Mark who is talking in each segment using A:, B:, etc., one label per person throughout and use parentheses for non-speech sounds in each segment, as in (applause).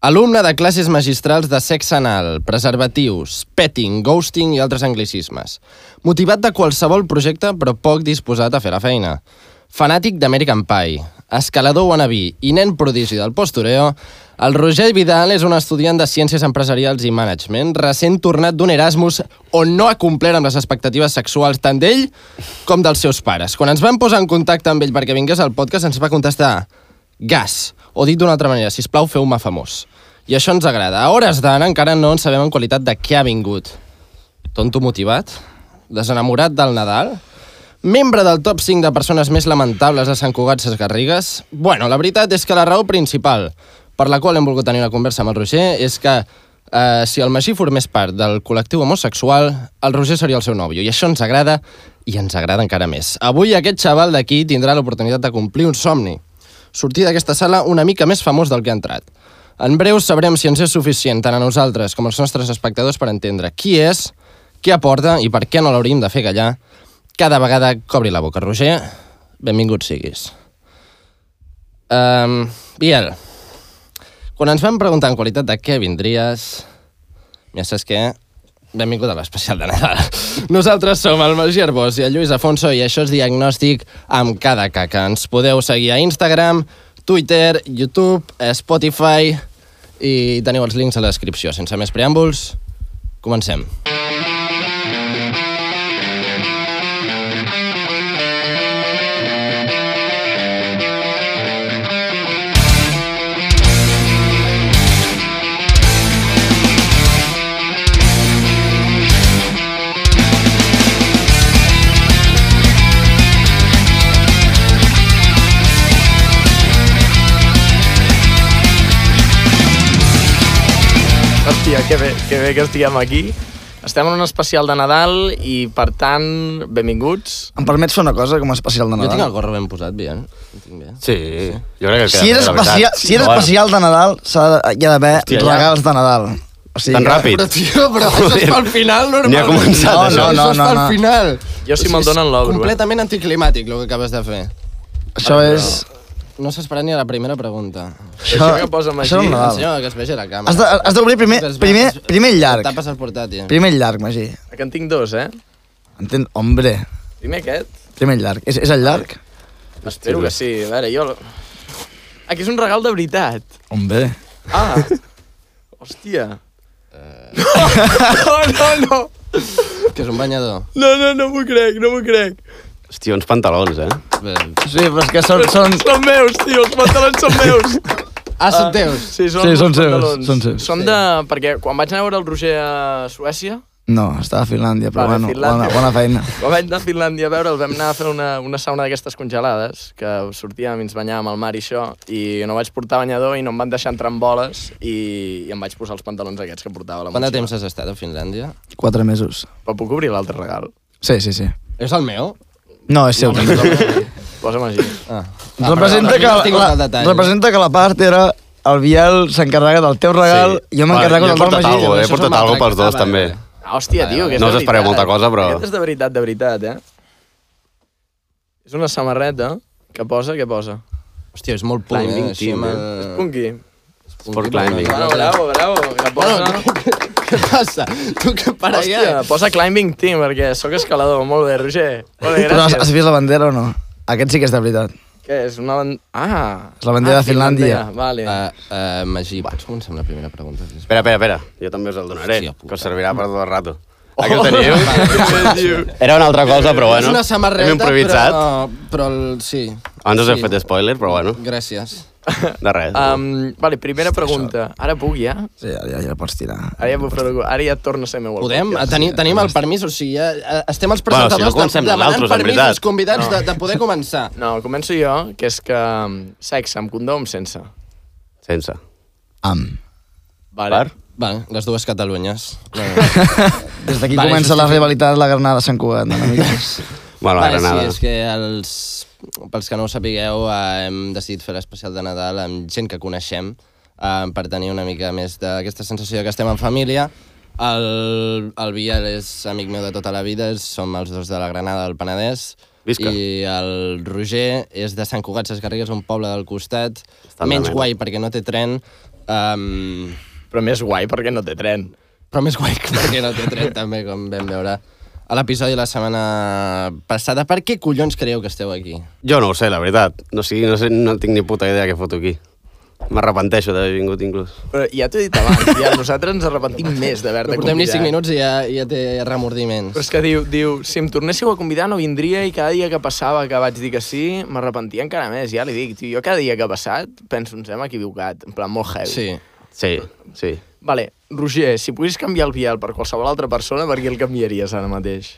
A: Alumne de classes magistrals de sexe anal, preservatius, petting, ghosting i altres anglicismes. Motivat de qualsevol projecte, però poc disposat a fer la feina. Fanàtic d'American Pie, escalador wannabe i nen prodigi del postureo, el Roger Vidal és un estudiant de Ciències Empresarials i Management, recent tornat d'un Erasmus on no ha complert amb les expectatives sexuals tant d'ell com dels seus pares. Quan ens vam posar en contacte amb ell perquè vingués al podcast, ens va contestar gas, o dit d'una altra manera, si us plau, feu-me famós. I això ens agrada. A hores d'ara encara no en sabem en qualitat de què ha vingut. Tonto motivat? Desenamorat del Nadal? Membre del top 5 de persones més lamentables de Sant Cugat Ses Garrigues? Bueno, la veritat és que la raó principal per la qual hem volgut tenir una conversa amb el Roger és que eh, si el Magí formés part del col·lectiu homosexual, el Roger seria el seu nòvio. I això ens agrada i ens agrada encara més. Avui aquest xaval d'aquí tindrà l'oportunitat de complir un somni. Sortir d'aquesta sala una mica més famós del que ha entrat. En breu sabrem si ens és suficient tant a nosaltres com als nostres espectadors per entendre qui és, què aporta i per què no l'hauríem de fer callar cada vegada que obri la boca. Roger, benvingut siguis. Um, Biel, quan ens van preguntar en qualitat de què vindries... Ja saps què? Benvingut a l'especial de Nadal. Nosaltres som el Magí Arbós i el Lluís Afonso i això és Diagnòstic amb cada caca. Ens podeu seguir a Instagram, Twitter, YouTube, Spotify i teniu els links a la descripció. Sense més preàmbuls, comencem.
B: Hòstia, que bé, que bé que estiguem aquí. Estem en un especial de Nadal i, per tant, benvinguts.
C: Em permets fer una cosa com a especial de
A: Jo tinc
C: Nadal?
A: el gorro ben posat, Biel. Ho tinc bé.
D: Sí, jo crec que...
C: Si eres, especial, si eres especial de Nadal, s'ha de, hi ha d'haver
D: Hòstia, ja.
C: regals de Nadal. O sigui,
D: Tan
C: que-
D: ràpid.
A: Però, tio, però això és pel final, normal.
D: Ni ha començat,
A: no,
D: això.
A: No, no, no,
C: no,
A: no.
C: no.
A: final.
B: Jo, si me'l donen, l'obro, eh?
A: Completament anticlimàtic, el que acabes de fer.
C: Això és...
A: No s'ha esperat ni a la primera pregunta.
B: Això que posa Magí.
C: Això és
B: Val.
C: Nadal.
A: Senyor, que es vegi a la càmera.
C: Has de- has d'obrir primer,
A: Es va-
C: primer,
A: es-
C: primer el llarg.
A: Tapes el portàtil.
C: Primer el llarg, Magí.
B: Que en tinc dos, eh?
C: Entén? Hombre.
B: Primer aquest.
C: Primer el llarg. És, és el llarg?
B: Espero que sí. A veure, jo... Aquí és un regal de veritat.
C: Hombre.
B: (laughs) Ah! Hòstia. Eh. No, no, no!
A: Que és un banyador.
B: No, no, no m'ho crec, no m'ho crec.
D: Hòstia, uns pantalons, eh?
A: Bé.
C: Sí, però és que són... són...
B: Són meus, tio, els pantalons són meus.
A: Ah, són teus.
B: Sí, són,
C: Sí,
B: els
C: són seus,
B: pantalons.
C: són seus.
B: Són de... Perquè quan vaig anar a veure el Roger a Suècia,
C: No, estava a Finlàndia, però
B: Vale,
C: bueno,
B: Finlàndia.
C: bona, bona feina.
B: Quan vaig anar a Finlàndia a veure, el vam anar a fer una, una sauna d'aquestes congelades, que sortíem i ens banyàvem al mar i això, i no vaig portar banyador i no em van deixar entrar amb boles i, i em vaig posar els pantalons aquests que portava a la
A: Quant de
B: motxilla.
A: temps has estat a Finlàndia?
C: Quatre mesos.
B: Però puc obrir l'altre
A: (laughs)
B: regal?
C: Sí, sí, sí.
A: És el meu?
C: No, és seu.
B: Posa'm així.
A: Ah. Ah, però
C: Representa que,
A: no tinc
C: la,
A: el
C: la,
A: detall.
C: representa que la part era el Biel s'encarrega del teu regal, sí. jo m'encarrego
D: Vale,
C: del del
D: Jo
A: això
C: Magí.
D: he portat alguna cosa, eh,
A: és
D: he portat
A: un
D: alguna pels
A: maltracte,
D: dos,
A: vale,
D: també.
A: vale.
B: Ah, hòstia, tio, que és
D: No us
B: de veritat.
D: espereu
B: eh?
D: molta cosa, però-
B: Aquest és de veritat, de veritat, eh? És una samarreta que posa, què posa?
A: Hòstia, és molt punk,
D: Climbing
A: eh? Així
D: team,
A: amb el...
B: És punky.
D: Sport climbing.
B: Bravo, bravo, bravo. Que posa...
A: Bueno, què passa? Tu que para
B: Hòstia,
A: ja.
B: posa Climbing Team, perquè sóc escalador. Molt bé, Roger. Molt bé,
C: Però has, has
B: gràcies.
C: vist la bandera o no? Aquest sí que és de veritat.
B: Què és? Una ban... Ah!
C: És la bandera
B: ah,
C: de Finlàndia.
B: Vale.
A: Uh, uh, Magí, pots començar amb la primera pregunta? sisplau?
D: Espera, espera, espera. Jo també us el donaré,
A: Hòstia puta. Oh.
D: que us servirà per tot el rato. Aquí
A: (laughs)
D: ho teniu.
B: Tio,
D: Era una altra cosa, però bueno.
A: és una samarreta,
D: Hem improvisat.
A: però... Però el... sí.
D: Abans us he
A: Sí.
D: fet spoiler, però bueno,
A: Gràcies.
D: de res.
B: Um, vale, primera pregunta. Ara puc, ja?
C: Sí, ja, ja, ja la pots tirar.
B: Ara ja, puc fer ara ja torna a ser meu. el
A: Podem?
B: podcast.
A: Tenim, tenim el permís, o sigui, ja, eh, estem els
D: Bueno, si no
A: presentadors
D: comencem
A: de, demanant
D: nosaltres, en
A: permís
D: veritat.
A: als convidats de, de poder començar.
B: No, començo jo, que és que um, sexe amb condó o amb sense.
D: Sense.
C: Am.
B: Vale.
D: Per?
A: Va, les dues (laughs) Catalunyes. No,
C: Des d'aquí
A: Vale,
C: comença la
A: justifica.
C: rivalitat la Granada Sant Cugat, no, (laughs) amigues.
D: Bueno, la
A: Vale, sí,
D: granada.
A: és que els, pels que no ho sapigueu, eh, hem decidit fer l'especial de Nadal amb gent que coneixem eh, per tenir una mica més d'aquesta sensació que estem en família. El, el Biel és amic meu de tota la vida, és- som els dos de la Granada del Penedès.
D: Visca.
A: I el Roger és de Sant Cugat Ses Garrigues, un poble del costat,
D: Està
A: menys
D: malament.
A: guai perquè no té tren, Um,
B: Però més guai perquè no té tren.
A: però més guai que perquè no té tret, també, com vam veure a l'episodi la setmana passada. Per què collons creieu que esteu aquí?
D: Jo no ho sé, la veritat. No, sé, no, sé, no tinc ni puta idea què foto aquí. M'arrepenteixo d'haver vingut, inclús.
B: Però ja t'ho he dit abans, ja
A: (laughs)
B: nosaltres ens arrepentim més
A: No
B: d'haver-te
A: portem ni 5
B: convidat.
A: minuts i ja, ja té remordiments.
B: eh? Però és que diu, diu, si em tornéssiu a convidar no vindria i cada dia que passava que vaig dir que sí, m'arrepentia encara més, ja li dic, tio, jo cada dia que ha passat penso ens hem equivocat, en plan molt heavy.
A: Sí.
D: Sí, sí.
B: Vale, Roger, si poguessis canviar el Biel per qualsevol altra persona, per qui el canviaries ara mateix?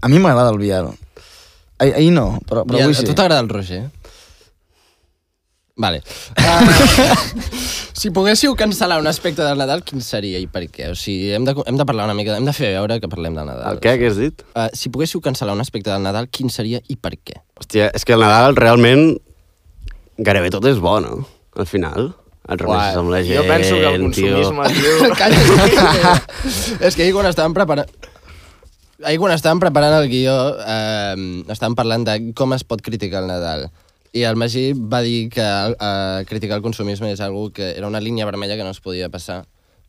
C: A mi m'agrada el Biel. Ah, ahir no, però, però
A: I a,
C: avui
A: a
C: sí.
A: tu t'agrada el Roger? Vale. Uh, si poguéssiu cancel·lar un aspecte del Nadal, quin seria i per què? O sigui, hem de, hem de parlar una mica, hem de fer veure que parlem del Nadal.
D: El què, què has dit?
A: Uh, si poguéssiu cancel·lar un aspecte del Nadal, quin seria i per què?
D: Hòstia, és que el Nadal realment gairebé tot és bo, no? Al final. Et reuneixes amb la gent,
B: jo penso que el
A: (laughs)
B: consumisme, tio...
A: Calla, calla. és que ahir quan estàvem preparant... Ahir quan estàvem preparant el guió eh, estàvem parlant de com es pot criticar el Nadal. I el Magí va dir que eh, criticar el consumisme és algo que era una línia vermella que no es podia passar.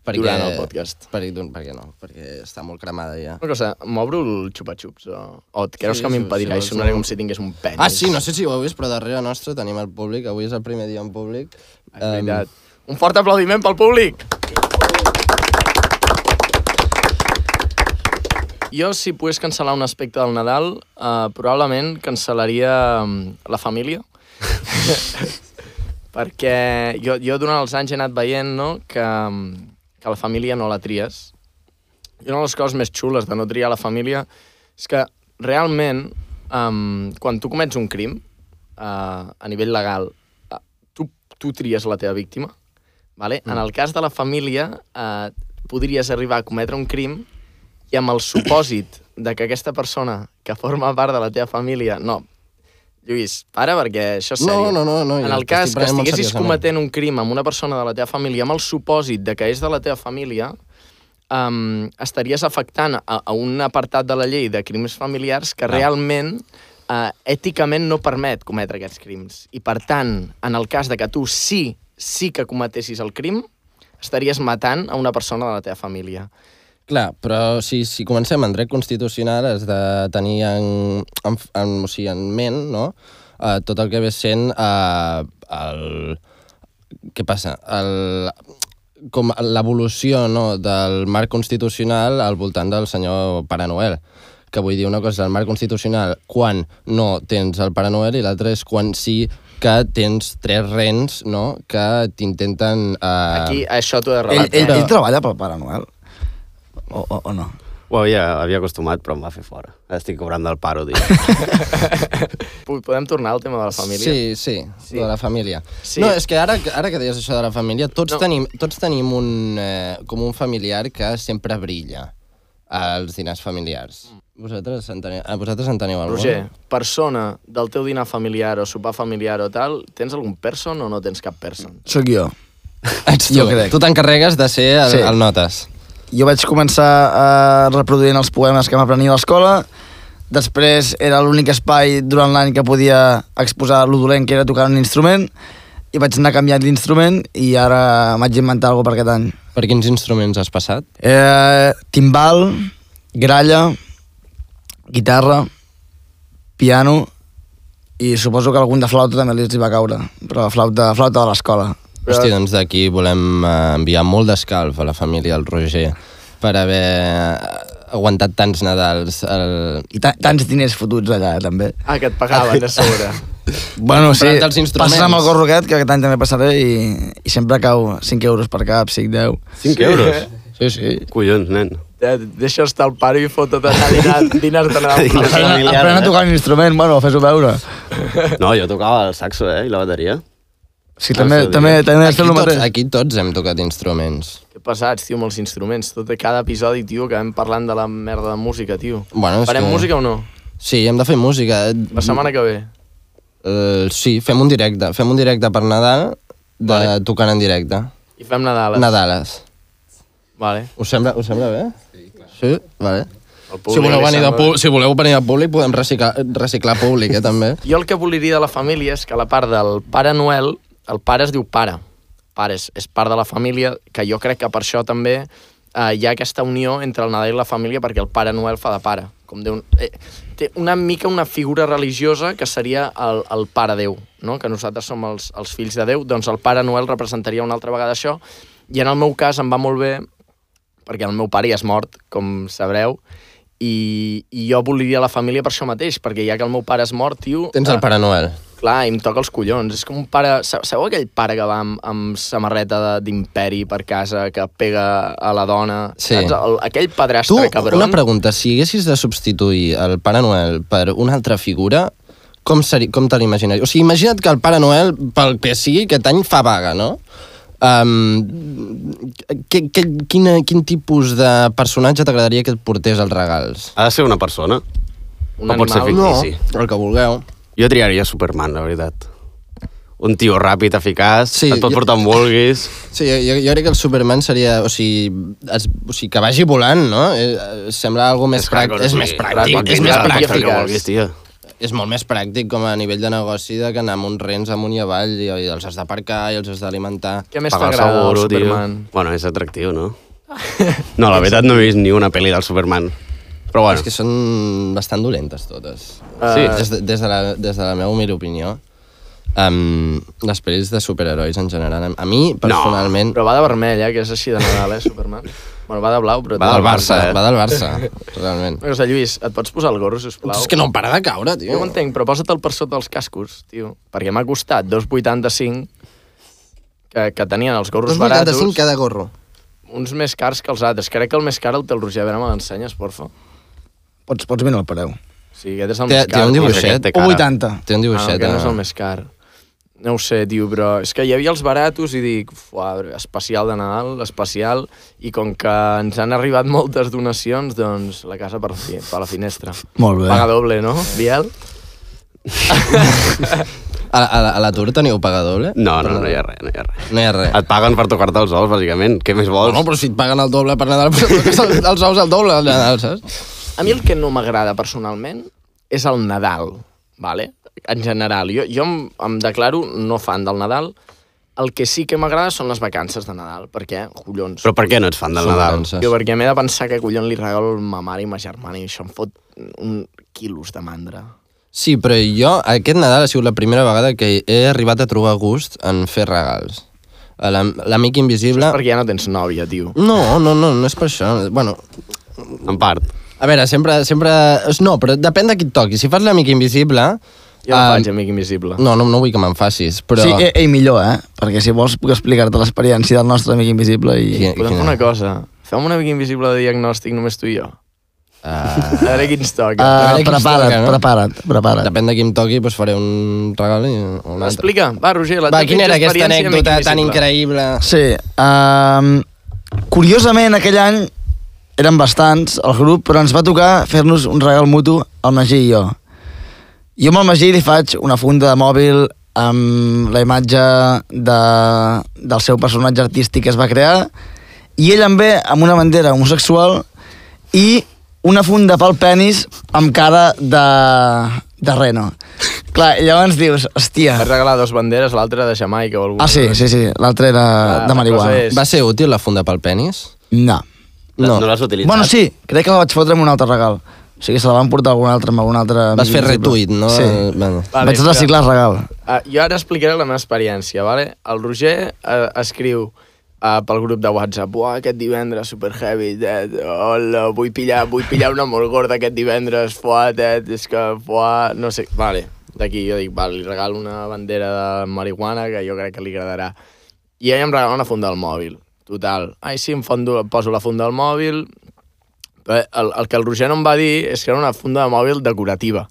A: Perquè,
B: Durant el podcast.
A: Per, perquè no, perquè està molt cremada ja.
B: Una cosa, m'obro el xupa-xups o, o et creus
A: Sí,
B: que
A: sí,
B: m'impedirà
A: sí,
B: i
A: sí.
B: sonaré com si tingués un penis?
A: Ah, sí, no sé si ho heu vist, però darrere nostre tenim el públic. Avui és el primer dia en públic.
B: És veritat. Un fort aplaudiment pel públic! Jo, si pogués cancel·lar un aspecte del Nadal, eh, probablement cancel·laria mm, la (laughs) família. Perquè jo, jo durant els anys he anat veient no, que, mm, que la família no la tries. I una de les coses més xules de no triar la família és que realment, um, quan tu comets un crim, uh, a nivell legal, uh, tu, tu tries la teva víctima. Vale? Mm. En el cas de la família, uh, podries arribar a cometre un crim i amb el supòsit de que aquesta persona que forma part de la teva família... No, Lluís, para, perquè això és
A: No,
B: seriós.
A: no, no, no, jo
B: en el
A: t'estic
B: cas que
A: prenent molt
B: estiguessis
A: seriosament.
B: cometent un crim amb una persona de la teva família amb el supòsit de que és de la teva família, um, estaries afectant a, a un apartat de la llei de crims familiars que realment uh, èticament no permet cometre aquests crims. I per tant, en el cas de que tu sí, sí que cometessis el crim, estaries matant a una persona de la teva família.
A: Clar, però si, si comencem en dret constitucional has de tenir en, en, en, o sigui, en ment no? uh, tot el que ve sent uh, el... Què passa? El, com l'evolució no, del marc constitucional al voltant del senyor Pare Noel que vull dir una cosa és el marc constitucional quan no tens el Pare Noel i l'altra és quan sí que tens tres rens no, que t'intenten... eh,
B: Aquí, això t'ho he eh? de
C: Ell,
B: relatar.
C: ell,
A: Però-
C: ell treballa pel Pare Noel? O, o, o no?
D: Ho havia, havia acostumat, però em va fer fora. Estic cobrant del paro, tio.
B: Po- Podem tornar al tema de la família?
A: Sí, sí, sí. de la família.
B: Sí.
A: Sí. No, és que ara, ara que deies això de la família, tots,
B: No.
A: no. tenim, tots tenim un, eh, com un familiar que sempre brilla als dinars familiars. Vosaltres en teniu, eh, vosaltres en teniu algun?
B: Mm. Roger, persona del teu dinar familiar o sopar familiar o tal, tens algun person o no tens cap person?
C: Sóc jo.
A: (laughs) Ets tu.
C: Jo crec.
A: Tu t'encarregues de ser el,
C: Sí.
A: sí. el notes.
C: Jo vaig començar eh, reproduint els poemes que m'aprenia a l'escola, després era l'únic espai durant l'any que podia exposar lo dolent que era tocar un instrument, i vaig anar canviant d'instrument i ara m'haig inventat alguna per aquest any.
A: Per quins instruments has passat?
C: Eh, timbal, gralla, guitarra, piano, i suposo que algun de flauta també li va caure, però la flauta, flauta de l'escola.
B: Però-
A: Hòstia, doncs d'aquí volem eh, enviar molt d'escalf a la família del Roger per haver eh, aguantat tants Nadals. El...
C: I ta tants diners fotuts allà, eh, també.
B: Ah, que et pagaven a (laughs) sobre.
C: Bueno, sí,
A: Comprat els instruments.
C: passes amb el gorro aquest, que aquest any també passaré, i, i sempre cau 5 euros per cap, 5, 10.
D: 5 euros?
A: Sí, sí.
D: Collons, nen.
B: Eh, Deixa estar el pare i foto't a dinar, (laughs) dinars de
D: Dinars.
B: Nadal.
C: Apren,
D: familiar,
C: apren a
D: eh?
C: tocar un instrument, bueno, fes-ho veure.
D: No, jo tocava el saxo, eh, i la bateria.
C: Sí,
D: Ah,
C: també,
D: sí,
C: també, també has
A: Aquí
C: fet el
A: tots,
C: mateix.
A: aquí tots hem tocat instruments.
B: Que pesats, tio, amb els instruments. Tot cada episodi, tio, que vam parlant de la merda de música, tio.
A: Bueno, és
B: Farem
A: que-
B: música o no?
A: Sí, hem de fer música.
B: La setmana que ve.
A: Uh, sí, fem un directe. Fem un directe per Nadal de
B: Vale.
A: vale. tocant en directe.
B: I fem Nadales.
A: Nadales.
B: Vale.
A: Us sembla, us sembla bé? Sí, clar. Sí? Vale.
B: El públic
A: Si voleu,
B: li
A: venir de
B: sembla-
A: públic, si voleu venir de públic, podem reciclar, reciclar públic,
B: (laughs)
A: eh, també.
B: Jo el que volia dir de la família és que la part del Pare Noel, el pare es diu pare. pare és, és part de la família, que jo crec que per això també eh, hi ha aquesta unió entre el Nadal i la família perquè el Pare Noel fa de pare. Com Déu, eh, té una mica una figura religiosa que seria el, el Pare Déu, no? que nosaltres som els, els fills de Déu, doncs el Pare Noel representaria una altra vegada això, i en el meu cas em va molt bé perquè el meu pare ja és mort, com sabreu, i, i jo volia la família per això mateix, perquè ja que el meu pare és mort, tio...
A: Tens el
B: eh,
A: Pare Noel.
B: Clar, i em toca els collons. És com un pare... sa- Sabeu aquell pare que va amb, amb samarreta de- d'imperi per casa, que pega a la dona?
A: Sí.
B: Saps? El, aquell
A: Tu,
B: padrastre cabron...
A: una pregunta, si haguessis de substituir el Pare Noel per una altra figura, com, seri, com te l'imaginaries? O sigui, imagina't que el Pare Noel, pel que sigui, aquest any fa vaga, no? Um, que, que, quina, quin tipus de personatge t'agradaria que et portés els regals?
D: Ha de ser una persona.
B: Un
D: no pot ser
B: animal.
D: fictici. Sí, sí.
A: el que vulgueu.
D: Jo triaria Superman, la veritat. Un tio ràpid, eficaç,
A: Sí,
D: sí, et pot
A: jo-
D: portar on vulguis.
A: Sí, jo, jo crec que el Superman seria... O sigui, es, o sigui que vagi volant, no? Eh, eh, sembla algo més, prac,
D: Ràpid,
A: és més
D: sí,
A: pràctic.
D: ràpid,
A: És més
D: ja, pots
A: pràctic.
D: fer el que
B: eficaç.
D: vulguis, tio.
A: és molt més pràctic com a nivell de negoci de que anar amb uns rens amunt i avall i, i els has d'aparcar i els has d'alimentar.
B: Què més
D: Pagar el
B: t'agrada del
D: tio.
B: Superman?
D: Bueno, és atractiu,
A: (laughs)
D: no? No, la veritat no he vist ni una pel·li del Superman. Però
A: Bueno. És
D: bueno,
A: que són bastant dolentes totes.
D: Sí.
A: Des, de, des, de la, des de la meva humil opinió, um, les pel·lis de superherois en general, a mi personalment...
B: Però va de vermell, eh, que és així de Nadal, eh,
A: (laughs)
B: Superman. bueno, va de blau, però...
A: va del Barça,
D: eh?
A: va del Barça, realment.
B: Una cosa, Lluís, et pots posar el gorro, sisplau?
A: És que no em para de caure,
B: Jo
A: tio.
B: ho entenc, però posa't-el per sota dels cascos, tio. Perquè m'ha costat 2,85 que, que tenien els gorros baratos.
A: cada gorro.
B: uns més cars que els altres. Crec que el més car el té el Roger, a veure, me l'ensenyes, porfa.
C: Pots, pots mirar el preu.
B: Sí, aquest és el
A: Té,
B: més
A: té
B: car.
A: un
D: dibuix,
A: dibuixet.
D: Té
A: Té,
D: cara.
C: O 80.
A: té un
B: Ah, no,
A: dibuixet. eh.
B: aquest no és
A: a-
B: el més car. No ho sé, tio, però és que hi havia els baratos i dic, fuà, especial de Nadal, especial, i com que ens han arribat moltes donacions, doncs la casa per, fi, per la finestra.
C: Molt bé.
B: Paga doble, no, Biel?
A: a, a, a l'atur teniu paga doble?
D: no, no, no hi ha res, no hi ha res.
A: No hi ha res.
D: Et paguen per tocar-te els ous, bàsicament. Què més vols?
A: No, però si et paguen el doble per Nadal, (laughs) però que els, els ous el doble al Nadal, saps?
B: A mi el que no m'agrada personalment és el Nadal, vale? en general. Jo, jo em, em declaro no fan del Nadal. El que sí que m'agrada són les vacances de Nadal, perquè, collons,
D: Però per què no ets fan del
A: Són
D: Nadal?
A: vacances.
B: jo perquè m'he de pensar que collons li regalo a ma mare i ma germana i això em fot un quilos de mandra.
A: Sí, però jo aquest Nadal ha sigut la primera vegada que he arribat a trobar gust en fer regals. A la- L'amic invisible...
B: Perquè ja no tens nòvia, tio.
A: No, no, no, no és per això. Bueno,
D: En part.
A: a veure, sempre... sempre... No, però depèn de qui et toqui. Si fas l'amic invisible...
B: Jo no
A: ah,
B: faig amic invisible.
A: No, no, no vull que me'n facis, però...
C: Però... Sí, ei, ei, millor, eh? Perquè si vols puc explicar-te l'experiència del nostre amic invisible i...
A: Qui-
B: Podem
A: quina-
B: fer una cosa. Fem un amic invisible de diagnòstic només tu i jo.
A: Ah,
B: A veure qui ens
A: veure
B: toca.
C: Uh,
A: qui ens
C: prepara't,
A: toca, no?
C: prepara't, prepara't.
A: depèn de qui em toqui, doncs faré un regal i un altre.
B: Explica, va, Roger, la
A: Va,
B: teva
A: quina era aquesta
B: experiència amic
A: anècdota tan
B: invisible.
A: increïble?
C: Sí. Um, curiosament, aquell any eren bastants, el grup, però ens va tocar fer-nos un regal mutu, el Magí i jo. Jo amb el Magí li faig una funda de mòbil amb la imatge de, del seu personatge artístic que es va crear i ell em ve amb una bandera homosexual i una funda pel penis amb cara de, de reno. Clar, i llavors dius, hòstia...
B: Vas regalar dos banderes, l'altra de Jamaica o alguna
C: Ah, sí, sí, sí, l'altre era
B: Ah,
C: de
B: la cosa
C: marihuana.
B: és-
A: Va ser útil la funda pel penis?
C: No.
A: No.
D: no l'has utilitzat?
C: Bueno, sí, crec que la vaig fotre amb un altre regal. O sigui, se la van portar algun altre amb algun altre...
A: Vas fer
C: amic
A: retuit, no?
C: Sí.
A: Bueno.
B: Vale,
C: Vale, vaig
B: espera.
C: reciclar el regal.
B: Uh, jo ara explicaré la meva experiència, vale? El Roger uh, escriu uh, pel grup de WhatsApp Buah, aquest divendres, super heavy, tet, hola, vull pillar, vull pillar una molt gorda aquest divendres, fuà, tet, és que, fuà, no sé, vale. D'aquí jo dic, vale, li regalo una bandera de marihuana que jo crec que li agradarà. I ell em regala una funda del mòbil, total. Ai, sí, em fondo, poso la funda del mòbil, Però eh, el, el que el Roger no em va dir és que era una funda de mòbil decorativa,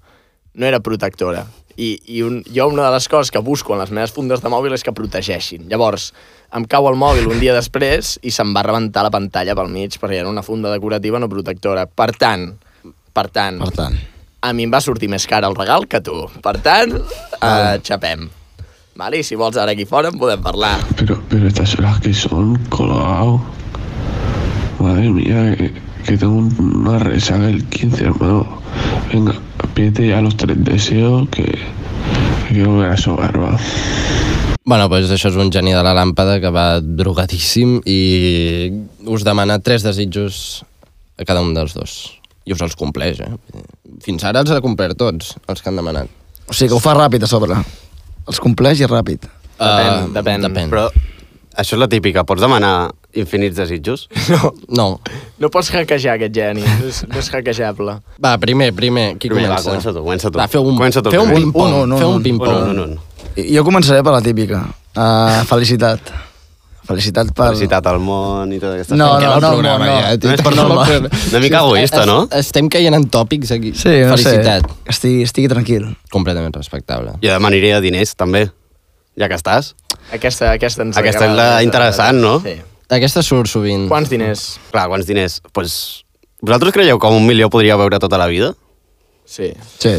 B: no era protectora. I, i un, jo una de les coses que busco en les meves fundes de mòbil és que protegeixin. Llavors, em cau el mòbil un dia després i se'm va rebentar la pantalla pel mig perquè era una funda decorativa no protectora. Per tant, per tant,
C: Per tant,
B: a mi em va sortir més car el regal que tu. Per tant,
C: Ah.
B: eh, xapem. Vale? I si vols ara aquí fora en podem parlar.
E: Pero, pero estas horas que son, colgado. Madre mía, que, que tengo un- una resaca el 15, hermano. Venga, pídete ya los tres deseos que hay que volver a sobar, va.
A: Bueno, doncs això és un geni de la làmpada que va drogadíssim i us demana tres desitjos a cada un dels dos. I us els compleix, eh? Fins ara els ha complert tots, els que han demanat.
C: O sigui que ho fa ràpid a sobre. Els compleix i ràpid.
B: Depèn,
A: Eh,
B: depèn.
A: depèn.
D: Però això és la típica, pots demanar infinits desitjos?
B: No,
A: No.
B: no pots hackejar aquest geni, no és, no és hackejable.
A: Va, primer, primer. Qui
D: Primer, va,
A: comença?
D: comença tu, comença tu.
A: Va, feu un,
D: Comença tu
A: feu un
D: primer. Oh,
A: ping-pong.
C: Un, un, un,
A: feu un
C: un.
A: ping-pong.
D: Un, un, un, un.
C: I- Jo començaré per la típica. Uh, felicitat. Felicitat per...
D: Felicitat al món i tot aquestes
C: No,
D: coses.
A: Tanquem el
C: no, no,
A: programa,
C: no, no.
A: ja, eh, tio.
D: Només per
A: Tanquem el
D: no-
A: programa.
D: Una mica egoista, no?
A: Es- Estem caient en tòpics aquí.
C: Sí, no
A: Felicitat.
C: sé. Que estigui, estigui tranquil.
A: Completament respectable.
D: Jo demanaria diners, també, ja que estàs.
B: Aquesta, aquesta ens
D: Aquesta és
B: agrada.
D: la interessant, no?
B: Sí.
A: Aquesta surt sovint.
B: Quants diners?
D: Clar, quants diners? Pues, vosaltres creieu que un milió podria veure tota la vida?
B: Sí.
C: Sí.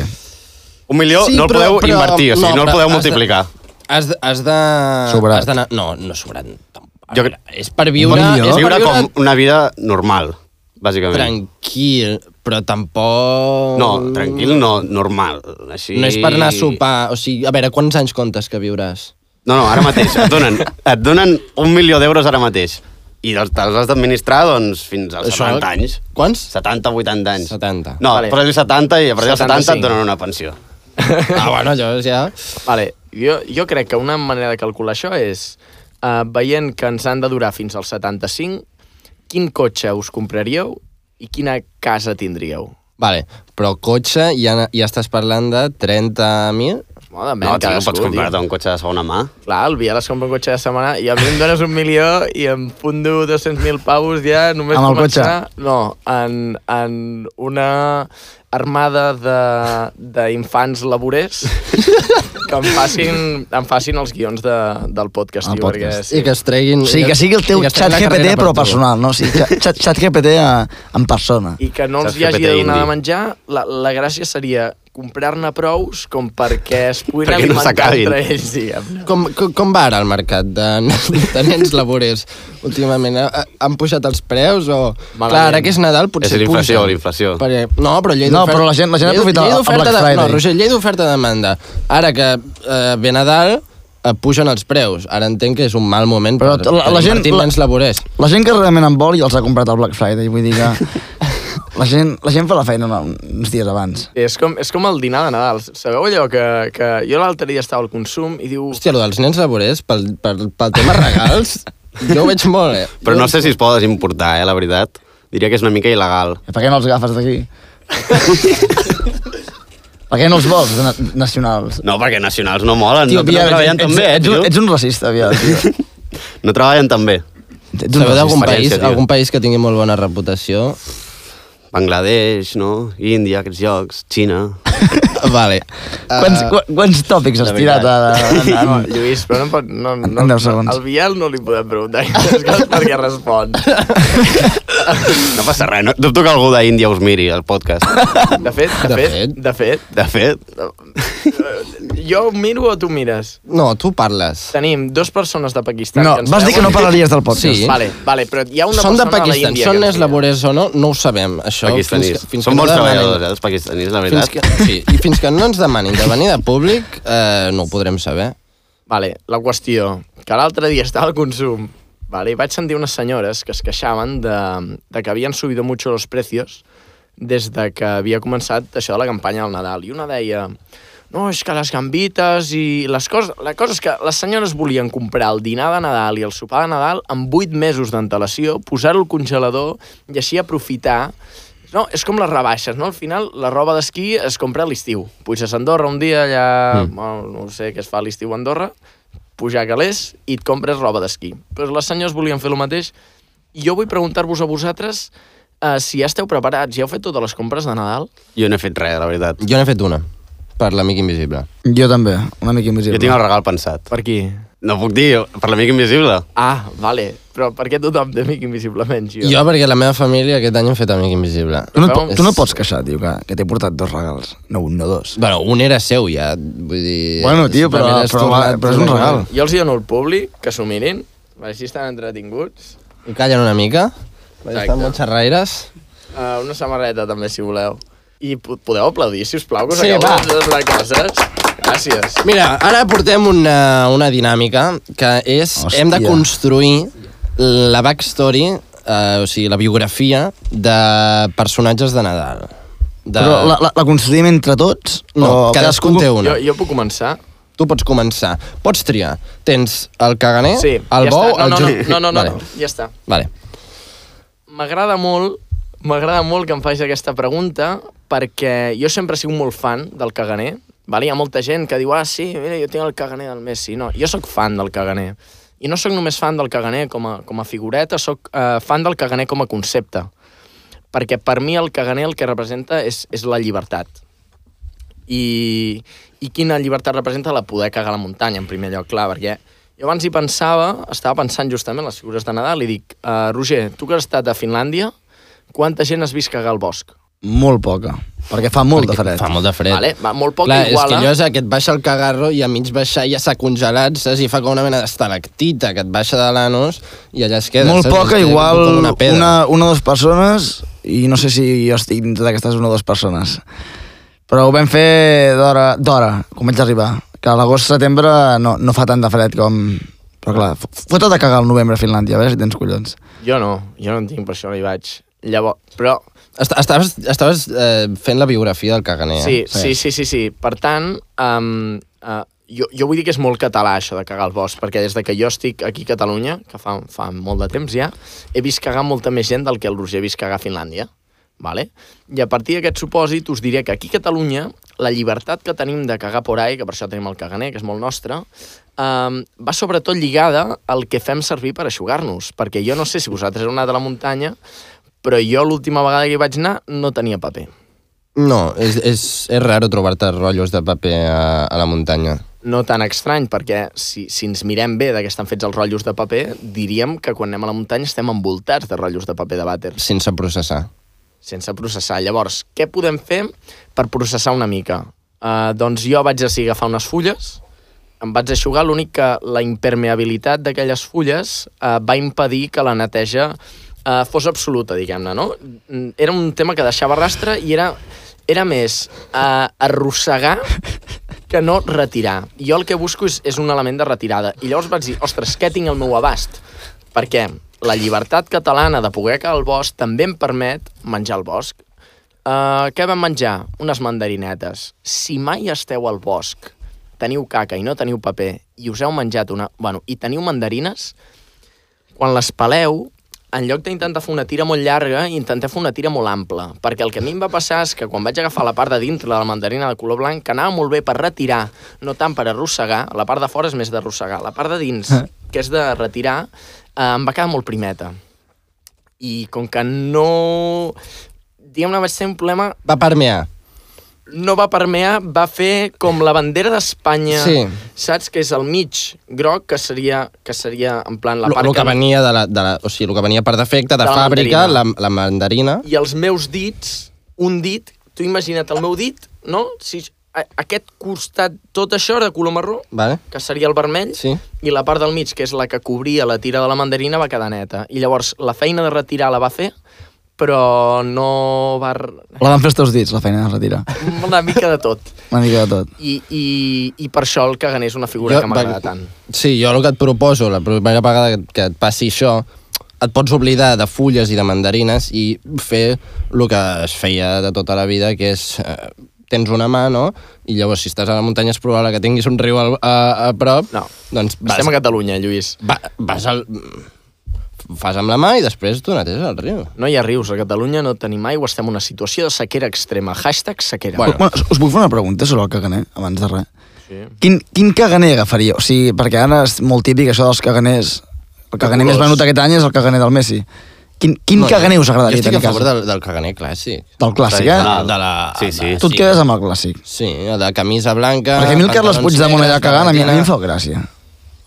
D: Un milió
A: Sí,
D: no el
A: però-
D: podeu
A: però-
D: invertir, o sigui, no,
A: no,
D: el
A: però
D: podeu
A: has de-
D: multiplicar.
A: Has de... Has de
C: Sobrat.
A: Has d'anar- no, no sobrat. tampoc.
D: Jo
A: A veure, És per viure...
C: Un milió?
A: És per
D: Viure
A: viure
D: com una vida normal, bàsicament.
A: tranquil, però tampoc...
D: No, tranquil no, normal. Així...
A: No és per anar a sopar. O sigui, a veure, quants anys comptes que viuràs?
D: No, no, ara mateix. Et donen, et donen un milió d'euros ara mateix. I els te'ls has d'administrar, doncs, fins als
A: Això-
D: 70 anys.
A: Quants?
D: 70, 80 anys.
A: 70.
D: No,
B: Vale.
D: vale. posa-li 70 i a partir dels 70
B: 75.
D: et donen una pensió.
A: Ah, bueno, llavors ja...
B: Vale, jo, jo crec que una manera de calcular això és uh, veient que ens han de durar fins als 75, quin cotxe us compraríeu i quina casa tindríeu?
A: Vale, però cotxe ja, ja estàs parlant de 30.000?
B: Bueno, depèn,
D: No, tio,
B: cadascú,
D: pots comprar-te un cotxe de segona mà.
B: Clar, el Biel es compra un cotxe de setmana i a mi em dones un milió i em fundo 200.000 paus ja només
C: Amb el
B: començar... Cotxe? No, en, en una armada de- d'infants laborers que em facin, em facin els guions de, del podcast,
C: El
B: tio, perquè...
C: podcast.
A: Sí. I que es treguin...
C: O sigui, que sigui el teu
A: i que es
C: xat
A: treguin la
C: GPT,
A: carrera per
C: però
A: tu.
C: personal, no? O sigui, xat, xat, xat GPT a, eh, en persona.
B: i que no els
D: Saps
B: hi
D: fer
B: hagi
D: peta
B: de donar
D: indi.
B: de menjar, la, la gràcia seria comprar-ne prous com perquè
D: (laughs)
B: es puguin
D: Perquè no
B: alimentar
D: s'acabin.
B: entre ells, diguem.
A: Com, com, com va ara el mercat de, de nens laborers últimament? Ha- ha- Han pujat els preus o...
B: Malament.
A: Clar, ara que és Nadal potser
D: És la inflació,
A: pugen.
D: la inflació.
A: Perquè, no, però llei
C: No,
A: d'oferta-
C: però la gent- la gent
A: llei-
C: aprofita
A: llei
C: el
A: d'oferta
C: Black
A: de-
C: Friday.
A: No, Roger, llei d'oferta-demanda. Ara que eh, ve Nadal, eh, pugen els preus. Ara entenc que és un mal moment
C: Però
A: per,
C: la- la
A: per
C: gent-
A: invertir
C: la-
A: en nens laborers.
C: La gent que realment en vol ja els ha comprat al Black Friday, vull dir
A: (laughs)
C: que... La gent, la gent fa la feina una- uns dies abans.
B: És com, és com el dinar de Nadal. Sabeu allò que, que jo l'altre dia estava al consum i diu...
A: Hòstia, allò dels nens laborers, pel, pel, pel tema
C: (laughs)
A: regals, jo ho veig molt, eh?
D: Però no sé si es podes importar, eh, la veritat. Diria que és una mica il·legal.
C: Per què no els agafes d'aquí? per què no els vols, de na nacionals?
D: No, perquè nacionals no molen, no, no
C: Biel,
D: treballen
C: ets,
D: tan bé, eh,
C: ets,
D: tio.
C: ets, ets un racista, Biel, tio.
D: No treballen tan bé.
C: Ets un
A: Sabeu d'algun
C: racista.
A: país,
D: Experiència, tio.
A: algun país que tingui molt bona reputació?
C: (laughs)
D: Bangladesh, no? Índia, aquests llocs,
A: (laughs)
D: Xina...
A: vale.
C: Quants,
A: Eh,
C: qu- quants tòpics has
D: de
C: tirat? A, a,
B: (laughs) No,
C: a,
B: Lluís, però no, pot, no, no,
C: En deu segons.
B: Al Biel no li podem preguntar aquestes coses perquè respon.
D: No passa res, no, dubto que algú d'Índia us miri el podcast.
B: De fet,
A: De
B: de, de fet,
A: fet.
B: de fet,
D: De fet,
B: jo miro o tu mires?
A: No, tu parles.
B: Tenim dos persones de Pakistan.
C: no,
B: que ens
C: vas dir que no
B: veuen.
C: parlaries del podcast.
A: Sí.
B: Vale, vale, però hi ha una
A: Són de
B: persona
A: Pakistan,
B: l'Índia
A: són
B: que ens
A: nens
B: mira.
A: laborers o no, no ho sabem, això.
D: pakistanis.
A: Fins que, fins
D: Són
A: que no
D: bons
A: demanin-
D: treballadors, eh, els pakistanis, la
A: Fins
D: veritat.
A: que, sí, I fins que no ens demanin de venir de públic, eh, no ho podrem saber.
B: Vale, la qüestió, que l'altre dia estava al consum vale, i vaig sentir unes senyores que es queixaven de, de que havien subido mucho los precios des de que havia començat això de la campanya del Nadal. I una deia, no, és que les gambites i les coses... La cosa és que les senyores volien comprar el dinar de Nadal i el sopar de Nadal amb 8 mesos d'antelació, posar-ho al congelador i així aprofitar no, és com les rebaixes, no? Al final, la roba d'esquí es compra a l'estiu. Puges a Andorra un dia, allà... Mm. Bueno, no ho sé què es fa a l'estiu a Andorra, pujar a calés i et compres roba d'esquí. Però les senyors volien fer el mateix. I jo vull preguntar-vos a vosaltres eh, si ja esteu preparats, ja heu fet totes les compres de Nadal?
D: Jo no he fet res, la veritat.
A: Jo n'he fet una, per l'amic invisible.
C: Jo també, una mica invisible.
D: Jo tinc el regal pensat.
B: Per qui?
D: No puc dir, per l'amic invisible.
B: Ah, vale. Però per què tothom té amic invisible menys jo?
A: Jo, perquè la meva família aquest any hem fet amic invisible.
C: Tu no, et po-
B: Però-
C: tu no et pots queixar, tio, que, que t'he portat dos regals. No un, no dos.
A: Bueno, un era seu ja, vull dir...
C: Bueno, tio, però-
A: simplement has
C: però va-
A: tornat-
C: però és un regal.
B: Jo els hi dono al públic, que s'ho mirin, així estan entretinguts.
A: I callen una mica, perquè
B: Exacte.
A: estan molt xerraires.
B: Uh, una samarreta també, si voleu. I po- podeu aplaudir, si us plau, que us
A: Sí,
B: sí,
A: va.
B: acabo de les coses. gràcies.
A: Mira, ara portem una, una dinàmica que és... Hòstia. Hem de
C: Hòstia.
A: construir la backstory, eh, o sigui, la biografia de personatges de Nadal. De...
C: Però la, la, la construïm entre tots?
A: No, cadascú en té una.
B: Jo, jo puc començar?
A: Tu pots començar. Pots triar. Tens el caganer,
B: Sí,
A: el
B: ja
A: bou,
B: està.
A: el
B: no, no,
A: jo-
B: no, no, no, no,
A: vale.
B: no, ja està.
A: Vale.
B: M'agrada molt, m'agrada molt que em facis aquesta pregunta perquè jo sempre he sigut molt fan del caganer. Vale? Hi ha molta gent que diu, ah, sí, mira, jo tinc el caganer del Messi. No, jo sóc fan del caganer. I no sóc només fan del caganer com a, com a figureta, sóc eh, fan del caganer com a concepte. Perquè per mi el caganer el que representa és, és la llibertat. I, i quina llibertat representa la poder cagar a la muntanya, en primer lloc, clar, perquè jo abans hi pensava, estava pensant justament en les figures de Nadal i dic, uh, Roger, tu que has estat a Finlàndia, quanta gent has vist cagar al bosc?
C: Molt poca, perquè fa molt de fred.
A: Fa molt de fred.
B: Vale? Va, molt poc
A: Clar,
B: iguala.
A: és que allò és que et baixa el cagarro i a mig baixar ja s'ha congelat, saps? I fa com una mena d'estalactita que et baixa de l'anus i allà es queda.
C: Molt
A: saps?
C: poca,
A: Es queda
C: igual
A: com
C: una,
A: una pedra.
C: una o dues persones, i no sé si jo estic dintre d'aquestes una o dues persones. Però ho vam fer d'hora, d'hora, quan vaig arribar. Que a l'agost-setembre no, no fa tant de fred com... Però clar, fo- fot de cagar al novembre a Finlàndia, a veure si tens collons.
B: Jo no, jo no en tinc, per això no hi vaig. Llavors, però
A: Est estaves estaves eh, fent la biografia del caganer.
B: Sí,
A: eh?
B: sí, sí, sí, sí. Per tant, um, uh, jo, jo vull dir que és molt català això de cagar al bosc, perquè des de que jo estic aquí a Catalunya, que fa, fa molt de temps ja, he vist cagar molta més gent del que el Roger ha vist cagar a Finlàndia. Vale? I a partir d'aquest supòsit us diré que aquí a Catalunya la llibertat que tenim de cagar por ahí, que per això tenim el caganer, que és molt nostre, um, va sobretot lligada al que fem servir per aixugar-nos, perquè jo no sé si vosaltres heu anat a la muntanya, però jo l'última vegada que hi vaig anar no tenia paper.
A: No, és, és, és raro trobar-te rotllos de paper a, a la muntanya.
B: no tan estrany, perquè si, si ens mirem bé de què estan fets els rotllos de paper, diríem que quan anem a la muntanya estem envoltats de rotllos de paper de vàter,
A: Sense processar.
B: sense processar. Llavors, què podem fer per processar una mica? Uh, doncs jo vaig decidir agafar unes fulles, em vaig aixugar, l'únic que la impermeabilitat d'aquelles fulles uh, va impedir que la neteja uh, fos absoluta, diguem-ne, no? Mm, Era un tema que deixava rastre i era, era més uh, arrossegar que no retirar. Jo el que busco és, és un element de retirada. I llavors vaig dir, ostres, què tinc al meu abast? Perquè la llibertat catalana de poder cagar al bosc també em permet menjar al bosc. Uh, què vam menjar? Unes mandarinetes. Si mai esteu al bosc, teniu caca i no teniu paper, i us heu menjat una... Bueno, i teniu mandarines, quan les peleu, en lloc d'intentar fer una tira molt llarga, intenteu fer una tira molt ampla. Perquè el que a mi em va passar és que quan vaig agafar la part de dintre de la mandarina de color blanc, que anava molt bé per retirar, no tant per arrossegar, la part de fora és més d'arrossegar, la part de dins, que és de retirar, eh, em va quedar molt primeta. I com que no... Diguem-ne, vaig ser un problema
A: Va permear.
B: no va permear, va fer com la bandera d'Espanya,
A: Sí.
B: saps? Que és el mig groc, que seria, que seria en plan la
A: Lo,
B: part
A: lo que venia de la, de la, o sigui, lo que venia per defecte de,
B: De la
A: fàbrica, la,
B: mandarina.
A: la mandarina.
B: I els meus dits, un dit, tu imagina't el meu dit, no? Si a, aquest costat, tot això era de color marró,
A: Vale?
B: que seria el vermell,
A: Sí.
B: i la part del mig, que és la que cobria la tira de la mandarina, va quedar neta. I llavors la feina de retirar la va fer, però no va... re-
C: La van fer els teus dits, la feina de retirar.
B: Una mica de tot.
C: Una mica de tot.
B: I, i, i per això el caganer és una figura jo, que m'agrada
A: va-
B: tant.
A: Sí, jo el que et proposo, la primera vegada que, que et passi això, et pots oblidar de fulles i de mandarines i fer el que es feia de tota la vida, que és... Eh, tens una mà, no? I llavors, si estàs a la muntanya, és probable que tinguis un riu al, a, a prop.
B: No.
A: Doncs vas,
B: Estem a Catalunya, Lluís.
A: va, vas al... Fas amb la mà i després tu netes el riu.
B: No hi ha rius, a Catalunya no tenim aigua, estem en una situació de sequera extrema. Hashtag sequera.
A: Bueno.
C: Bueno, us puc fer una pregunta sobre el caganer, abans de res?
B: Sí.
C: Quin, quin caganer agafaria? O sigui, perquè ara és molt típic això dels caganers. El caganer més
B: colors.
C: venut aquest any és el caganer del Messi. Quin, quin no, caganer us agradaria
A: Jo estic
C: tenir
A: a favor
C: casa?
A: del, del caganer clàssic.
C: Del clàssic, eh?
D: Tradicional.
A: De la-
D: Sí, sí.
A: de-
C: Tu et quedes amb el clàssic.
A: Sí, de camisa blanca...
C: Perquè a mi el Carles
A: pantalons
C: Puigdemont allà
A: negres,
C: cagant, a mi, a mi
A: gabardina.
C: em fa gràcia.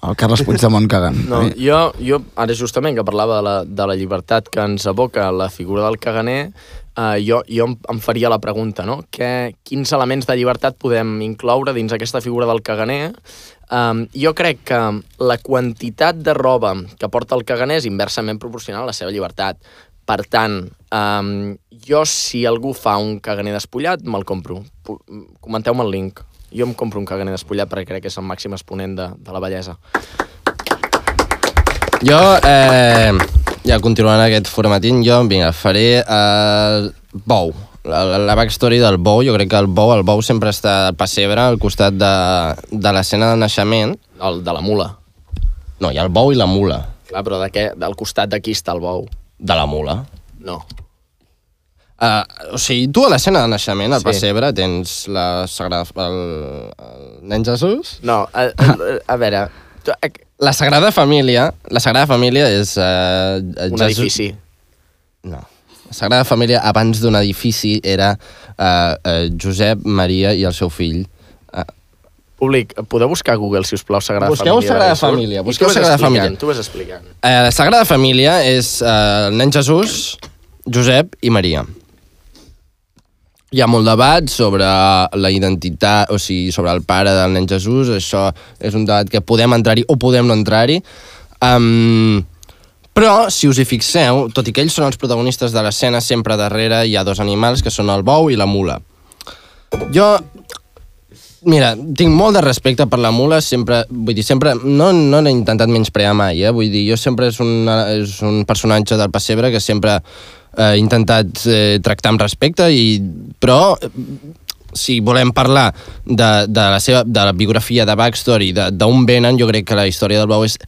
C: El Carles Puigdemont cagant.
B: No, jo, jo ara justament que parlava de la, de la llibertat que ens aboca la figura del caganer, eh, jo, jo em, em faria la pregunta, no? Que, quins elements de llibertat podem incloure dins aquesta figura del caganer? Um, jo crec que la quantitat de roba que porta el caganer és inversament proporcional a la seva llibertat. Per tant, um, jo si algú fa un caganer despullat, me'l compro. Pu- Comenteu-me el link. Jo em compro un caganer despullat perquè crec que és el màxim exponent de, de la bellesa.
A: Jo, eh, ja continuant aquest formatint, jo, vinga, faré el bou. La, la backstory del bou, jo crec que el bou, el bou sempre està al pessebre, al costat de, de l'escena del naixement.
B: El de la mula.
A: No, hi ha el bou i la mula.
B: Clar, però de què? del costat d'aquí està el bou.
A: De la mula.
B: No.
A: Uh, o sigui, tu a l'escena de naixement, al
B: Sí.
A: sí. pessebre, tens la Sagrada... El, el nen Jesús?
B: No, a, a, a veure... tu- eh, ac-
A: La Sagrada Família... La Sagrada Família és... Uh,
B: Un edifici.
A: No. La Sagrada Família, abans d'un edifici, era uh, uh, Josep, Maria i el seu fill. Uh,
B: Públic, podeu buscar a Google, si us plau, Sagrada
A: Busqueu
B: Família.
A: Sagrada
B: de Jesús?
A: Família,
B: I
A: busqueu
B: tu vas
A: Sagrada
B: explicant,
A: Família.
B: Tu vas explicant.
A: la Eh, Sagrada Família és uh, el nen Jesús, Josep i Maria. Hi ha molt debat sobre la identitat, o sigui, sobre el pare del nen Jesús, això és un debat que podem entrar-hi o podem no entrar-hi. Um, però, si us hi fixeu, tot i que ells són els protagonistes de l'escena, sempre darrere hi ha dos animals, que són el bou i la mula. Jo Mira, tinc molt de respecte per la mula, sempre, vull dir, sempre, no, no l'he intentat menysprear mai, eh? vull dir, jo sempre és, una, és un personatge del pessebre que sempre eh, he intentat eh, tractar amb respecte, i, però eh, si volem parlar de, de la seva de la biografia de backstory, de- d'on venen, jo crec que la història del Bau és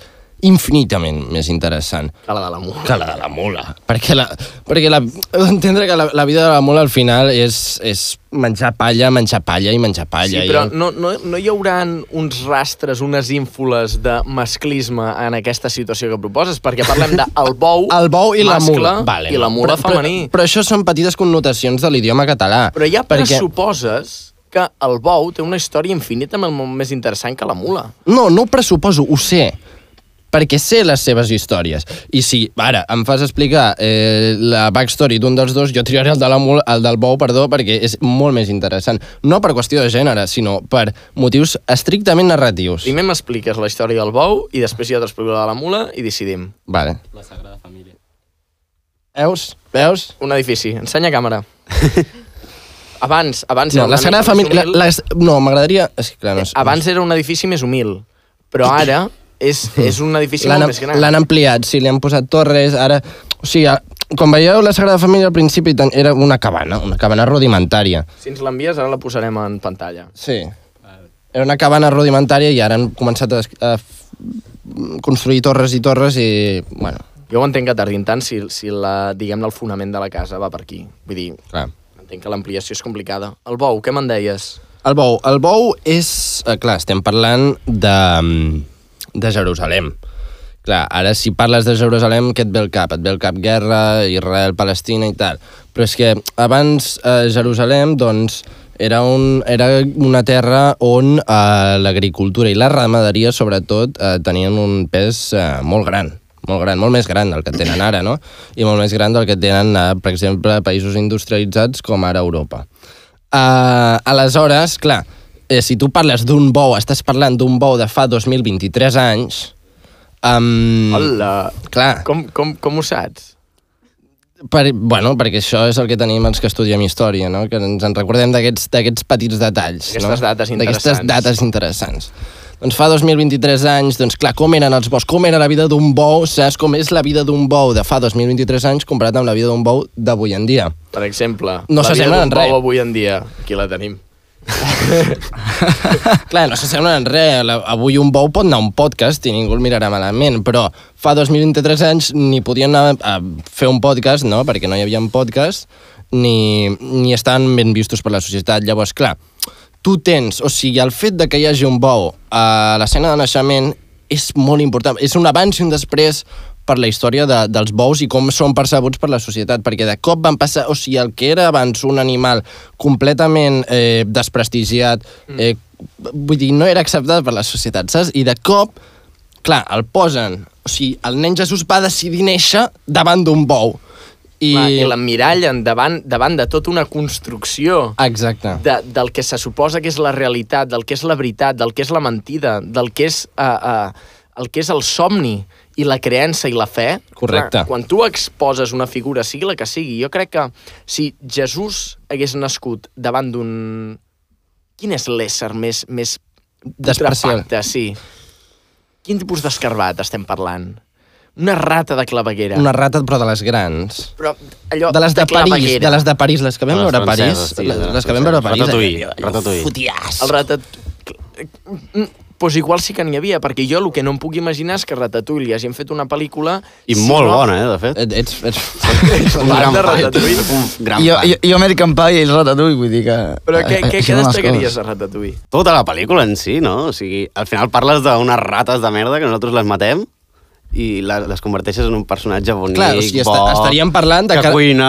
A: infinitament més interessant
B: Que la de la mula.
A: que la de la mula. Perquè, la, perquè la, entendre que la, la vida de la mula al final és, és menjar palla, menjar palla i menjar palla.
B: Sí, però
A: i...
B: no, no, no hi haurà uns rastres, unes ínfoles de masclisme en aquesta situació que proposes? Perquè parlem de el bou,
A: (laughs) El bou i la
B: mascle
A: mula. Vale,
B: i la mula
A: però,
B: femení.
A: Però, però això són petites connotacions de l'idioma català.
B: Però ja
A: perquè...
B: pressuposes que el bou té una història infinitament molt més interessant que la mula.
A: No, no ho pressuposo, ho sé perquè sé les seves històries. I si ara em fas explicar eh, la backstory d'un dels dos, jo triaré el, de la mul, el del bou, perdó, perquè és molt més interessant. No per qüestió de gènere, sinó per motius estrictament narratius.
B: Primer m'expliques la història del bou i després ja t'explico la de la mula i decidim.
A: Vale. La Sagrada Família. Veus? Veus?
B: Un edifici. Ensenya
A: (laughs)
B: càmera. Abans, abans...
A: No,
B: era
A: la
B: una
A: Sagrada
B: mica més
A: Família... La,
B: humil.
A: la, no, m'agradaria... És que clar, no, és-
B: Abans era un edifici més humil, però ara és, és un edifici
A: L'han
B: molt més gran.
A: l'han ampliat, sí, li han posat torres, ara... O sigui, a- quan veieu la Sagrada Família al principi tan- era una cabana, una cabana rudimentària.
B: Si ens l'envies, ara la posarem en pantalla.
A: Sí. Era una cabana rudimentària i ara han començat a, a f- construir torres i torres i... Bueno,
B: Jo ho entenc que tardin tant si, si la, diguem el fonament de la casa va per aquí. Vull dir,
A: clar.
B: entenc que l'ampliació és complicada. El bou, què me'n deies?
A: El bou. El bou és... eh, Clar, estem parlant de, de Jerusalem. Clar, ara si parles de Jerusalem, què et ve el cap? Et ve el cap guerra, Israel, Palestina i tal. Però és que abans eh, Jerusalem, doncs, era, un, era una terra on eh, l'agricultura i la ramaderia, sobretot, eh, tenien un pes eh, molt gran molt gran, molt més gran del que tenen ara, no? I molt més gran del que tenen, eh, per exemple, països industrialitzats com ara Europa. Uh, aleshores, clar, eh, si tu parles d'un bou, estàs parlant d'un bou de fa 2023 anys... Um,
B: Hola!
A: Clar,
B: Com, com, com ho saps?
A: per, bueno, perquè això és el que tenim els que estudiem història, no? que ens en recordem d'aquests d'aquests petits detalls.
B: Aquestes
A: no?
B: dates
A: D'aquestes
B: interessants.
A: dates interessants. Doncs fa 2023 anys, doncs clar, com eren els bous, com era la vida d'un bou, saps com és la vida d'un bou de fa 2023 anys comparat amb la vida d'un bou d'avui en dia.
B: Per exemple,
A: No
B: la vida
A: s'assemblen en
B: d'un bou
A: res.
B: avui en dia, aquí la tenim.
A: (laughs) Clar, no s'assemblen en res. La- Avui un bou pot anar a un podcast i ningú el mirarà malament, però fa 2023 anys ni podien anar a fer un podcast, no?, perquè no hi havia podcast, ni, ni estaven ben vistos per la societat. Llavors, clar, tu tens... O sigui, el fet de que hi hagi un bou a l'escena de naixement és molt important. És un abans i un després per la història de, dels bous i com són percebuts per la societat, perquè de cop van passar, o sigui, el que era abans un animal completament eh, desprestigiat,
D: Mm.
A: eh, vull dir, no era acceptat per la societat, saps? I de cop, clar, el posen, o sigui, el nen Jesús va decidir néixer davant d'un bou. I...
B: I, Clar, i l'emmirallen davant, davant de tota una construcció
A: Exacte.
B: de, del que se suposa que és la realitat, del que és la veritat, del que és la mentida, del que és, uh, uh, el, que és el somni i la creença i la fe.
A: Correcte.
B: Clar, quan tu exposes una figura, sigui la que sigui, jo crec que si Jesús hagués nascut davant d'un Quin és l'ésser més, més
A: Despreciable.
B: putrefacte, sí. Quin tipus d'escarbat estem parlant? Una rata de claveguera.
A: Una rata, però de les grans.
B: Però allò
A: De les de París,
B: claveguera.
A: de les de París, les que vam
D: De les
A: veure a París,
D: franceses, sí, de
A: les,
D: les
A: les que vam veure a París. eh,
D: Ratatouille,
A: allò-
D: Ratatouille.
A: Fotiàs.
B: El ratat... Pues igual sí que n'hi havia, perquè jo el que no em puc imaginar és que Ratatouille li hagin fet una pel·lícula...
D: I
B: si
D: molt
B: no-
D: bona, eh, de fet.
A: Et- Ets, ets,
B: Ets un gran de Ratatouille.
D: Un gran
C: Jo,
D: fan.
C: jo, jo American Pie i el Ratatouille, vull dir que...
B: Però què,
C: eh,
B: què,
C: així
B: què
C: van les
B: destacaries
C: coses.
B: de Ratatouille?
D: Tota la pel·lícula en si, no? O sigui, al final parles d'unes rates de merda que nosaltres les matem i la- les converteixes en un personatge bonic,
A: Clar, o sigui,
D: bo,
A: esta- estaríem parlant de
D: que,
A: que-
D: cuina...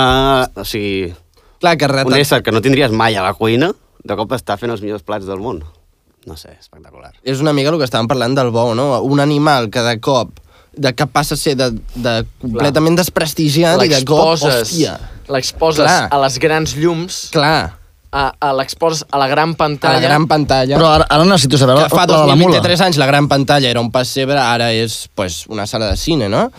D: O sigui,
A: Clar, que
D: un
A: ratat...
D: ésser que no tindries mai a la cuina, de cop està fent els millors plats del món. No sé, espectacular.
A: És una mica el que estàvem parlant del bou, no? Un animal que de cop de que passa a ser de, de completament desprestigiat i Ah, de cop,
B: L'exposes
A: hòstia,
B: l'exposes
A: Clar.
B: a les grans llums,
A: clar,
B: a, a l'exposes a la gran
A: a
B: pantalla.
A: la gran pantalla.
C: Però ara, ara no necessito saber la,
A: que fa
C: la, de la mula.
A: 2023 anys la gran pantalla era un pessebre, ara és pues, una sala de cine, no?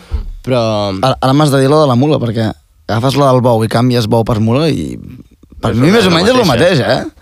A: Però...
C: Ara, ara m'has de dir la de la mula, perquè agafes la del bou i canvies bou per mula i... Per mi més o menys és el mateix, eh? No.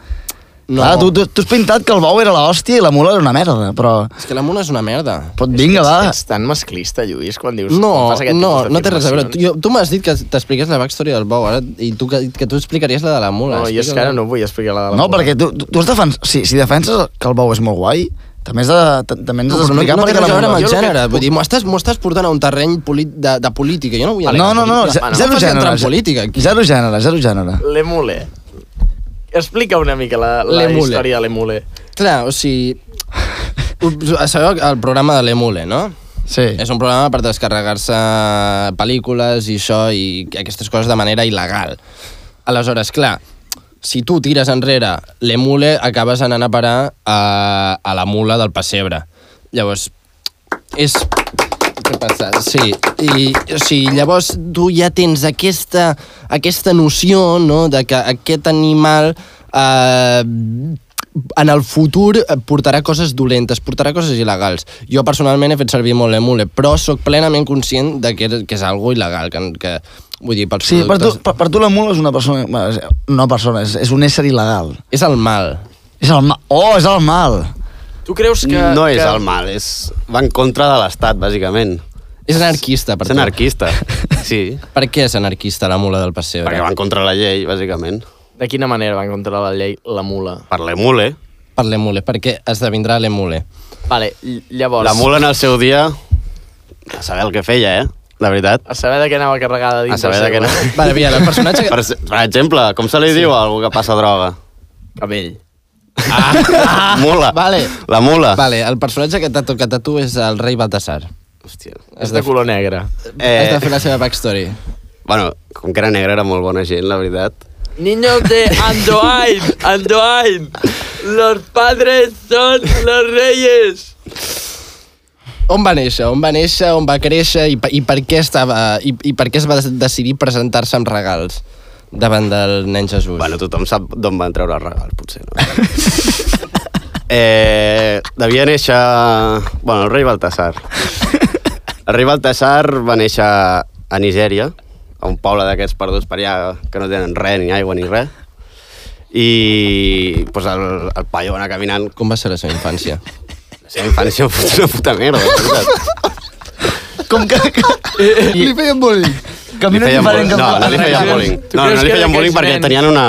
A: No.
C: Clar, tu, tu, tu has pintat que el bou era l'hòstia i la mula era una merda, però...
A: És que la mula és una merda.
C: Però vinga, va.
B: Ets tan masclista, Lluís, quan dius... quan
A: No,
B: fas aquest
A: no,
B: tipus
A: no té res a veure. Tu,
B: d'afirmacions.
A: jo, tu m'has dit que t'expliques la backstory del bou, ara, i tu, que, que tu explicaries la de la mula.
B: No, jo és que ara no vull explicar la de la
C: No,
B: mula.
C: perquè tu, tu, tu has defens... Si, si defenses que el bou és molt guai, també has de, t- també ens
A: No,
C: has
A: però no,
C: d'explicar
A: no té
C: perquè
A: res a
C: la
A: veure amb
C: mula...
A: el
B: Jo el que-
A: gènere. Vull dir, m'ho estàs, m'ho estàs portant a un terreny poli, de, de política. Jo no vull
C: No, no, no,
A: política. no,
C: ze- zero
A: vaig entrar
C: gènere.
A: en política. Aquí.
C: Zero gènere, zero gènere.
B: Le Mule. Explica una mica la, la
A: Le Mule.
B: història de Le Mule.
A: Clar, o sigui... us- Sabeu el programa de l'Emule, no?
C: Sí.
A: És un programa per descarregar-se pel·lícules i això i aquestes coses de manera il·legal. Aleshores, clar, si tu tires enrere l'emule, acabes anant a parar a, a la mula del pessebre. Llavors, és... Què passa? Sí, i o sigui, llavors tu ja tens aquesta, aquesta noció no? de que aquest animal eh, en el futur eh, portarà coses dolentes, portarà coses il·legals. Jo personalment he fet servir molt l'emule, però sóc plenament conscient de que, que és algo il·legal, que, que vull dir, pels
C: Sí, per tu,
A: productes...
C: per, per tu la mula és una persona... bueno, és- No una persona, és, és un ésser il·legal.
A: És el mal.
C: És el mal. Oh, és el mal.
B: Tu creus que...
D: no és
B: que...
D: el mal, és... va en contra de l'Estat, bàsicament.
A: És anarquista, per
D: és
A: (laughs)
D: anarquista, sí.
A: Per què és anarquista la mula del pessebre?
D: Perquè va en contra de la llei, bàsicament.
B: De quina manera va encontrar la llei la mula?
D: Per l'emule.
A: Per l'emule, perquè esdevindrà l'emule.
B: Vale, ll- llavors...
D: La mula en el seu dia... A saber el que feia, eh? La veritat.
B: A saber de què anava carregada dins
D: A saber
B: del
D: de què
B: seu
D: anava.
A: Vale, mira, el
D: (laughs)
A: personatge...
D: Per, per exemple, com se li sí. diu a algú que passa droga?
B: (laughs) Cabell.
D: Ah, (laughs) mula.
A: vale.
D: La mula.
A: Vale, el personatge que t'ha tocat a tu és el rei Baltasar.
D: Hòstia.
B: És de color negre.
A: Eh... Has de fer
D: Eh,
A: la seva backstory.
D: bueno, com que era negre era molt bona gent, la veritat.
B: Niños de Andoain, Andoain, los padres son los reyes.
A: On va néixer? On va néixer? On va créixer? I, per- i, per, què estava, i, i per què es va decidir presentar-se amb regals davant del nen Jesús?
D: Bueno, tothom sap d'on van treure el regal, potser, no? (laughs) eh, devia néixer... Bueno, el rei Baltasar. El rei Baltasar va néixer a Nigèria, a un poble d'aquests perduts per allà que no tenen res, ni aigua, ni res. I pues, el, el paio va anar caminant
A: Com va ser la seva infància?
D: la seva infància és una puta merda, de veritat.
C: Com que... Li feien bullying. Camina
D: feien
C: diferent
D: bullying.
C: cap
D: No, no li feien
B: Tu
D: bullying.
B: creus
D: No, no
B: que
D: li feien
B: d'aquells
D: bullying perquè
B: nens-
D: tenien una,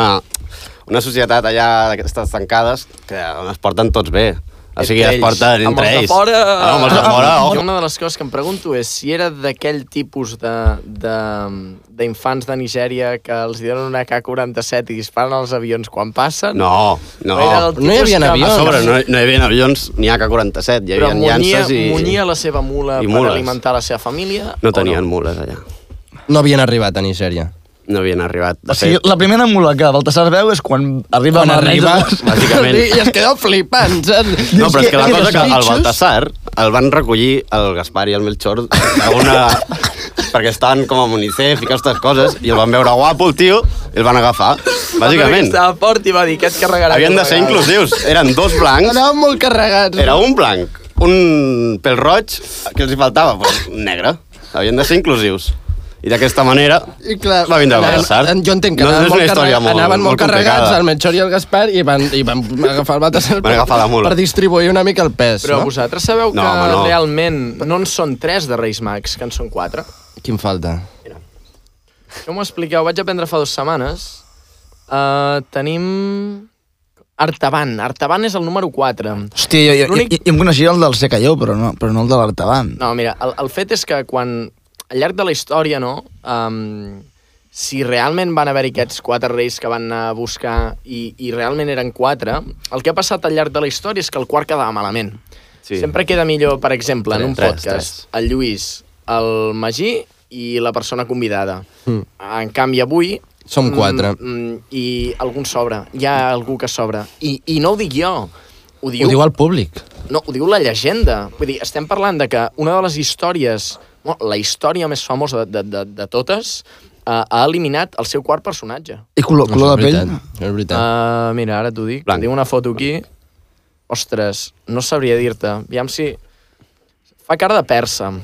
D: una societat allà d'aquestes tancades que on es porten tots bé. O sigui, es porten entre
B: Amb els de
D: ells.
B: fora...
D: Ah, amb els de fora,
B: Ah,
D: ojo.
B: Una de les coses que em pregunto és si era d'aquell tipus de- de- d'infants de, de Nigèria que els hi donen una K-47 i disparen als avions quan passen.
D: No, no.
B: O era del
A: No hi
B: tipus
A: havia
B: que-
D: A
A: avions.
D: sobre, no, no hi havia avions ni AK-47, hi
B: Però
D: havia
B: munyia,
D: llances i...
B: munyia la seva mula
D: i
B: per
D: mules.
B: alimentar la seva família?
D: No
B: o
D: tenien mules allà.
A: No havien arribat a Nigèria.
D: No havien arribat.
C: O
D: De
C: sigui,
D: fet,
C: la primera mula que Baltasar veu és quan arriba...
A: Quan
C: amb el
A: arriba,
C: metge.
A: (laughs)
D: bàsicament.
A: I es quedó flipant, saps?
D: No, però és que la
A: Dius
D: cosa que el
A: bitxos-
D: Baltasar el van recollir el Gaspar i el Melchor a una... perquè estaven com a Unicef i aquestes coses, i el van veure guapo, el tio, i el van agafar,
B: Perquè
D: bàsicament.
B: Estava fort i va dir, aquest carregarà.
D: Havien de
B: aquest
D: ser
B: carregarà".
D: inclusius. Eren dos blancs,
A: Anàvem molt carregats.
D: era un blanc, un pèl roig, que els hi faltava? Pues, negre. Havien de ser inclusius. I d'aquesta manera
A: I clar,
D: va vindre a
A: anaven-
D: Baltasar.
A: Jo entenc que
D: no,
A: anaven,
D: no és
A: molt,
D: una història
A: carregats,
D: molt,
A: anaven molt, carregats
D: complicada.
A: el Melchor i el Gaspar i van, i van agafar el Baltasar
D: Van agafar la mula.
A: per distribuir una mica el pes.
B: Però
A: no?
B: vosaltres sabeu
D: No,
B: que
D: home, no.
B: realment no en són tres de Reis Mags, que en són quatre?
A: Quin falta?
B: Jo m'ho expliqueu, vaig aprendre fa dues setmanes. Uh, tenim... Artaban. Artaban és el número 4.
C: Hòstia, jo, jo, jo,
B: L'únic-
C: jo, em coneixia el del Seca jo, però no, però no el de l'Artaban.
B: No, mira, el, el fet és que quan... Al llarg de la història, no? Um, si realment van haver-hi aquests quatre reis que van anar a buscar i, i realment eren quatre, el que ha passat al llarg de la història és que el quart quedava malament. Sí.
D: Sí.
B: Sempre queda millor, per exemple, en un
D: Tres,
B: podcast,
D: tres.
B: el Lluís, el Magí i la persona convidada. Mm. En canvi, avui...
A: Som quatre.
B: Mm, mm, I algun sobra. Hi ha algú que sobra. I, i no ho dic jo. Ho diu,
A: Ho diu el públic.
B: no, ho diu la llegenda. Vull dir, estem parlant de que una de les històries, bueno, la història més famosa de, de, de, de totes, uh, ha eliminat el seu quart personatge.
C: I color, color de pell?
A: És
C: Ah.
A: veritat. Ah.
B: Uh, mira, ara t'ho dic.
D: Blanc.
B: Tinc una foto aquí. Ostres, no sabria dir-te. Aviam si... Fa cara de persa.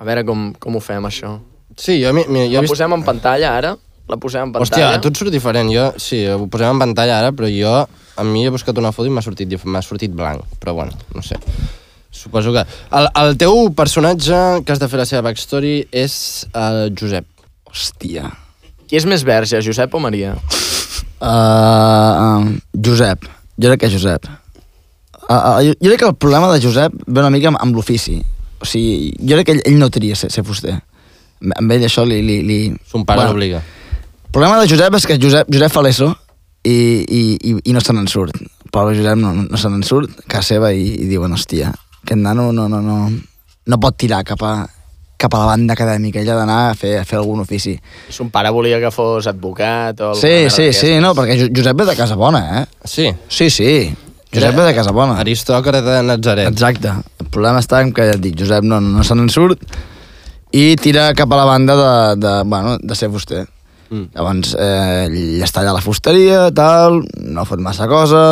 B: A veure com, com ho fem, això.
A: Sí, jo, mi- mi- jo
B: La
A: he vist...
B: posem en pantalla, ara? La posem en
A: Hòstia,
B: pantalla?
A: a tu et surt diferent. Jo, sí, ho posem en pantalla ara, però jo... A mi he buscat una foto i m'ha sortit, dif- m'ha sortit blanc. Però bueno, no sé. Suposo que... El, el teu personatge que has de fer la seva backstory és el Josep.
C: Hòstia.
B: Qui és més verge, Josep o Maria?
C: Uh, Josep. Jo crec que Josep. Uh, uh, jo, jo crec que el problema de Josep ve una mica amb, amb l'ofici. O sigui, jo crec que ell, ell no tria ser, ser fuster. Amb- Amb ell això li... li, li...
A: Son pare bueno. l'obliga.
C: El problema de Josep és que Josep, Josep fa l'ESO i, i, i, i no se n'en surt. Però Josep no, no se n'en surt, casa seva, i, i diuen, hòstia, aquest nano no, no, no, no pot tirar cap a, cap a la banda acadèmica, ell ha d'anar a fer, a fer algun ofici.
B: Son pare volia que fos advocat o... alguna
C: Sí,
B: merda
C: sí, sí,
B: d'aquestes.
C: no, perquè Jo- Josep ve de casa bona, eh?
A: Sí,
C: Sí, sí, Josep ve de casa bona.
A: aristòcrata de Nazaret.
C: Exacte. El problema està en que, ja et dic, Josep no, no se n'en surt i tira cap a la banda de, de, bueno, de ser fuster. Mm. Llavors, eh, ell està allà a la fusteria, tal, no fot massa cosa...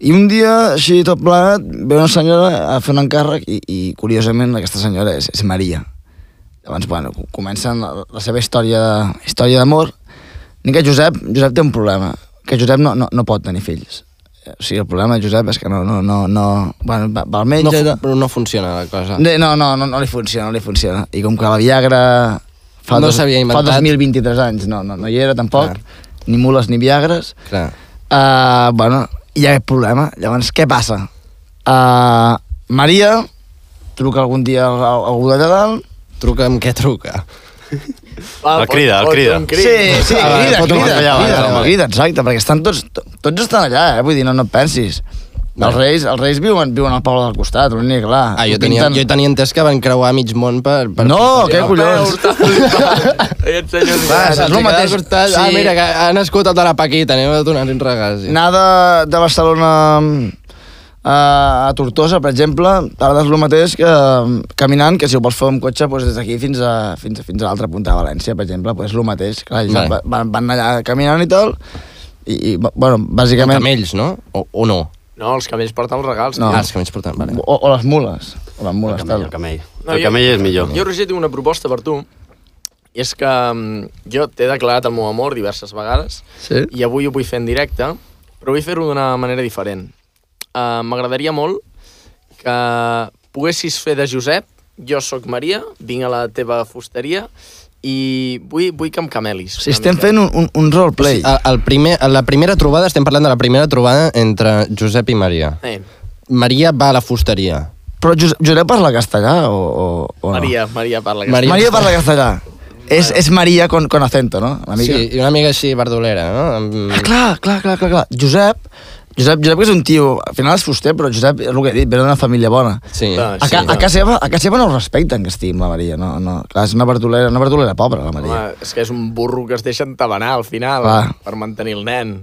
C: I un dia, així tot plegat, ve una senyora a fer un encàrrec i, i curiosament, aquesta senyora és, és Maria. Llavors, bueno, co- comencen la, la seva història història d'amor. Ni que Josep, Josep té un problema, que Josep no, no, no pot tenir fills. Eh, O sigui, el problema de Josep és que no... no, no, no bueno, va, va al
A: No,
C: metge...
A: fu-
C: No,
A: però no funciona la cosa.
C: no, no, no, no, no li funciona, no li funciona. I com que la Viagra fa,
A: No
C: dos,
A: s'havia
C: fa
A: inventat.
C: 2023 anys, no, no, no hi era tampoc,
A: Clar.
C: ni mules ni Viagres,
A: Clar.
C: uh, bueno, hi ha aquest problema. Llavors, què passa? Uh, Maria truca algun dia a, a, a algú d'allà dalt,
A: Truca amb què truca?
B: Va,
D: El
B: fot-
D: crida, el
B: fot
D: crida.
B: un
C: Sí, sí,
A: Ah, vale, foto
C: crida, crida,
A: allà,
C: crida,
A: vale,
C: crida,
A: vale.
C: crida, exacte, perquè estan tots, to- tots estan allà, eh? vull dir, no, no et pensis. Els reis, els reis viuen, viuen al poble del costat, l'únic, clar.
A: Ah, jo
C: ho
A: tenia,
C: pinten-
A: jo tenia entès que van creuar mig món per... per
C: No,
A: per-
C: què collons?
B: Clar,
C: Clar,
A: Ah,
C: és
A: és
C: el mateix.
A: Costat, sí. Ah,
C: Sí.
A: mira, que ha nascut el de la Paquita, anem a donar-li un regàs. Ja.
C: Anar de, de Barcelona eh, a, a Tortosa, per exemple, tardes el mateix que mm, caminant, que si ho vols fer amb cotxe doncs des d'aquí fins a, fins, a, fins a l'altra punta de València, per exemple, doncs és el mateix. Clar, ells
A: Vale.
C: van, van, van allà caminant i tal, i, i bueno,
A: Amb
C: bàsicament...
A: camells, no? O, o no?
B: No, els camells porten els regals.
C: No.
B: No.
A: Ah, els camells porten, vale.
C: O, o les mules. O les mules,
D: El camell,
C: tal.
D: el camell.
B: No,
D: el
B: jo-
D: camell és millor.
B: Jo, Roger, tinc una proposta per tu. I és que mm, jo t'he declarat el meu amor diverses vegades
C: Sí.
B: i avui ho vull fer en directe, però vull fer-ho d'una manera diferent. Uh, M'agradaria molt que poguessis fer de Josep, jo sóc Maria, vinc a la teva fusteria i vull, vull que em camelis.
C: O sigui, estem fent un, un, un roleplay.
A: El, el primer, la primera trobada, estem parlant de la primera trobada entre Josep i Maria.
B: Eh,
A: Maria va a la fusteria.
C: Però Josep, Josep parla castellà o, o, o no?
B: Maria, Maria parla.
A: Maria.
B: Maria.
C: Maria parla castellà. És, és Maria con, con acento, no? Una mica.
A: Sí, i una mica així, verdolera, no? Amb-
C: Ah, clar, clar, clar, clar, clar. Josep, Josep, Josep que és un tio, al final és fuster, però Josep, és el que he dit, ve d'una família bona.
A: Sí.
B: Ah,
C: A, ca, a, casa seva, a casa seva no el respecten, que estigui amb la Maria. No, no. Clar, és una verdolera, una verdolera pobra, la
B: Home,
C: Maria.
B: és que és un burro que es deixa entabanar al final
C: Clar.
B: per mantenir el nen.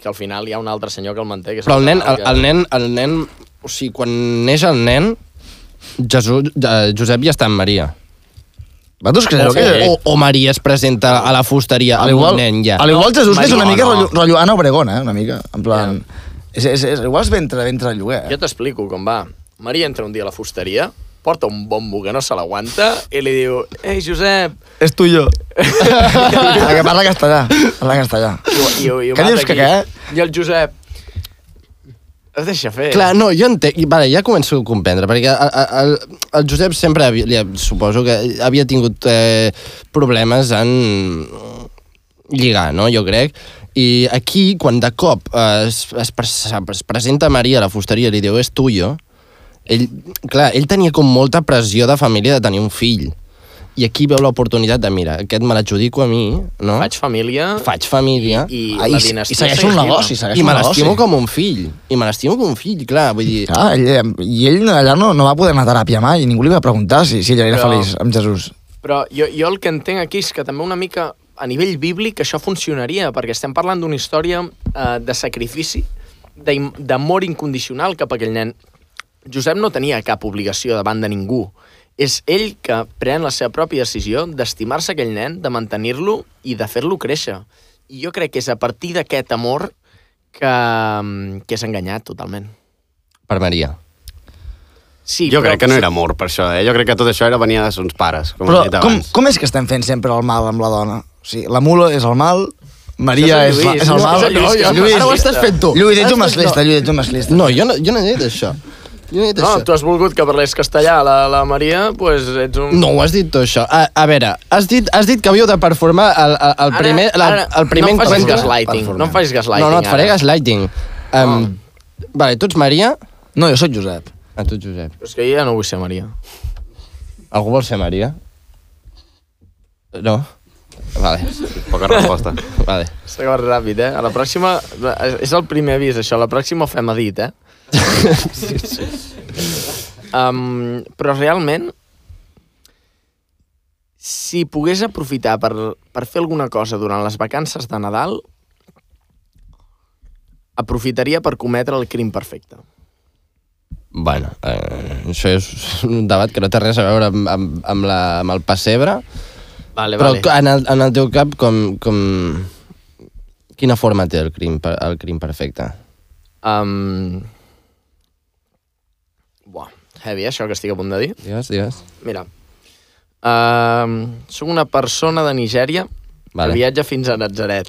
B: Que al final hi ha un altre senyor que el manté. Que és
A: Però el nen, el,
B: que-
A: el nen, el nen, o sigui, quan neix el nen, Jesús, eh, Josep ja està amb Maria.
C: Vosaltres
A: O,
C: creieu que...
A: o, o Maria es presenta a la fusteria
C: Al
A: amb
C: igual,
A: un nen ja.
C: al igual Jesús que és una
B: Maria,
C: mica
B: no.
C: rotllo, rotllo Ana Obregón, eh? Una mica, en plan... És, és, és, igual és ventre, ventre de lloguer, eh?
B: Jo t'explico com va. Maria entra un dia a la fusteria, porta un bombo que no se l'aguanta i li diu, ei, Josep...
C: És tu i (laughs) jo. La que parla castellà. Parla castellà.
B: I, ho- i, ho- i ho
C: Què
B: mata
C: dius que
B: aquí.
C: què?
B: I el Josep... Es deixa fer.
A: Clar, no, jo entenc... i, Vale, ja començo a comprendre, perquè a- a- el, el Josep sempre, havia, li, ha- suposo que havia tingut eh, problemes en lligar, no?, jo crec. I aquí, quan de cop eh, es, es, pres- es presenta Maria a la fusteria i li diu, és tuyo, ell, clar, ell tenia com molta pressió de família de tenir un fill. I aquí veu l'oportunitat de, mira, aquest me l'adjudico a mi, no?
B: Faig família...
A: faig família
B: I,
C: Ah,
B: i la
C: i- i
B: dinastia
C: segueix un negoci,
B: viva.
C: segueix
A: i me
C: un
A: l'estimo
C: negoci.
A: com un fill. I me l'estimo com un fill, clar, vull dir...
C: Ah, ell, I ell allà no, no va poder anar a teràpia mai, i ningú li va preguntar si, si ell era
B: Però-
C: feliç amb Jesús.
B: Però jo, jo el que entenc aquí és que també una mica a nivell bíblic això funcionaria, perquè estem parlant d'una història eh, de sacrifici, d'im- d'amor incondicional cap a aquell nen. Josep no tenia cap obligació davant de ningú. És ell que pren la seva pròpia decisió d'estimar-se aquell nen, de mantenir-lo i de fer-lo créixer. I jo crec que és a partir d'aquest amor que, que és enganyat totalment.
A: Per Maria.
B: Sí,
D: Jo
B: però-
D: crec que no era amor, per això, eh? Jo crec que tot això era venia de sons pares, com
C: Però
D: he dit
C: com,
D: abans.
C: com és que estem fent sempre el mal amb la dona? O sigui, la mula és el mal, Maria
B: Això és
C: és,
B: el
C: la-
B: Lluís, no,
C: és el mal...
B: és el Lluís, que és
A: Ara ho estàs fent tu.
C: Lluís, ets un
A: Estàs-
C: masclista, Lluís, ets un masclista.
A: No, jo no, jo no he dit això. Jo no he dit
B: No, tu
A: això.
B: has volgut que parlés castellà a la, la Maria, doncs pues ets un...
A: No ho has dit tu, això. A, a veure, has dit, has dit que havíeu de performar el, el, el primer, la, el primer
B: no em facis
A: encuentro.
B: gaslighting, no em facis gaslighting.
A: No, no, et faré
B: ara.
A: gaslighting. Um, Vale, tu ets Maria,
C: No, jo sóc Josep.
A: a tu ets Josep.
B: Però és que jo ja no vull ser Maria.
A: Algú vol ser Maria? No? Vale,
D: Poca resposta.
A: vale.
B: S'ha acabat ràpid, eh? A la pròxima... És el primer avís, això. A la pròxima ho fem a (laughs) dit, eh? sí, sí. Um, però realment, si pogués aprofitar per, per fer alguna cosa durant les vacances de Nadal, aprofitaria per cometre el crim perfecte.
A: Bueno, eh, això és un debat que no té res a veure amb, amb, amb, la, amb el pessebre,
B: Eh, Vale,
A: però en el, en el teu cap com, com... Quina forma té el crim, per- el crim perfecte?
B: Um... Buah, heavy, eh, això que estic a punt de dir.
A: Digues, digues.
B: Mira, um, soc una persona de Nigèria vale.
A: Vale.
B: que viatja fins a Natzaret.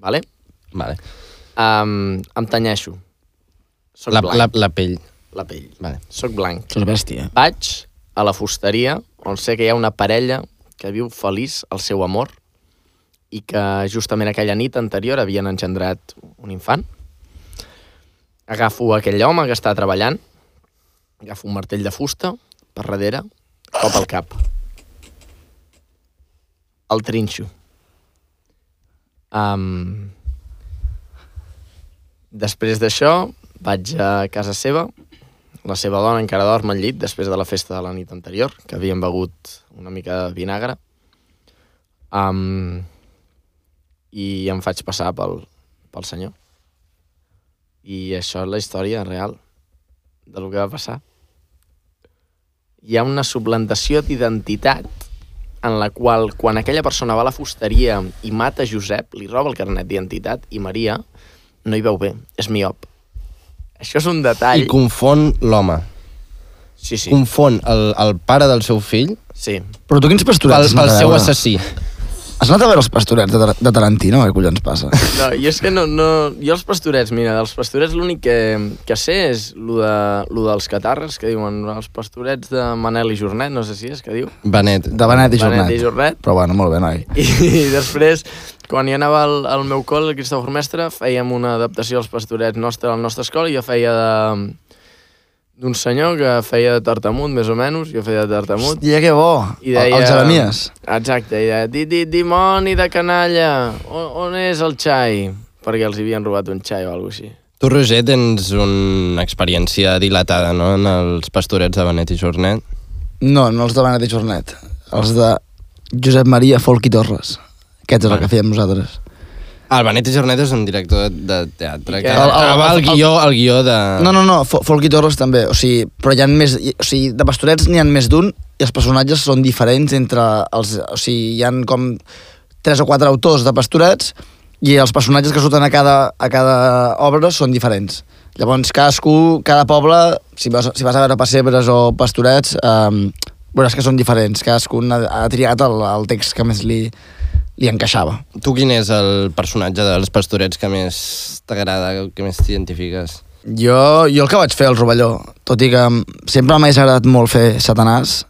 B: Vale?
A: Vale.
B: Um, em tanyeixo. Soc
A: La,
B: blanc,
A: la, la pell.
B: la pell.
A: Vale.
B: Soc blanc.
C: Això és bèstia.
B: Vaig a la fusteria on sé que hi ha una parella que viu feliç el seu amor i que justament aquella nit anterior havien engendrat un infant. Agafo aquell home que està treballant, agafo un martell de fusta per darrere, cop al cap. El trinxo. Um... Després d'això, vaig a casa seva, la seva dona encara dorm al llit després de la festa de la nit anterior, que havien begut una mica de vinagre. Um, I em faig passar pel, pel senyor. I això és la història real del que va passar. Hi ha una suplantació d'identitat en la qual, quan aquella persona va a la fusteria i mata Josep, li roba el carnet d'identitat i Maria no hi veu bé, és miop. Això és un detall...
A: I confon l'home.
B: Sí, sí.
A: Confon el, el pare del seu fill
B: Sí.
C: Però tu quins
A: pel,
C: pastorets has
A: pel
C: anat a
A: seu
C: veure?
A: assassí.
C: Has anat a veure els pastorets de, de Tarantino? Què collons
B: (laughs)
C: passa?
B: No, jo és que no, no... Jo els pastorets, mira, dels pastorets l'únic que, que sé és lo, de, lo dels catarres, que diuen els pastorets de Manel i Jornet, no sé si és que diu.
A: Benet.
C: De Benet i Jornet.
B: Benet i Jornet.
C: Però bueno, molt bé, noi.
B: I, i després, quan hi anava al, al meu col, el Cristòfor Mestre, fèiem una adaptació als pastorets nostra, a la nostra escola, i jo feia de d'un senyor que feia de tartamut, més o menys, jo feia de tartamut,
C: Hòstia, que bo.
B: i deia...
C: El, el Jeremies.
B: Exacte, i deia, di, di, dimoni de canalla, on, on és el xai? Perquè els hi havien robat un xai o alguna així.
A: Tu, Roger, tens una experiència dilatada, no?, en els pastorets de Benet i Jornet.
C: No, no els de Benet i Jornet. Els de Josep Maria Folk i Torres. Aquest
B: Ah.
C: és el que fèiem nosaltres.
A: Ah, El Benet i Jornet és un director de, de teatre que
B: El-
A: el, el,
B: el-
A: el,
C: el-
A: guió, el guió de...
C: No, no, no, Fo- Folk i Torres també, o sigui, però hi ha més, hi- o sigui, de pastorets n'hi ha més d'un i els personatges són diferents entre els, o sigui, hi han com tres o quatre autors de pastorets i els personatges que surten a cada, a cada obra són diferents. Llavors, cadascú, cada poble, si vas, si vas a veure pessebres o pastorets, eh, veuràs que són diferents. Cadascun ha, ha triat el, el text que més li, li encaixava.
A: Tu quin és el personatge dels pastorets que més t'agrada, que més t'identifiques?
C: Jo, jo el que vaig fer al Rovelló, tot i que sempre m'ha agradat molt fer Satanàs,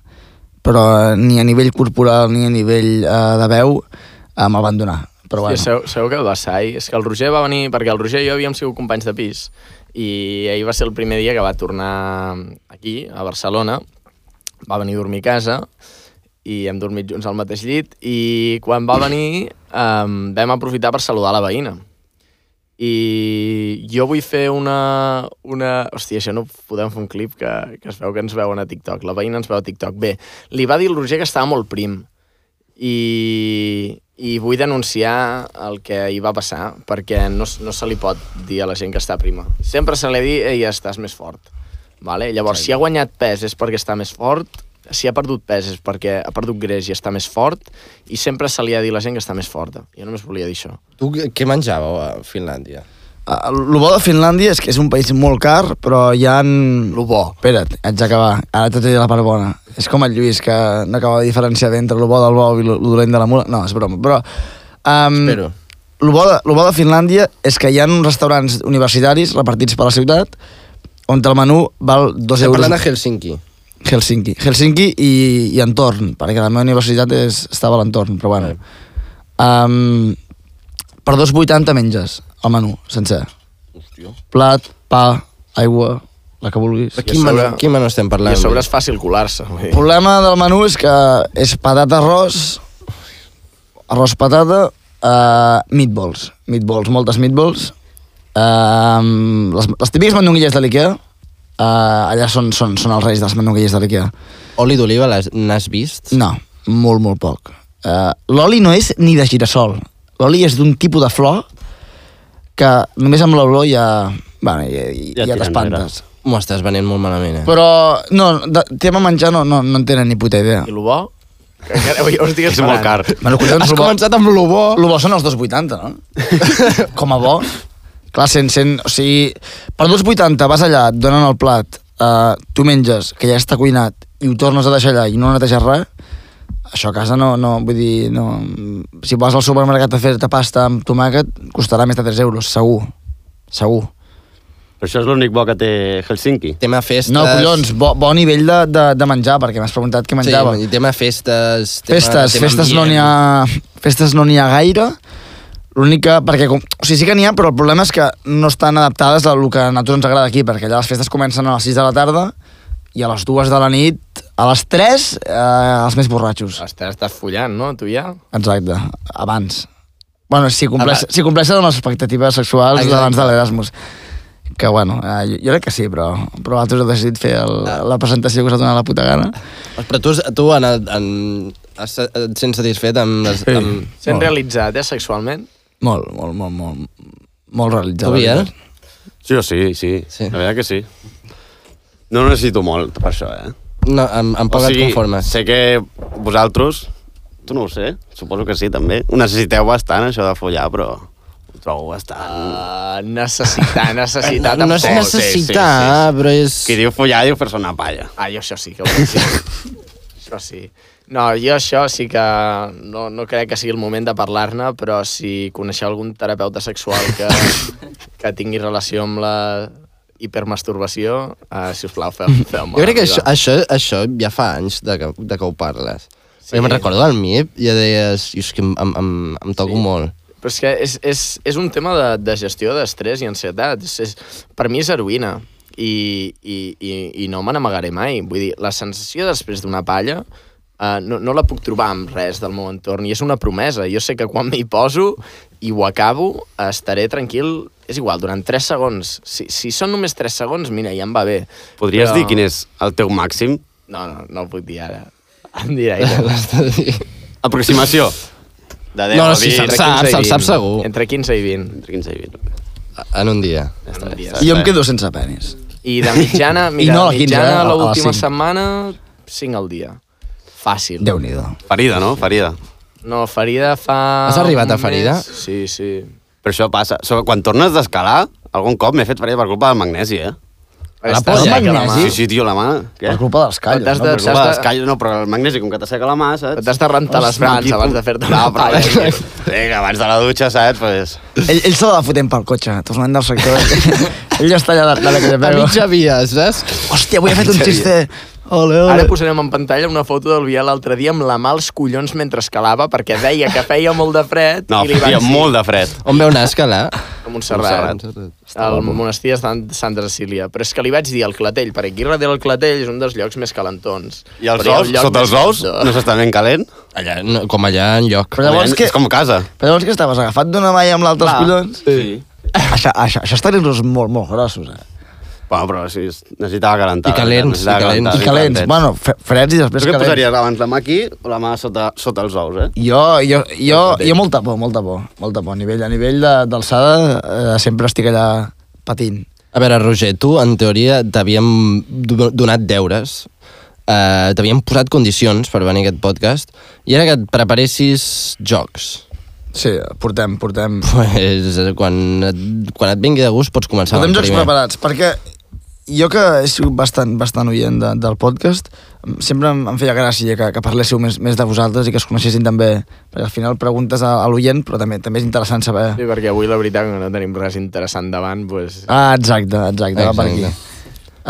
C: però eh, ni a nivell corporal ni a nivell eh, de veu eh, me'l van donar. Però
B: Bueno.
C: bueno,
B: Sí, sabeu, sabeu què va passar ahir? És que el Roger va venir, perquè el Roger i jo havíem sigut companys de pis, i ahir va ser el primer dia que va tornar aquí, a Barcelona, va venir a dormir a casa, i hem dormit junts al mateix llit, i quan va venir um, vam aprofitar per saludar la veïna. I jo vull fer una... una... Hòstia, això no podem fer un clip que, que es veu que ens veuen a TikTok. La veïna ens veu a TikTok. Bé, li va dir el Roger que estava molt prim i, i vull denunciar el que hi va passar, perquè no, s- no se li pot dir a la gent que està prima. Sempre se li ha dit, ei, estàs més fort. Vale? Llavors, si ha guanyat pes és perquè està més fort, si ha perdut pes és perquè ha perdut greix i està més fort, i sempre se li ha dit a la gent que està més forta. Jo només volia dir això.
A: Tu què- què menjàveu a Finlàndia?
C: Eh, el lo bo de Finlàndia és que és un país molt car, però hi ha... Lo bo. Espera't, haig d'acabar. Ara t'he de la part bona. És com el Lluís, que no acaba de diferenciar bé entre lo bo del bou i lo, lo dolent de la mula. No, és broma, però... Um,
A: Espero.
C: El bo, de, lo bo de Finlàndia és que hi ha uns restaurants universitaris repartits per la ciutat on el menú val 2
A: Estem
C: euros.
A: Eh, parlant de Helsinki.
C: Helsinki. Helsinki i, i entorn, perquè la meva universitat és, estava a l'entorn, però
A: Eh.
C: bueno. Um, per 2,80 menges el menú, sencer.
A: Hòstia.
C: Plat, pa, aigua, la que vulguis.
A: Però quin,
B: a sobre-
A: menú, quin menú estem
B: I
A: parlant?
B: a sobre és fàcil colar-se. vull dir.
C: El problema del menú és que és patata, arròs, arròs, patata, uh, meatballs, meatballs, moltes meatballs, uh, les, les típiques mandonguilles de l'Ikea, uh, allà són, són, són els reis de les mandonguilles de l'Ikea.
A: Oli d'oliva l'has n'has vist?
C: No, molt, molt poc. Uh, L'oli no és ni de girassol. L'oli és d'un tipus de flor que només amb l'olor ja, bueno, ja, ja,
D: Ja
C: ja
D: tira
C: t'espantes.
A: M'ho estàs venent molt malament, eh?
C: Però, no, de, tema menjar no, no, no en tenen ni puta idea.
B: I el bo, que encara avui ho estic
D: (laughs) És molt car.
C: Bueno, collons,
A: Has
C: lo bo-
A: començat amb lo bo.
C: Lo bo són els
A: (laughs)
C: 2,80, no? Com a bo. Clar, 100, 100, o sigui, per 2,80 vas allà, et donen el plat, eh, tu menges, que ja està cuinat, i ho tornes a deixar allà i no neteges res, això a casa no, no vull dir, no... Si vas al supermercat a fer-te pasta amb tomàquet, costarà més de 3 euros, segur. Segur.
D: Però això és l'únic bo que té Helsinki.
A: Tema festes...
C: No, collons, bo, bon nivell de, de, de menjar, perquè m'has preguntat què menjava.
A: Sí, i tema festes... Tema,
C: Festes,
A: tema
C: festes no
A: ambient.
C: n'hi ha, festes no n'hi ha gaire. L'únic que, perquè, com, o sigui, sí que n'hi ha, però el problema és que no estan adaptades al que a nosaltres ens agrada aquí, perquè allà les festes comencen a les 6 de la tarda i a les 2 de la nit, a les 3, eh, els més borratxos.
B: Estàs, estàs follant, no, tu ja?
C: Exacte, abans. Bueno, si, compleix,
A: Abans.
C: si compleixen amb les expectatives sexuals
A: Exacte.
C: d'abans de l'Erasmus. Que, bueno, eh, jo, jo crec que sí, però, però vosaltres heu decidit fer el,
A: Ah.
C: la presentació que us ha donat la puta gana.
A: Però tu, has- tu en, el- en, has- et sents satisfet amb... Les,
C: Sí.
A: amb...
B: Sent
C: Molt.
B: realitzat, eh, sexualment?
C: Molt, molt, molt, molt, molt realitzada.
A: Tu, Biel?
D: Sí, sí, sí,
A: Sí.
D: sí. La veritat que sí. No necessito molt per això, eh?
A: No, amb, amb poc et conformes.
D: sé que vosaltres, tu no ho sé, suposo que sí, també, ho necessiteu bastant, això de follar, però ho trobo bastant...
B: Uh, necessitar, necessitar
A: Ah, (laughs) No és
B: tampoc.
D: necess-
A: necessitar,
D: sí, sí, sí.
A: però és...
D: Qui diu follar diu fer-se una palla.
B: Ah, jo això sí que ho faig.
A: (laughs)
B: això sí. No, jo això sí que no, no crec que sigui el moment de parlar-ne, però si coneixeu algun terapeuta sexual
A: (laughs)
B: que, que tingui relació amb la hipermasturbació, uh, si us plau, feu, feu
A: Jo crec que això, això, això ja fa anys de que, de que ho parles.
B: Sí.
A: Sí. Jo me'n recordo del MIP i ja deies, "Iu, és que em, em, em, em toco
B: Sí.
A: sí. molt. (laughs)
B: Però és que és, és, és un tema de, de gestió d'estrès i ansietat. És, és, per mi és heroïna i, i, i, i no me n'amagaré mai. Vull dir, la sensació després d'una palla uh, no, no la puc trobar amb res del meu entorn i és una promesa. Jo sé que quan m'hi poso i ho acabo estaré tranquil, és igual, durant 3 segons. Si, si són només 3 segons, mira, ja em va bé.
D: Podries
B: Però-
D: dir quin és el teu màxim?
B: No, no, no ho puc dir ara. (laughs) Em diré.
D: Aproximació. De 10
A: No, no,
D: a
A: sí,
D: 20.
A: se'l sap, se'l sap segur.
B: Entre 15 i 20.
D: Entre 15 i 20.
A: En un dia.
C: (laughs)
D: Ja està,
B: dies.
D: ja està.
C: Jo em quedo sense penis.
B: I de mitjana, mira,
C: I
B: no
C: no a la quinze, eh?
B: mitjana
C: A- a les
B: l'última
C: cinc.
B: setmana, 5 al dia. Fàcil.
C: Déu-n'hi-do.
D: Ferida, no? Ferida.
B: No, ferida fa...
A: Has arribat
B: un
A: a ferida?
B: Mes. Sí, sí.
D: Però això passa. So, quan tornes d'escalar, Algun cop m'he fet parir per culpa del magnesi, eh?
A: La
B: Està
A: polla,
B: seca
C: el
B: la mà.
C: magnesi.
D: Sí, sí, tio, la mà...
C: Per culpa dels callos.
B: T'has
C: no?
B: de-
D: Per culpa
B: S'has
D: dels callos, no, però el magnesi, com que t'asseca la mà, saps?
B: Et has de rentar les mans abans de fer-te una
D: No, però
B: palla.
D: vinga, vinga, abans de la dutxa, saps? Pues...
C: Ell, ell se la va fotent pel cotxe, tornant del sector. ell està allà de, de la que
A: A
C: pego.
A: mitja via, saps?
C: Hòstia, avui he fet un xiste. Ole, ole.
B: Ara posarem en pantalla una foto del Biel l'altre dia amb la mà als collons mentre escalava perquè deia que feia molt de fred
D: No,
B: i li van
D: feia molt de fred.
A: On veu anar a
C: (laughs)
A: escalar?
B: a Montserrat, al monestir de Sant, Santa Cecília. Però és que li vaig dir al Clatell, perquè aquí darrere el Clatell és un dels llocs més calentons.
D: I els
B: Però hi ha un
D: ous,
B: lloc
D: sota
B: més
D: els ous,
B: calentó.
D: no s'està ben calent.
A: Allà, no, com allà en lloc.
C: Però llavors
D: Allà
C: que-
D: És com a casa.
C: Però llavors que estaves agafat d'una mà i amb l'altre als collons?
D: Sí.
C: Això, això, això estan els molt, molt grossos, eh?
D: Bueno, però sí, es- necessitava calentar.
A: I calents,
D: necessitava
A: i calents.
D: calentar,
C: I calents.
D: calentets.
C: Bueno, fre- freds i
D: Tu
C: després
D: què
C: calents.
D: posaries abans, la mà aquí o la mà sota, sota els ous, eh?
C: Jo, jo, jo, jo molta por, molta por, molta por. A nivell, a nivell de- d'alçada eh, sempre estic allà patint.
A: A veure, Roger, tu, en teoria, t'havíem do- donat deures, eh, t'havíem posat condicions per venir a aquest podcast, i era que et preparessis jocs. (laughs)
C: Sí, portem, portem...
A: Pues, eh, quan, et, quan et vingui de gust pots començar
C: Portem
A: amb el
C: jocs
A: primer.
C: preparats, perquè jo que he sigut bastant, bastant oient de, del podcast, em- sempre em, em feia gràcia que, que parléssiu més, més de vosaltres i que es coneixessin també, perquè al final preguntes a, a l'oient, però també també és interessant saber...
B: Sí, perquè avui la veritat que no tenim res interessant davant, doncs...
C: Ah, exacte, exacte, va per aquí.
A: Exacte.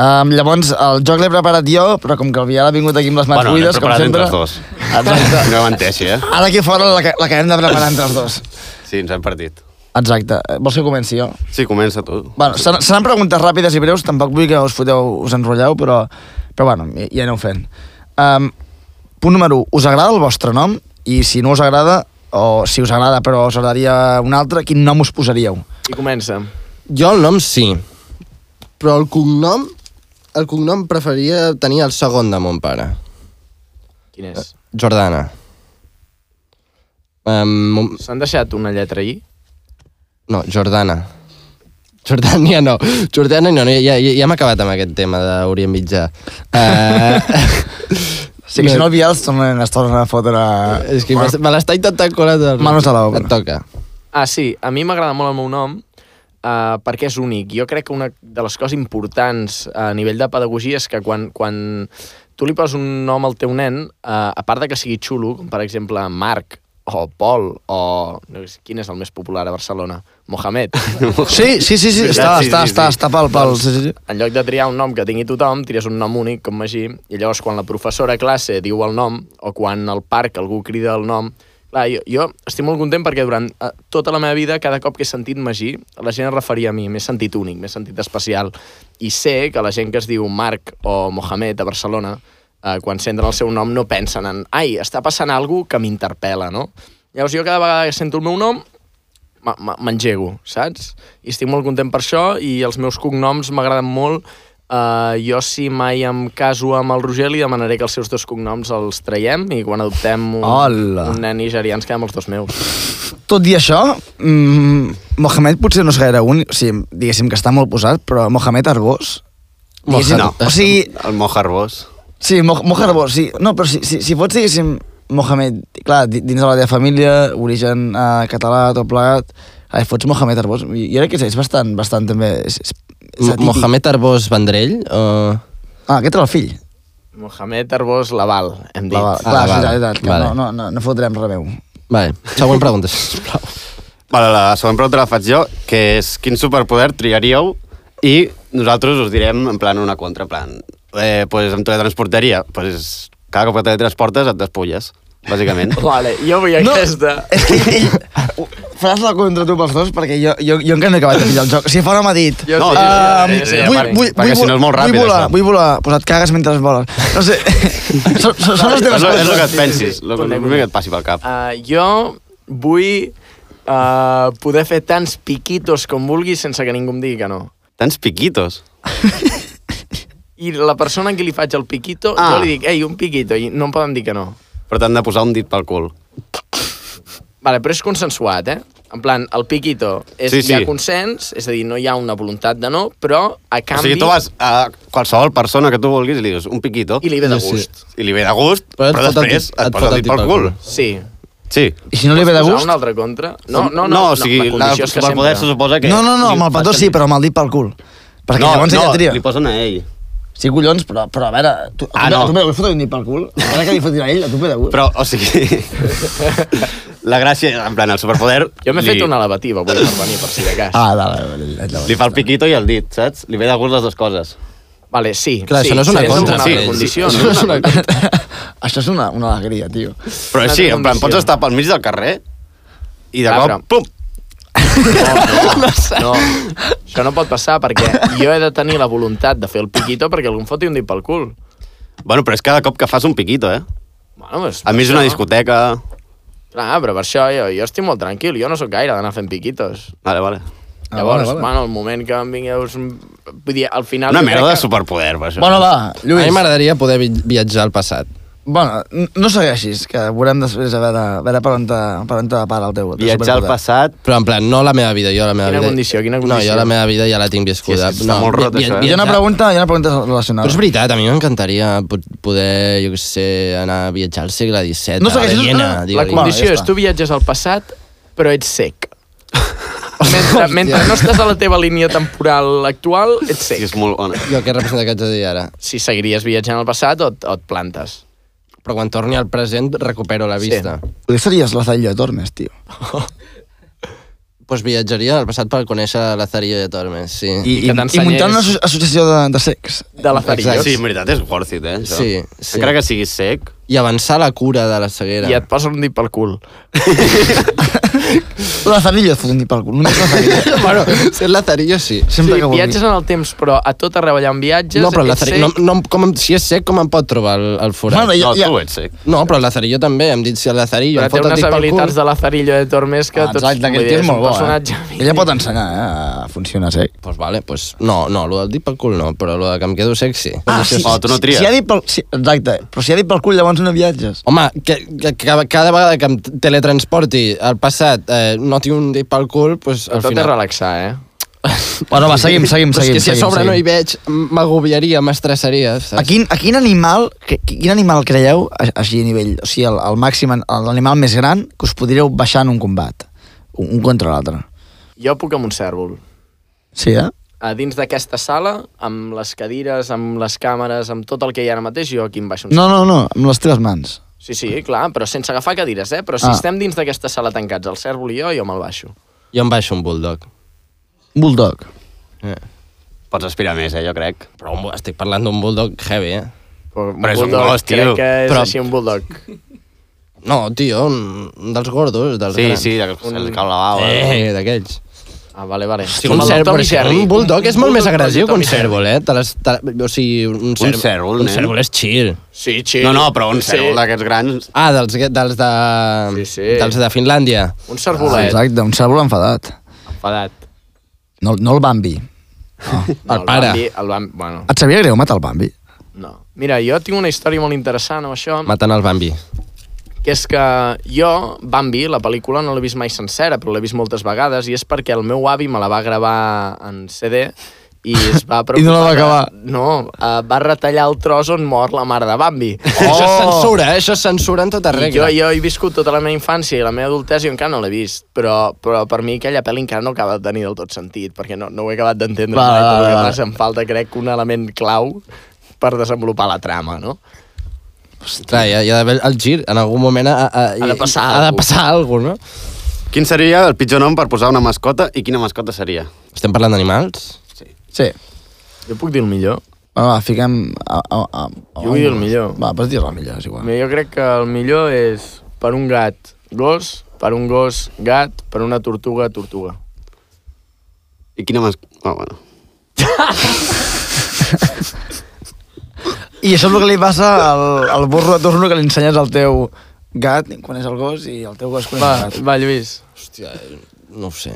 C: Um, llavors, el joc l'he preparat jo, però com que el Vial ha vingut aquí amb les mans
D: Bueno, l'hem
C: buides, com
D: preparat
C: sempre...
D: entre els dos.
C: Exacte.
D: No menteixi, eh?
C: Ara aquí fora la, ca- la acabem de preparar entre els dos.
D: Sí, ens hem partit.
C: Exacte. Eh, Vols que comenci jo?
D: Sí, comença tu.
C: Bueno, seran, seran preguntes ràpides i breus, tampoc vull que us foteu, us enrotlleu, però, però bueno, ja, ja aneu fent. Um, punt número 1. Us agrada el vostre nom? I si no us agrada, o si us agrada però us agradaria un altre, quin nom us posaríeu?
B: I comença.
A: Jo el nom sí, però el cognom... El cognom preferia tenir el segon de mon pare,
B: Quin és?
A: Jordana. Um, mon-
B: S'han deixat una lletra I?
A: no, Jordana. Jordània no, Jordània no, no, ja, ja, ja hem acabat amb aquest tema d'Orient Mitjà. Uh,
C: (laughs) Sí, que si no el Vial es torna, es torna a fotre...
A: (laughs) és que bueno. me l'està intentant colar. de-
C: Manos a la obra.
A: Et toca.
B: Ah, sí, a mi m'agrada molt el meu nom uh, perquè és únic. Jo crec que una de les coses importants eh, a nivell de pedagogia és que quan, quan tu li poses un nom al teu nen, uh, a part de que sigui xulo, com per exemple Marc o Pol o... No sé, quin és el més popular a Barcelona? Mohamed.
C: Sí, sí, sí, sí, està,
D: Sí, sí,
C: està,
D: sí.
C: està, està pel... pel sí, sí, sí.
B: en lloc de triar un nom que tingui tothom, tries un nom únic, com Magí, i llavors quan la professora a classe diu el nom, o quan al parc algú crida el nom... Clar, jo, jo estic molt content perquè durant eh, tota la meva vida, cada cop que he sentit Magí, la gent es referia a mi, m'he sentit únic, m'he sentit especial. I sé que la gent que es diu Marc o Mohamed a Barcelona, eh, quan senten el seu nom no pensen en ai, està passant alguna que m'interpel·la, no? Llavors jo cada vegada que sento el meu nom m- m- m'engego, saps? I estic molt content per això i els meus cognoms m'agraden molt. Uh, jo, si mai em caso amb el Roger, li demanaré que els seus dos cognoms els traiem i quan adoptem un,
C: Hola.
B: un nen nigerià ens quedem els dos meus.
C: Tot i això, mm, Mohamed potser no és gaire un, o sigui, diguéssim que està molt posat, però Mohamed Arbós... diguéssim,
D: No.
C: O sigui,
D: El Mojarbós.
C: sí, Mo Mohamed Arbós, sí. No, però si, si, si fots, diguéssim, Mohamed, clar, di- dins de la teva família, origen eh, català, tot plegat, ai, fots Mohamed Arbós, jo crec que és, és bastant, bastant també... És, és, és
A: Mo-
C: atípic.
A: Mohamed Arbós Vendrell? O...
C: Ah, aquest era el fill.
B: Mohamed Arbós Laval, hem dit.
C: La, va,
A: Ah,
C: clar,
A: vale,
C: sí, la veritat, que
A: vale.
C: no, no, no, no fotrem res meu.
A: Vale, següent pregunta, sisplau.
D: Vale, la següent pregunta la faig jo, que és quin superpoder triaríeu i nosaltres us direm en plan una contra, en plan, eh, pues em teletransportaria, pues cada cop que teletransportes et despulles,
B: (laughs)
D: bàsicament.
B: Vale, jo vull no. aquesta.
C: és que ell, (laughs) faràs la contra tu pels dos perquè jo, jo, jo encara no he acabat de pillar el joc. Si fora m'ha dit...
B: Jo
D: No,
B: sé,
C: Um,
B: jo sé, jo sé,
C: vull,
B: Marc.
C: vull,
D: perquè
C: vull,
D: si no és molt ràpid,
C: Vull volar,
D: això.
C: vull volar, però et cagues mentre voles. No
D: (laughs)
C: sé, són, són, són les
D: És
C: teves
D: lo, és lo que
C: coses.
D: et pensis, lo, el primer que et passi pel cap.
B: Uh, jo vull uh, poder fer tants piquitos com vulgui sense que ningú em digui que no.
D: Tants piquitos.
B: I la persona a qui li faig el piquito, ah.
D: Ah.
B: jo li dic, ei, un piquito, i no em poden dir que no.
D: Però t'han de posar un dit pel cul.
B: Vale, però és consensuat, eh? En plan, el piquito, és,
D: Sí,
B: sí, sí. hi ha
D: sí.
B: consens, és a dir, no hi ha una voluntat de no, però a
D: O
B: canvi...
D: sigui, tu vas a qualsevol persona que tu vulguis i li dius un piquito.
B: I li ve de
A: Sí, sí.
B: gust.
D: I li ve de gust,
A: Però
D: però,
A: et fot el
D: després
A: dit-
D: et,
A: et
D: posa
A: fot
D: el dit pel cul.
B: Sí.
D: Sí.
C: I si no li ve de
B: Posar
C: gust...
B: un altre contra? No, no, no.
D: no, o sigui,
B: la
D: la,
B: condició és que
D: superpoder se
B: sempre...
D: suposa que...
C: No, no, no, amb el petó sí, però amb el dit pel cul. Perquè
D: no,
C: llavors
D: no,
C: ella tria.
D: li posen a ell.
C: Sí, collons, però, però a veure... Tu, a
D: Ah,
C: tu,
D: no.
C: a tu me deus fotre un dit pel cul? A veure que li fotin a ell, a tu me deus...
D: Però, o sigui... (laughs) la gràcia, en plan, el superpoder...
B: Jo m'he
D: li-
B: fet una elevativa, vull venir, per si de cas.
C: Ah, dale, dale, dale, dale.
D: Li fa el piquito i el dit, saps? Li ve de gust les dues coses.
B: Vale, sí.
A: Clar,
B: sí,
A: això no és una
B: sí,
A: contra,
B: una
D: sí,
B: altra
D: sí,
B: condició,
D: sí,
B: no és una contra.
C: Això és una, una alegria, tio.
D: Però
B: Una
D: sí,
B: altra
D: en plan, pots
B: condició.
D: estar pel mig del carrer i de
B: Clar,
D: cop,
B: però-
D: pum!
B: No, no, no, això no pot passar perquè jo he de tenir la voluntat de fer el piquito perquè algú em foti un dit pel cul.
D: Bueno, però és cada cop que fas un piquito, eh?
B: Bueno, pues,
D: A mi és una
B: això.
D: discoteca...
B: Clar, però per això jo, jo estic molt tranquil, jo no sóc gaire d'anar fent piquitos.
D: Vale, vale.
C: Ah,
B: Llavors,
C: vale, vale.
B: bueno, el moment que em vingueu... és un- Vull dir, al final...
D: Una
B: jo
D: merda
B: crec
D: de superpoder, per això.
C: Bueno, va,
A: Lluís.
C: Lluís.
A: A mi m'agradaria poder vi- viatjar al passat.
C: Bueno, n- no segueixis, que veurem després a veure, a veure per on te, per on te para el teu... el teu
D: Viatjar al
C: superpoder.
D: passat...
A: Però en plan, no la meva vida, jo la meva
B: Quina
A: vida...
B: condició, quina
A: No,
B: condició?
A: jo la meva vida ja la tinc viscuda.
D: Sí, és que està
A: no,
D: molt rot,
A: vi- vi-
D: això, eh?
C: Hi ha una
A: viatjar-
C: pregunta, hi ha una pregunta
B: Ah.
C: relacionada.
A: Però és veritat, a mi m'encantaria po- poder, jo què sé, anar a viatjar al segle XVII,
C: No
A: a
C: segueixis-
A: Viena,
C: no, no,
A: digue-li.
B: La
C: Bueno,
B: condició
C: ja
B: és
C: està.
B: tu viatges al passat, però ets
C: (laughs)
B: sec. Mentre, mentre no estàs a la teva línia temporal actual, ets
D: Sí,
B: sec.
D: és molt bona.
A: Jo què representa que haig de dir ara?
B: Si seguiries viatjant al passat o et, o et plantes.
A: Però quan torni al present recupero la
B: Sí.
A: vista.
C: Tu series la Zalla Tormes, tio.
A: Doncs pues viatjaria al passat per conèixer la Zaria de Tormes, sí.
C: I, i,
B: que
C: i
B: t'ensenyés-
C: muntant una asso associació de, de secs.
B: De la Zarillos.
D: Sí, en veritat, és worth it, eh, això.
A: Sí, sí.
D: Encara que siguis sec,
A: I avançar la cura de la ceguera.
B: I et posen un dit pel cul.
C: La Zarillo et fot un dit pel cul, només la Zarillo.
A: (laughs)
D: (laughs)
A: bueno, si és la Zaria, sí.
C: Sempre
B: sí,
C: que vulgui.
B: viatges en el temps, però a tot arreu allà en viatges...
A: No, però la
B: ets
A: Zaria... No,
B: sec.
A: no, com, em- si és sec, com em pot trobar el, el forat?
C: Bueno,
D: no,
C: ja, ja,
D: tu ets sec.
A: No, però el Lazarillo també, hem dit si el Lazarillo
B: Però
A: em
B: té
A: fot el
B: unes
A: dit pel
B: habilitats
A: cul...
B: de la Zarillo de Tormes que
C: Ah,
B: tots...
C: Exacte,
B: vull
C: aquest
B: dir,
C: tio és molt bo,
B: personatge
C: eh?
B: mític.
C: Ella pot ensenyar eh, a funcionar sec.
A: Doncs pues vale, pues no, no, lo del dit pel cul no, però lo de que em quedo sec sí.
D: sí, Oh, tu no tries.
C: Si, ha dit pel, si, exacte, però si ha dit pel cul, llavors no viatges.
A: Home, que, que, que cada vegada que em teletransporti al passat eh, no tinc un dit pel cul, doncs al
B: Tot és
A: final...
B: relaxar, eh?
C: Bueno, va, seguim, seguim,
A: Però és
C: seguim.
A: que si a
C: seguim,
A: sobre no hi
C: seguim.
A: veig, m- m'agobiaria, m'estressaria, saps?
C: A quin, a quin animal, que, quin animal creieu, a- així a nivell, o sigui, el, el màxim, l'animal més gran que us podríeu baixar en un combat? Un, un contra l'altre.
B: Jo puc amb un cèrvol.
C: Sí, eh?
B: A dins d'aquesta sala, amb les cadires, amb les càmeres, amb tot el que hi ha ara mateix, jo aquí em baixo un
C: No, no, no, amb les teves mans.
B: Sí, sí, clar, però sense agafar cadires, eh? Però si
C: Ah.
B: ah. estem dins d'aquesta sala tancats, el cèrvol i jo, jo me'l baixo.
A: Jo em baixo un bulldog.
C: Un bulldog.
A: Eh.
D: Pots aspirar més, eh, jo crec.
A: Però un bu- estic parlant d'un bulldog heavy, eh?
B: Però,
D: Però és un gos, tio.
B: Crec que és
A: Però-
B: però... així un bulldog.
A: No, tio, un, un dels gordos, dels
D: Sí,
A: grans.
D: sí, de, se li cau la bava.
A: Eh, d'aquells.
B: Ah, vale, vale.
A: Sí, un, cèrvol, un bulldog és molt més agressiu que un cèrvol, eh? Te les, te, o sigui, un cèrvol,
D: cèrvol,
A: un
D: nen.
A: cèrvol és chill.
B: Sí, sí.
D: No, no, però un cèrvol d'aquests grans...
A: Ah, dels, dels, de,
B: Sí, sí.
A: dels de Finlàndia.
B: Un
C: Ah,
B: cèrvolet.
C: exacte, un cèrvol enfadat.
B: Enfadat.
C: No, no el Bambi. Ah,
A: El pare.
B: Bambi, el Bambi, bueno,
C: Et sabia greu matar el Bambi?
B: no. Mira, jo tinc una història molt interessant amb això,
A: Matant el Bambi.
B: Oh! que és que jo, Bambi, la pel·lícula no l'he vist mai sencera, però l'he vist moltes vegades, i és perquè el meu avi me la va gravar en CD i es
C: (laughs)
B: va preocupar...
C: no la va
B: de-
C: acabar.
B: No, uh, va retallar el tros on mor la mare de Bambi.
A: Oh! Això és censura, eh? Això és censura en tota
B: I
A: regla.
B: jo, jo he viscut tota la meva infància i la meva adultesa i encara no l'he vist, però, però per mi aquella pel·li encara no acaba de tenir del tot sentit, perquè no, no ho he acabat d'entendre
C: Va,
B: mai,
C: va,
B: però el
C: va.
B: que passa em falta, crec, un element clau per desenvolupar la trama, no?
A: Clar, hi ha, hi ha d'haver el gir. En algun moment ha, ha,
B: Ha de passar
A: ha de
B: alguna
A: passar alguna cosa,
D: Quin seria el pitjor nom per posar una mascota i quina mascota seria?
A: no? Estem parlant d'animals?
C: Sí.
B: Jo puc dir el millor.
C: Va, va, fiquem... A, a, a, a
B: Jo vull dir el millor.
C: Va, pots dir el millor, és igual.
B: Bé, jo crec que el millor és per un gat, gos, per un gos, gat, per una tortuga, tortuga.
D: I quina mascota... Oh, bueno.
C: I això és el que li passa al, al burro de torno que li ensenyes al teu gat, coneix el gos, i el teu gos coneix
B: Va,
C: el gat.
B: va, Lluís.
A: Hòstia, no ho sé.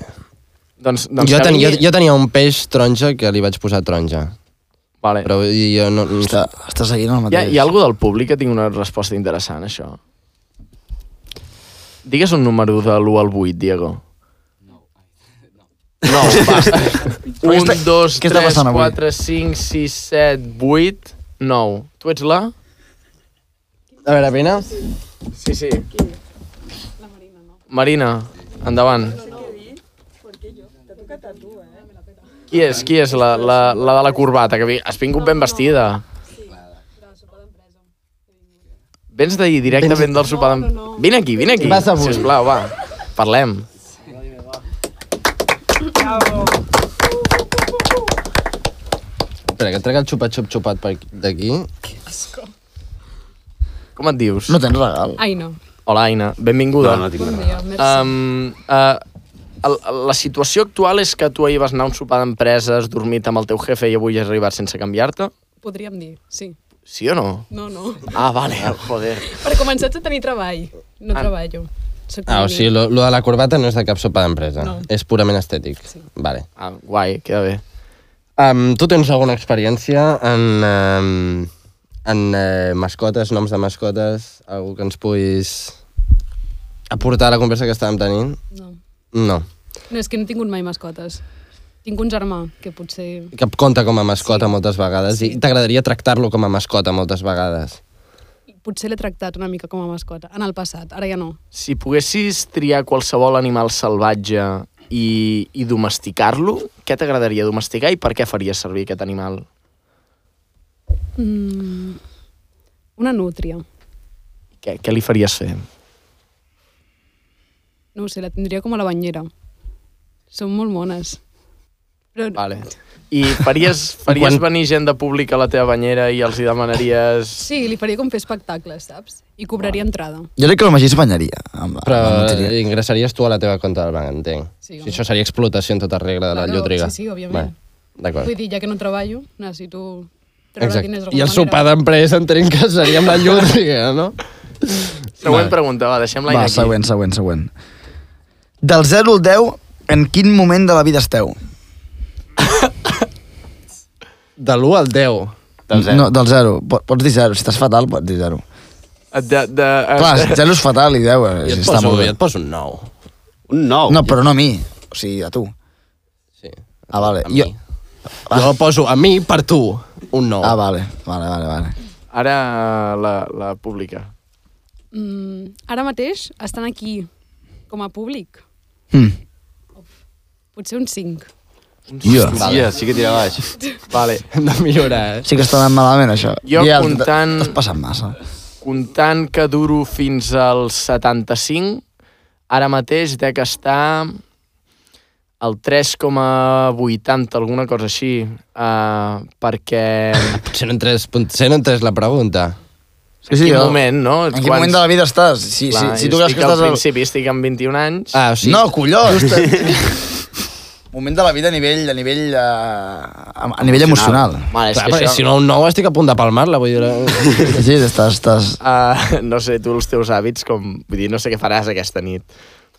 B: Doncs, doncs
A: Jo,
B: que
A: ten, jo,
B: vingui-
A: jo tenia un peix taronja que li vaig posar taronja.
B: Vale.
A: Però vull dir, jo no... no
C: Està, està seguint
B: Hi
C: el
B: ha,
C: mateix.
B: hi ha algú del públic que tingui una resposta interessant, a això? Digues un número de l'1 al 8, Diego. No, basta. 1,
C: Però què està-
B: 2,
C: què està
B: 3,
C: passant avui?
B: 4, 5, 6, 7, 8, 9. Tu ets la?
A: A veure, vine.
B: Sí, sí. Marina, endavant. Qui és? Qui és la, la, la de la corbata? Que vi- has vingut ben vestida. Vens d'ahir directament del sopar d'empresa. Vine aquí, vine aquí.
A: Vas avui.
B: Sisplau, va. Parlem.
A: Espera, que trec el xupa-xup xupat per aquí- d'aquí.
B: Com et dius?
C: No tens regal.
F: Ai, no.
B: Hola, Aina. Benvinguda.
D: No, no tinc
F: Bon
D: res.
F: dia, merci.
B: Um, uh, el, el- la situació actual és que tu ahir vas anar a un sopar d'empresa, has dormit amb el teu jefe i avui has arribat sense canviar-te?
A: Ah.
F: Podríem dir, sí.
B: Sí o no?
F: No, no.
B: Ah, vale, joder.
F: Per començar a tenir treball. No treballo. Soc
A: Ah, o sigui, lo, lo de la corbata no és de cap sopa d'empresa.
F: No.
A: És purament estètic. Vale.
B: Ah, guai, queda bé.
A: Um, tu tens alguna experiència en, um, en uh, mascotes, noms de mascotes? Algú que ens puguis aportar a la conversa que estàvem tenint?
F: No.
A: No.
F: no, és que no he tingut mai mascotes. Tinc un germà, que potser...
A: Que compta com a mascota sí. moltes vegades sí. i t'agradaria tractar-lo com a mascota moltes vegades.
F: Potser l'he tractat una mica com a mascota, en el passat, ara ja no.
B: Si poguessis triar qualsevol animal salvatge i, i domesticar-lo, què t'agradaria domesticar i per què faries servir aquest animal?
F: Mm, una nútria.
B: Què, què li faries fer?
F: No ho sé, la tindria com a la banyera. Són molt mones. Però
B: Vale. I faries, faries
A: Quan-
B: Quan... venir gent de públic a la teva banyera i els hi demanaries...
F: sí, li faria com fer espectacles, saps? I cobraria entrada.
C: Jo crec que el Magí es banyaria. Amb,
A: Però eh,
C: amb la loteria.
B: eh,
A: ingressaries tu a la teva compte del banc, entenc.
F: Ah, Sí,
A: Sí,
F: home.
A: si això seria explotació en tota regla de la
F: Claro,
A: llotriga.
F: sí, sí, òbviament.
A: D'acord.
F: Vull dir, ja que no treballo, necessito treure diners
A: Exacte.
F: d'alguna
A: I el sopar
F: manera.
A: d'empresa entenc que seria
F: (laughs)
A: amb la llotriga, no?
B: Següent pregunta, va, deixem l'Aina
C: Va,
B: aquí.
C: següent, següent, següent. Del 0 al 10, en quin moment de la vida esteu?
A: De l'1 al 10.
D: Del zero.
C: No, del 0. Pots dir 0. Si estàs fatal, pots dir 0.
B: De, de,
C: Clar, 0 és fatal i 10 eh,
A: Jo et,
C: està
A: poso,
C: molt
A: jo
C: bé.
A: et poso un 9.
D: Un nou.
C: No, però no a mi. O sigui, a tu.
A: Sí.
C: Ah, vale.
A: A
C: Jo...
A: mi. Ah. Jo poso a mi per tu un 9.
C: Ah, vale, vale, vale, vale.
B: Ara la, la pública.
F: Mm, ara mateix estan aquí, com a públic.
C: Hm.
F: Potser un 5.
C: Jo.
D: Hòstia, sí que tira baix.
B: Vale.
A: (laughs) Hem de millorar, eh?
C: Sí que està anant malament, això.
B: Jo
C: Ja,
B: comptant-
C: T'has passat massa.
B: Comptant que duro fins als 75, ara mateix dec estar al 3,80, alguna cosa així, uh, perquè...
A: Potser no entres, potser no entres la pregunta.
C: Sí,
B: en
C: sí,
B: quin
C: jo-
B: moment, no?
C: En quin moment de la vida estàs? Si, si, si tu creus que estàs...
B: Al
C: Al...
B: principi estic amb 21 anys.
A: Ah, o sigui...
C: No, collons! (laughs) moment de la vida a nivell... A nivell, eh, a, a nivell emocional.
B: Mare, és
A: Clar,
B: que
A: perquè
B: això...
A: si no un 9 estic a punt de palmar-la, vull dir... eh.
C: Sí, estàs... estàs...
B: Uh, (laughs) no sé, tu els teus hàbits com... Vull dir, no sé què faràs aquesta nit.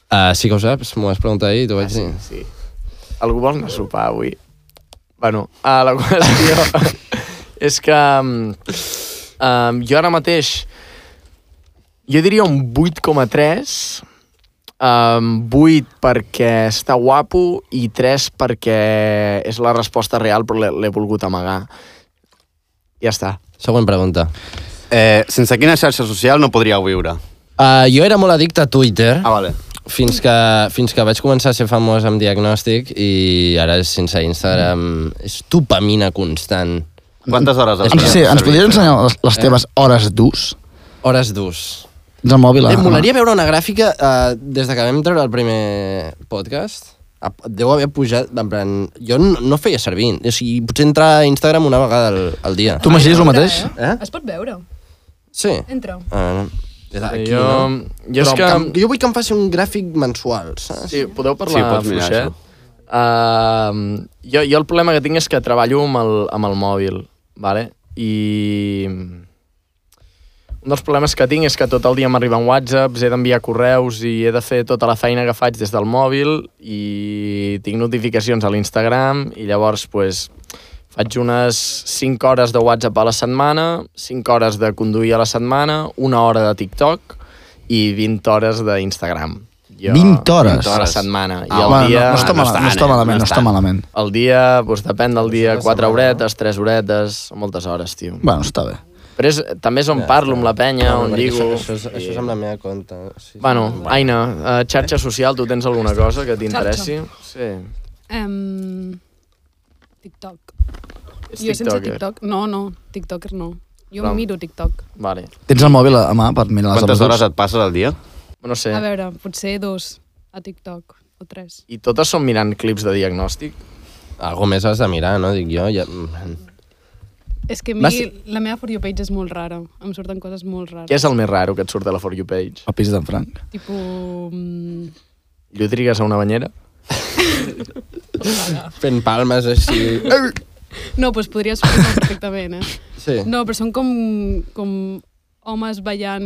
A: Uh, sí que ho saps, m'ho vas preguntar ahir i t'ho vaig dir.
B: Ah, sí. Algú vol anar a sopar avui? Bueno, uh, la (laughs) qüestió és que um, um, jo ara mateix jo diria un 8,3 um, 8 perquè està guapo i 3 perquè és la resposta real però l'he- l'he volgut amagar ja està
A: Següent pregunta.
D: Eh, sense quina xarxa social no podríeu viure?
A: Uh, jo era molt addicte a Twitter
D: Ah, vale.
A: fins que, fins que vaig començar a ser famós amb diagnòstic i ara és sense Instagram és dopamina constant.
D: Quantes hores has
C: Sí, ens podries ensenyar les, les teves hores d'ús?
A: Hores d'ús.
C: Del mòbil?
A: Em
C: a-
A: molaria veure una gràfica uh, des de que vam treure el primer podcast. Ah, Deu haver pujat, en plan... Jo no, no feia servir. O sigui, potser entrar a Instagram una vegada al, al dia.
C: Tu imagines el mateix?
F: Eh?
A: Eh?
F: Es pot veure.
A: Sí.
F: Entra.
A: Uh, aquí,
B: jo,
A: no?
B: jo és
A: Però
B: que...
A: em- jo vull que em faci un gràfic mensual, saps?
B: Sí, podeu
D: Sí,
B: parlar
D: pots mirar
B: fluixet?
D: això.
B: Uh, jo, jo el problema que tinc és que treballo amb el, amb el mòbil, vale? i un dels problemes que tinc és que tot el dia m'arriben whatsapps, he d'enviar correus i he de fer tota la feina que faig des del mòbil i tinc notificacions a l'Instagram i llavors pues, faig unes 5 hores de whatsapp a la setmana, 5 hores de conduir a la setmana, una hora de TikTok i 20 hores d'Instagram. Jo-
C: 20 hores?
B: a la setmana. I
C: Ah,
B: el
C: bueno,
B: dia...
C: no, no, està,
D: no
C: mal,
D: està,
C: no està
D: nen,
C: malament,
D: no
C: no està
D: està.
C: malament.
B: El dia, doncs, depèn del dia, 4 horetes, 3 horetes, moltes hores, tio.
C: Bueno, està bé.
B: Però és, també és on
A: Ja,
B: parlo
A: està.
B: amb la penya,
A: Ah, Bueno,
B: on
A: perquè
B: lligo...
A: Això, això, és, això és amb la meva compte. eh? Sí,
B: Bueno, Aina, eh, xarxa social, tu tens alguna cosa que t'interessi? Sí.
F: Um, TikTok.
B: Ets
F: Jo sense
B: tiktoker.
F: TikTok, no, no, TikToker no. Jo
B: Però-
F: miro TikTok.
B: Vale.
C: Tens el mòbil a mà per mirar les
D: Quantes hores
C: hores?
D: et passes al dia?
B: No sé.
F: A veure, potser dos a TikTok o tres.
B: I totes són mirant clips de diagnòstic?
A: Algo més has de mirar, no? Dic jo. Ja...
F: És que a mi
A: Vas-
F: la meva For You page és molt rara. Em surten coses molt rares.
B: Què és el més raro que et surt de la For You page?
C: El pis d'en Frank.
F: Tipo... mm,
B: Llotrigues a una banyera?
A: Fent palmes així.
F: No, doncs podria sortir perfectament, eh?
A: Sí.
F: No, però són com, com homes ballant...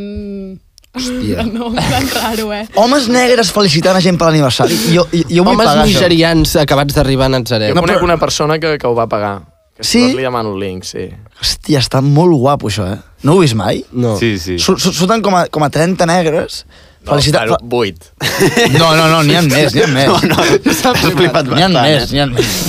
C: Hòstia.
F: (laughs) No, en plan raro, eh?
A: Oh.
C: Homes negres felicitant a gent per l'aniversari. Jo, jo, jo vull
A: Homes
C: pagar això.
A: nigerians acabats d'arribar a
B: Jo
A: Natzaret.
C: Eh, No,
B: no, conec
C: però-
B: una persona que, que ho va pagar. Que si
C: Sí?
B: vols li demano el link, sí.
C: Hòstia, està molt guapo això, eh? No ho he vist mai?
A: No.
D: Sí, (laughs) sí.
C: Sur- sur- Surten com a, com a 30 negres felicitant...
B: No, 8.
C: (laughs) No, no, no, n'hi ha més, n'hi ha més.
D: (laughs) No, has flipat
C: N'hi ha
D: bastant.
C: més, n'hi ha més.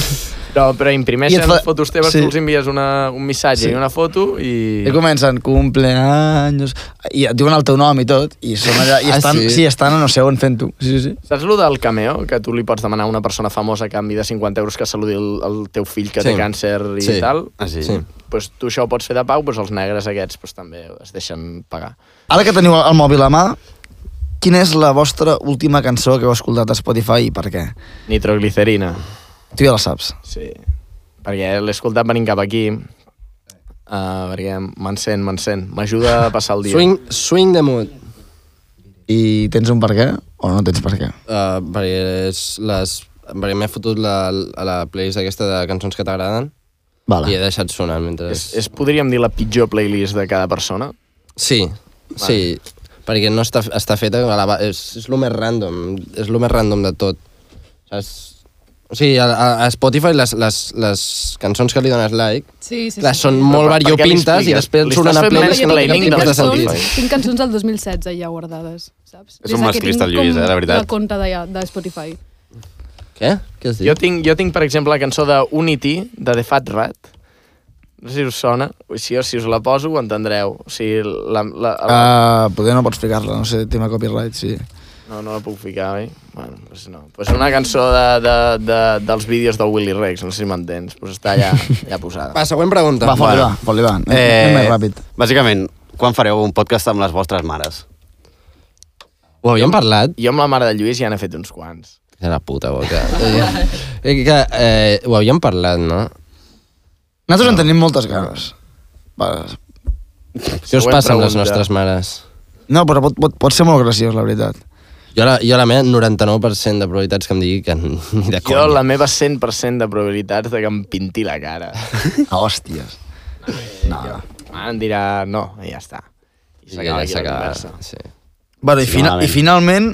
B: No, però
C: I
B: imprimeixen
C: et fa-
B: fotos teves,
C: sí.
B: tu els envies una, un missatge
C: Sí.
B: i una foto i...
C: I comencen cumpleaños... I et diuen el teu nom i tot, i són allà... I
A: Ah,
C: estan,
A: sí?
C: sí? estan a no sé on fent-ho. Sí, sí, sí.
B: Saps lo del cameo? Que tu li pots demanar a una persona famosa a canvi de 50 euros que saludi el, el teu fill que
A: Sí.
B: té càncer i
A: Sí.
B: tal?
D: Ah, sí.
A: Sí.
B: Pues tu això ho pots fer de pau, pues els negres aquests pues també es deixen pagar.
C: Ara que teniu el mòbil a mà, quina és la vostra última cançó que heu escoltat a Spotify i per què?
B: Nitroglicerina.
C: Tu ja la saps.
B: Sí. Perquè l'he escoltat venint cap aquí. Uh, perquè m'encén, m'encén. M'ajuda a passar el dia.
A: Swing, swing the mood.
C: I tens un per què o no tens per què?
A: Uh, perquè és les perquè m'he fotut la, a la playlist aquesta de cançons que t'agraden
C: Vale.
A: i he deixat sonar mentre...
B: És, és, podríem dir, la pitjor playlist de cada persona.
A: Sí, sí, perquè no està, està feta, a la, ba- és, és el més random, és el més random de tot. Saps? O sigui, a, a, a Spotify les, les, les cançons que li dones like,
F: Sí, sí,
A: clar,
F: sí.
A: són
B: Però
A: molt
B: per- per què
A: variopintes
B: li
A: i
B: expliques?
A: després
B: Li
A: surt
B: estàs
A: una
B: fent
A: playlist
B: playlist
A: que
F: Jo
A: no
B: de
A: té
B: Lightning
A: cap
F: tinc,
B: de
A: tipus de
B: Spotify.
A: sentit.
F: cançons, tinc cançons del 2016 ja guardades, saps?
D: És
F: Des
D: un
F: de que
D: masclista,
F: tinc
D: el Lluís,
F: com
D: eh, la veritat.
F: La compte de, de Spotify.
A: Què? Què has dit?
B: Jo tinc, jo tinc, per exemple, la cançó de Unity, de The Fat Rat. No sé si us sona. O si, si us la poso, ho entendreu. O sigui, la, la, la,
C: Uh, poder no pots ficar-la, no sé, tema copyright, sí.
B: No, no la puc ficar, oi? Bueno, doncs no. Pues una cançó de, de, de, dels vídeos del Willy Rex, no sé si m'entens. Pues està
A: (laughs)
B: ja, ja posada.
A: Va, següent pregunta.
C: Va, fot-li va, fot-li va. Anem, eh... anem més ràpid.
D: Bàsicament, quan fareu un podcast amb les vostres mares?
A: Ho havíem parlat?
B: Jo amb la mare de Lluís ja n'he fet uns quants.
A: Que la puta boca. Eh, que, eh, ho havíem parlat, no?
C: Nosaltres en tenim moltes ganes. Va.
A: Què us
B: Següent
A: passa amb les
B: pregunta.
A: nostres mares?
C: No, però pot, pot, pot ser molt graciós, la veritat.
A: Jo la, jo la meva 99% de probabilitats que em digui que ni de
B: Jo
A: conya.
B: la meva 100% de probabilitats de que em pinti la
A: (laughs)
B: cara.
C: Ah, (laughs) hòsties. No.
B: Ah, em dirà no, i ja està. I
A: I
B: s'acaba
A: ja
B: aquí la
A: s'acaba,
B: conversa.
A: sí.
C: Bueno, i, fina,
D: malament.
C: i finalment,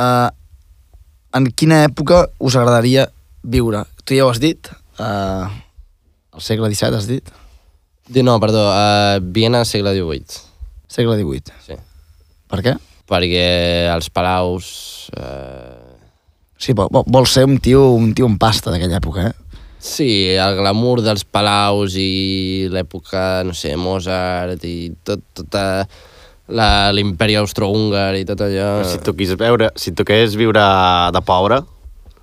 C: uh, en quina època us agradaria viure? Tu ja ho has dit, uh, al segle XVII has dit?
A: Di- No, perdó, a Viena segle XVIII.
C: Segle XVIII.
A: Sí.
C: Per què?
A: Perquè els palaus... Eh...
C: Sí, vol, vol- vol ser un tio, un tio en pasta d'aquella època, eh?
A: Sí, el glamour dels palaus i l'època, no sé, Mozart i tot, tota la- l'imperi austro-húngar i tot allò...
D: Però Eh, Si tu quis veure, si tu queres viure de pobre,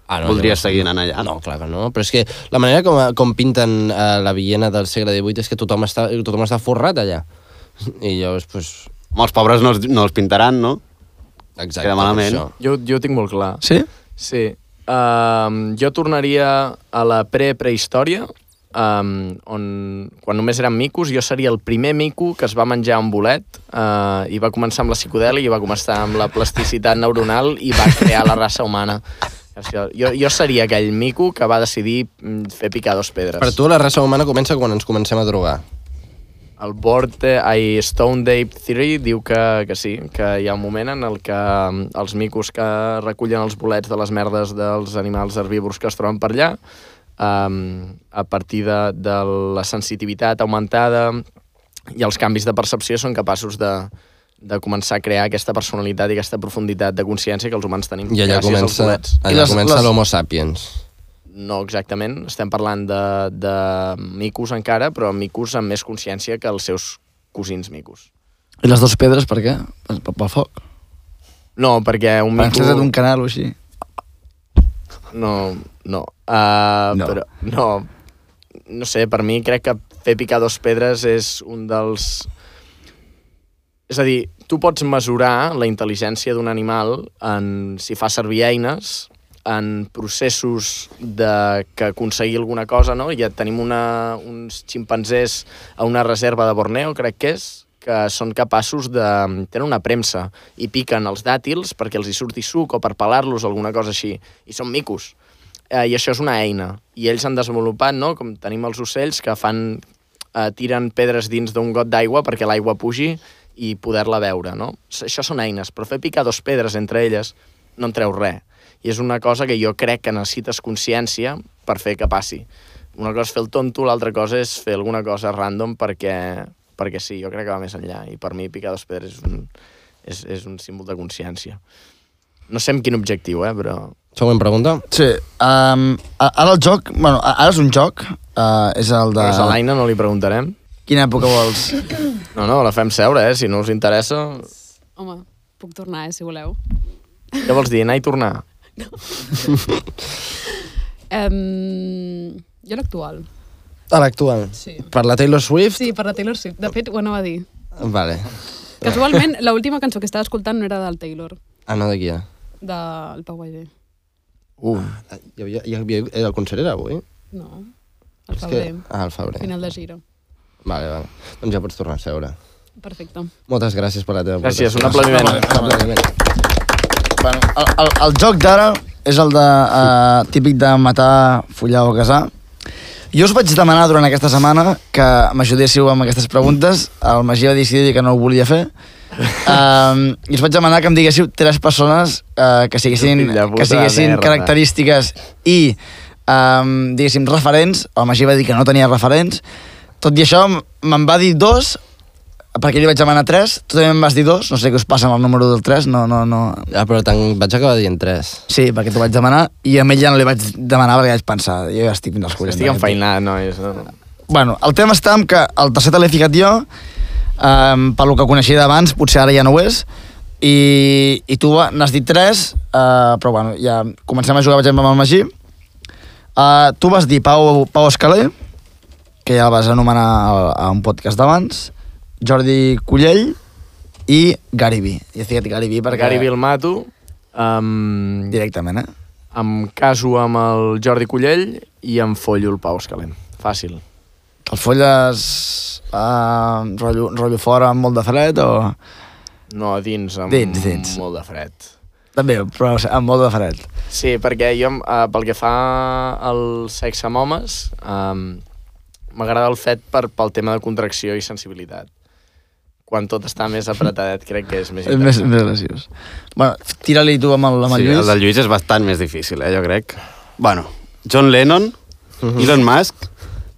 A: Ah,
D: voldries
A: llavors-
D: seguir anant allà.
A: No, clar que no, però és que la manera com, com pinten eh, la Viena del segle XVIII és que tothom està, tothom està forrat allà. I llavors, doncs...
D: Home, els pobres no els, no els pintaran, no?
A: Exacte,
D: Queda malament.
A: per això.
B: Jo, jo ho tinc molt clar.
C: Sí?
B: Sí. Um, jo tornaria a la pre-prehistòria, um, on quan només eren micos, jo seria el primer mico que es va menjar un bolet uh, i va començar amb la psicodèlia i va començar amb la plasticitat neuronal i va crear la raça humana. Això, jo, jo seria aquell mico que va decidir mm, fer picar dos pedres.
A: Per tu la raça humana comença quan ens comencem a drogar.
B: El board, eh, ai, Stone Date Theory diu que, que sí, que hi ha un moment en el que mm, els micos que recullen els bolets de les merdes dels animals herbívors que es troben per allà, um, a partir de, de la sensitivitat augmentada i els canvis de percepció són capaços de, de començar a crear aquesta personalitat i aquesta profunditat de consciència que els humans tenim
A: I allà
B: gràcies als
A: comença,
B: bolets.
A: allà
C: I les-
A: les, comença
C: les-
A: l'homo sapiens.
B: no exactament, estem parlant de, de micos encara, però micos amb més consciència que els seus cosins micos.
C: I les dues pedres, per què? Pel, pel foc.
B: No, perquè un mico...
C: Penses d'un canal o així.
B: No, no. Uh,
C: No.
B: no. Però, no. No sé, per mi crec que fer picar dos pedres és un dels... És a dir, tu pots mesurar la intel·ligència d'un animal en si fa servir eines, en processos de que aconseguir alguna cosa, no? Ja tenim una, uns ximpanzés a una reserva de Borneo, crec que és, que són capaços de... tenen una premsa i piquen els dàtils perquè els hi surti suc o per pelar-los o alguna cosa així. I són micos. Eh, I això és una eina. I ells han desenvolupat, no?, com tenim els ocells que fan... Eh, tiren pedres dins d'un got d'aigua perquè l'aigua pugi i poder-la veure, no? S- Això són eines, però fer picar dos pedres entre elles no en treu res. I és una cosa que jo crec que necessites consciència per fer que passi. Una cosa és fer el tonto, l'altra cosa és fer alguna cosa random perquè, perquè sí, jo crec que va més enllà. I per mi picar dos pedres és un, és, és un símbol de consciència. No sé amb quin objectiu, eh, però...
A: Següent pregunta.
C: Sí, um, ara el joc, bueno, a- ara és un joc, uh, és el de...
B: Però és a l'Aina no li preguntarem.
C: Quina època vols?
B: No, no, la fem seure, eh? Si no us interessa...
F: Home, puc tornar, eh, si voleu.
B: Què vols dir? Anar i tornar?
F: Um, jo l'actual.
A: A l'actual.
F: Sí.
A: Per la Taylor Swift?
F: Sí, per la Taylor Swift. De fet, ho anava a dir.
A: Vale.
F: Casualment, l'última cançó que estava escoltant no era del Taylor,
A: Ah, no, de qui era?
F: del Pau Vallvé.
B: Uh,
A: Ah, Hi havia, hi havia, el concert era avui?
F: No, el
A: És
F: Pau que...
A: Ah, el febrer.
F: final de gira.
A: Vale, vale. Doncs ja pots tornar a seure.
F: Perfecte.
A: Moltes gràcies per la teva
B: gràcies, un
A: aportació.
B: aplaudiment.
A: Un aplaudiment.
C: bueno, el, el, el joc d'ara és el de, uh, típic de matar, follar o casar. Jo us vaig demanar durant aquesta setmana que m'ajudéssiu amb aquestes preguntes. El Magí va decidir que no ho volia fer. Um, I us vaig demanar que em diguéssiu tres persones uh, que siguessin,
B: Fill de puta
C: que siguessin
B: merda.
C: característiques i, um, diguéssim, referents. El Magí va dir que no tenia referents. Tot i això, m- me'n va dir dos, perquè li vaig demanar tres. Tu també em vas dir dos. No sé què us passa amb el número del tres. No, no, no,
A: Ah, però te'n vaig acabar dient tres.
C: Sí, perquè t'ho vaig demanar i a ell ja no li vaig demanar perquè vaig pensar, jo ja estic fins als 40.
B: estic enfeinat, nois. No?
C: Bueno, el tema està en que el tercer te l'he ficat jo, um, pel que coneixia d'abans, potser ara ja no ho és, i, i tu va- n'has dit tres, uh, però bueno, ja comencem a jugar, per exemple, amb el Magí. Uh, tu vas dir Pau, Pau Escaler, que ja el vas anomenar al- a un podcast d'abans, Jordi Collell i Gary V. I he ficat Gary V
B: Per
C: perquè...
B: Gary Bill mato, um,
C: Directament, eh?
B: em caso amb el Jordi Collell i em follo el Pau Escalent. Fàcil.
C: El folles eh, rotllo, rotllo fora amb molt de fred o...
B: No, a dins, amb
C: Dins, dins.
B: molt de fred.
C: També, però amb molt de fred.
B: Sí, perquè jo, eh, pel que fa al sexe amb homes, eh, m'agrada el fet per, pel tema de contracció i sensibilitat. Quan tot està més apretadet, crec que és (laughs) més
C: És més,
B: interessant.
C: més graciós. Bueno, tira-li tu amb el, amb el
D: Sí,
C: Lluís.
D: el del Lluís és bastant més difícil, eh, jo crec. Bueno, John Lennon,
A: Mhm.
D: Elon Musk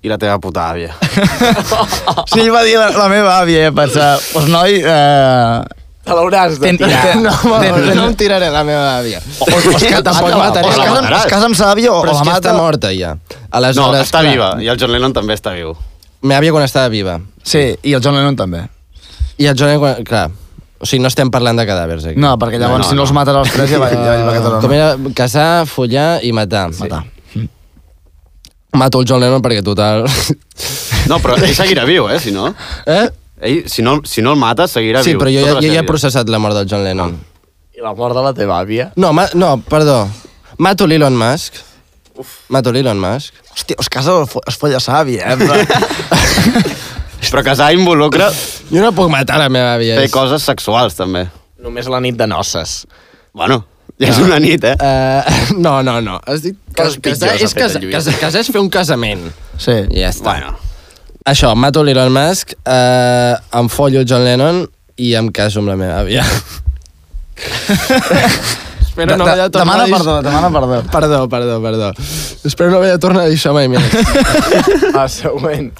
D: i la teva puta
A: (laughs)
D: àvia.
C: Sí, va dir la, la meva àvia, i vaig pensar, pues noi, eh,
B: Te l'hauràs de
C: Ten-
B: tirar. (laughs)
C: ten-
A: No,
C: (laughs) no, no Ah,
A: no em tiraré la meva àvia.
C: o, o, es, (laughs) ca, tampoc,
A: la
C: o,
A: mataré.
C: es,
A: La
C: casa,
D: mataràs.
C: es casa amb sa àvia o,
A: Però
C: o
A: és
C: la
A: que està
C: mata.
A: morta ja.
D: No,
A: Aleshores,
D: està
A: clar,
D: viva, i el John Lennon també està viu.
A: Meva àvia quan estava viva.
C: Sí, i el John Lennon també.
A: I el Johnny, quan- clar, o sigui, no estem parlant de cadàvers aquí.
C: No, perquè llavors
D: No, no,
C: si no,
D: no.
C: els mates els tres ja va, ja va, ja va quedar
A: Com era casar, follar i matar.
C: Matar.
A: Mato el John Lennon perquè total...
D: No, però ell seguirà viu, eh, si no.
A: eh?
D: Ell, si no, si no el mates, seguirà
A: Sí,
D: viu.
A: però jo,
D: tota
A: ja,
D: la
A: jo
D: seva
A: ja he
D: vida.
A: processat la mort del John Lennon.
B: I la mort de la teva àvia.
A: No, ma, no, perdó. Mato l'Elon Musk. Mato l'Elon Musk.
C: Hòstia, es casa o fo- es folla sa àvia, eh? Però...
D: Però casar involucra
A: Jo no puc matar la meva àvia.
D: fer
A: és-
D: coses sexuals, també.
B: Només la nit de noces.
D: Bueno,
A: Ah.
D: ja és una nit, eh?
A: Eh, (laughs) no, no, no. Has dit cas, casar,
B: Coses pitjors ha
A: és
B: fet el
A: casar,
B: Lluís.
A: casar, casar és fer un casament.
C: Sí.
A: I ja està.
D: Bueno,
A: Això, mato l'Elon Musk, eh, em follo el John Lennon i em caso amb la meva àvia. (laughs) Espero no
C: De-
A: haver de
C: de-
A: tornar
C: demana
A: a dir...
C: perdó, demana perdó.
A: Perdó, perdó, perdó. Espero no haver de tornar a dir això mai més.
B: Ah, (laughs) següent.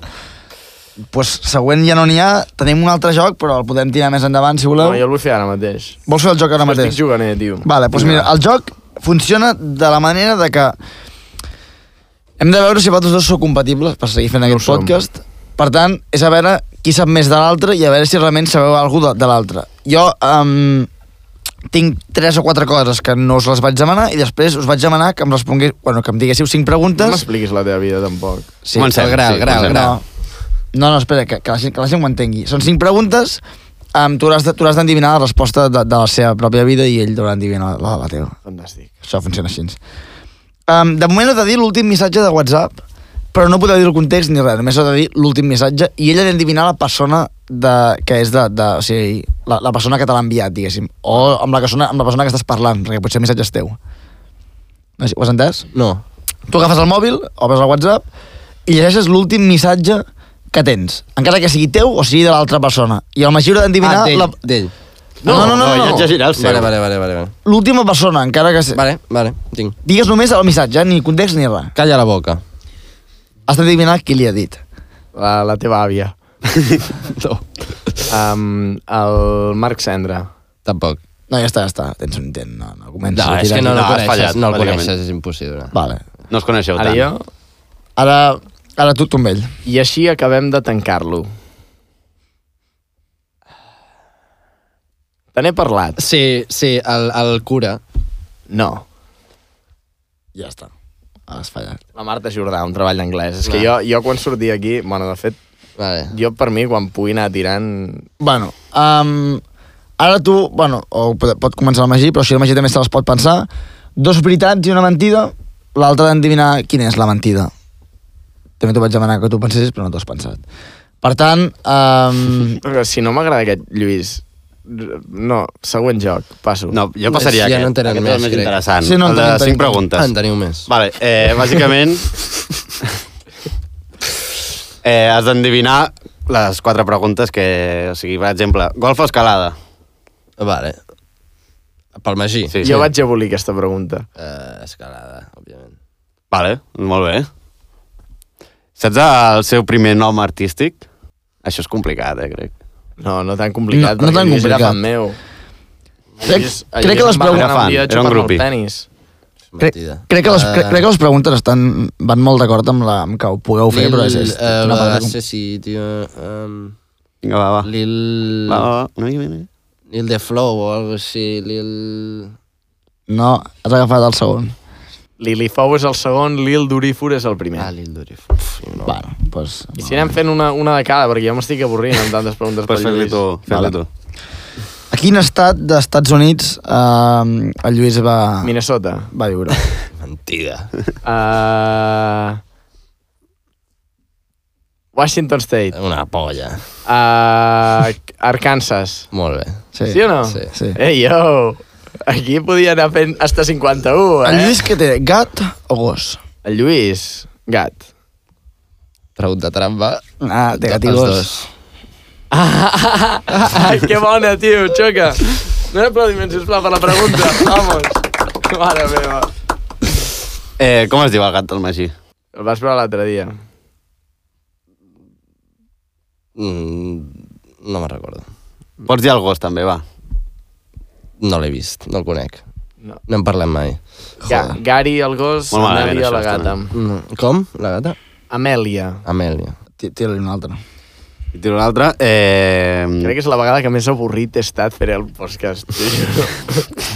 C: pues, següent ja no n'hi ha, tenim un altre joc, però el podem tirar més endavant, si voleu.
B: No, jo el vull fer ara mateix.
C: Vols fer el joc ara
B: Ara mateix. doncs
C: mateix?
B: Estic jugant, eh, tio.
C: Vale, doncs mira, el joc funciona de la manera de que Hem de veure si vosaltres dos sou compatibles per seguir fent aquest
B: som.
C: podcast. Per tant, és a veure qui sap més de l'altre i a veure si realment sabeu alguna de, de l'altre. Jo um, tinc tres o quatre coses que no us les vaig demanar i després us vaig demanar que em respongués, bueno, que em diguéssiu cinc
B: No
C: preguntes.
B: m'expliques la teva vida, tampoc.
C: Sí,
D: Comencem,
A: el gra, el gra, el
D: comencem.
A: gra.
C: no. no, no, espera, que, que, la gent, que la gent ho entengui. Són cinc preguntes, um, tu hauràs de- tu hauràs d'endevinar la resposta de, de la seva pròpia vida i ell haurà d'endevinar la, la, la teva.
B: Fantàstic.
C: Això funciona així. Um, de moment he de dir l'últim missatge de WhatsApp, però no podeu dir el context ni res, només he de dir l'últim missatge i ella ha d'endevinar la persona de, que és de, de o sigui, la, la persona que te l'ha enviat, diguéssim, o amb la, que sona, amb la persona que estàs parlant, perquè potser el missatge és teu. No sé, Ho has entès?
A: No.
C: Tu agafes el mòbil, obres el WhatsApp i llegeixes l'últim missatge que tens, encara que sigui teu o sigui de l'altra persona. I el Magí haurà d'endevinar...
A: Ah, d'ell,
C: la...
A: d'ell.
C: No, no, no, no,
D: ja et
C: no,
D: llegirà el seu.
A: Vale, vale, vale, vale. Vale,
C: L'última persona, encara que...
A: vale, vale ho tinc.
C: Digues només el missatge, eh? ni context ni res.
A: Calla la boca.
C: Has d'endevinar qui li ha dit.
B: La, la teva àvia.
A: No.
B: Um, el Marc Cendra.
A: Tampoc.
C: No, ja està, ja està. Tens un intent. No, no comença
A: No,
C: a
A: és
C: tirar
A: que no,
D: no,
A: no,
D: has
A: coneixes,
D: fallat,
A: no el
D: bàsicament.
A: coneixes, és impossible.
C: Vale.
D: No us coneixeu
B: Ara
D: tant.
B: jo.
C: Ara, ara tu, tu amb ell.
B: I així acabem de tancar-lo. Te n'he parlat?
A: Sí, sí, el, el cura.
B: No.
C: Ja està. Has fallat.
B: La Marta Jordà, un treball d'anglès. És que jo, jo quan sortia aquí... Bueno, de fet,
A: Vale.
B: jo per mi, quan pugui anar tirant...
C: Bueno, um, ara tu, bueno, o pot, pot començar el Magí, però si el Magí també se les pot pensar. Dos veritats i una mentida, l'altra d'endevinar quina és la mentida. També t'ho vaig demanar que tu pensessis, però no t'ho has pensat. Per tant, um,
B: Però eh, Si no m'agrada aquest Lluís... r- No, següent joc, passo.
D: No, jo passaria
A: Ja
D: aquest.
A: no en tenen
D: aquest
A: més,
D: és el més
A: crec.
D: interessant.
C: Sí, no en
D: el de
C: tenen,
D: cinc
C: tenen.
D: preguntes.
A: Ah, en teniu més.
D: Vale, eh, bàsicament... eh, has d'endevinar les quatre preguntes que... O sigui, per exemple, golf o escalada?
A: Vale. Pel Magí.
D: Sí.
B: jo vaig abolir aquesta pregunta.
A: Uh, escalada, òbviament.
D: Vale, molt bé. Saps el seu primer nom artístic? Això és complicat, eh, crec.
B: No, no tan complicat,
C: No, no
B: perquè
C: tan
B: Lluís era
C: complicat.
B: fan meu.
C: Crec- crec que les preguntes-
D: Era fan, era un grupi.
B: Tenis.
C: crec,
A: Mentida.
C: crec, que les,
A: Eh,
C: crec, crec que les preguntes estan, van molt d'acord amb, la, amb que ho pugueu fer,
A: Lil,
C: però és, és
A: eh,
C: una cosa
A: va,
C: com... Ah.
A: sí, sí, tio... Um,
D: Vinga, va, va.
A: Lil...
D: Va, va, va. Una mica, una mica.
A: Lil de Flow o algo així, Lil...
C: No, has agafat el segon.
B: Lili Fou és el segon, Lil Durifur és el primer.
A: Ah, Lil Durif. Uf, no.
C: Bueno, doncs...
B: I si anem fent una, una de cada, perquè jo m'estic avorrint amb tantes preguntes pel
D: Pots fer-li
B: Lluís.
D: tu. Fer-li
C: Vale.
D: tu.
C: A quin estat d'Estats Units eh, el Lluís va,
B: Minnesota.
C: va viure?
A: Mentida. (laughs)
B: Uh... Washington State.
A: Una polla.
B: Uh... Arkansas.
A: Molt bé.
C: Sí,
B: Sí o no?
A: Sí.
C: Sí.
B: Ei, yo! Aquí podia anar fent hasta 51, eh?
C: El Lluís què té, gat o gos?
B: El Lluís,
D: (laughs)
B: gat.
A: Pregunta trampa.
C: Ah, té gat i
A: Els
C: gos.
A: dos.
B: Ai, que bona, tio, xoca. No era aplaudiment, sisplau, per la pregunta. Vamos. Mare meva.
D: Eh, com es diu el gat del Magí?
B: El vas veure l'altre dia.
A: Mm, no me'n recordo.
D: Pots dir el gos, també, va.
A: No l'he vist, no el conec.
B: No.
A: No en parlem mai.
B: Ga Gari, el gos,
D: Molt malament,
B: Amèlia,
D: això,
B: la
D: està
B: gata.
A: Mm, com? La gata?
B: Amèlia.
A: Amèlia.
C: Ti- Tira-li un altre.
D: I tiro l'altre. Eh...
B: Crec que és la vegada que més avorrit he estat fer el podcast. tio.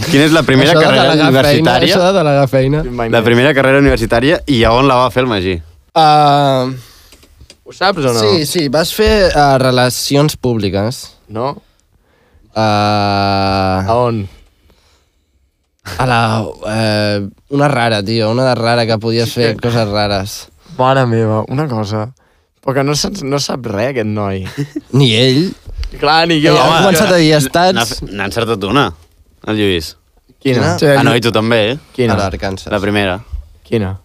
D: Quina és la primera
A: Això de
D: carrera
A: delegar
D: universitària?
A: Feina, això de delegar feina.
B: Mai
D: La
B: més.
D: primera carrera universitària i a on la va fer el Magí?
A: Uh,
B: Ho saps o no?
A: Sí, sí, vas fer uh, relacions públiques
B: No? A
A: uh,
B: on?
A: a la... Uh, una rara, tio, una de rara que podies fer coses rares.
B: Mare meva, una cosa. Però que no, saps, no sap res, aquest noi.
A: Ni ell.
B: Clar, ni
A: Jo,
B: jo.
A: ell ha començat a dir
D: Ah, N'ha
A: estats...
D: n'ha encertat una, el Lluís.
B: Quina?
C: Sí,
D: Ah, no, i tu també, eh?
A: A
B: Quina?
A: l'Arkansas.
D: La primera,
B: Quina?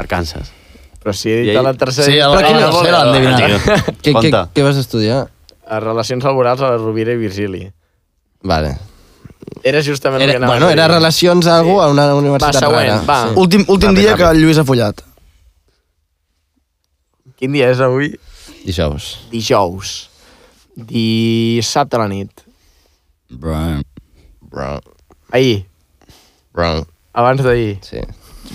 D: Arkansas.
B: Però si he dit
D: I ell-
B: a la tercera...
C: Sí, a
B: Ah,
C: la- a la
B: no,
C: tercera,
B: no,
C: endevina.
B: no, no.
A: Què, què,
D: Compte.
A: què vas estudiar?
B: (laughs) A Relacions laborals a la Rovira i Virgili.
A: Vale.
B: Era justament el
A: Era,
B: que anava
A: bueno,
B: a dir.
A: era relacions a algú a una universitat
B: següent,
A: rara.
B: va.
A: Sí.
C: Últim, últim
D: Ràpid,
C: dia
D: ràpid.
C: que el Lluís ha follat.
B: Quin dia és avui?
A: Dijous.
B: Dijous. Dissabte a la nit.
A: Wrong.
B: Ahir.
A: Wrong.
B: Abans d'ahir.
A: Sí.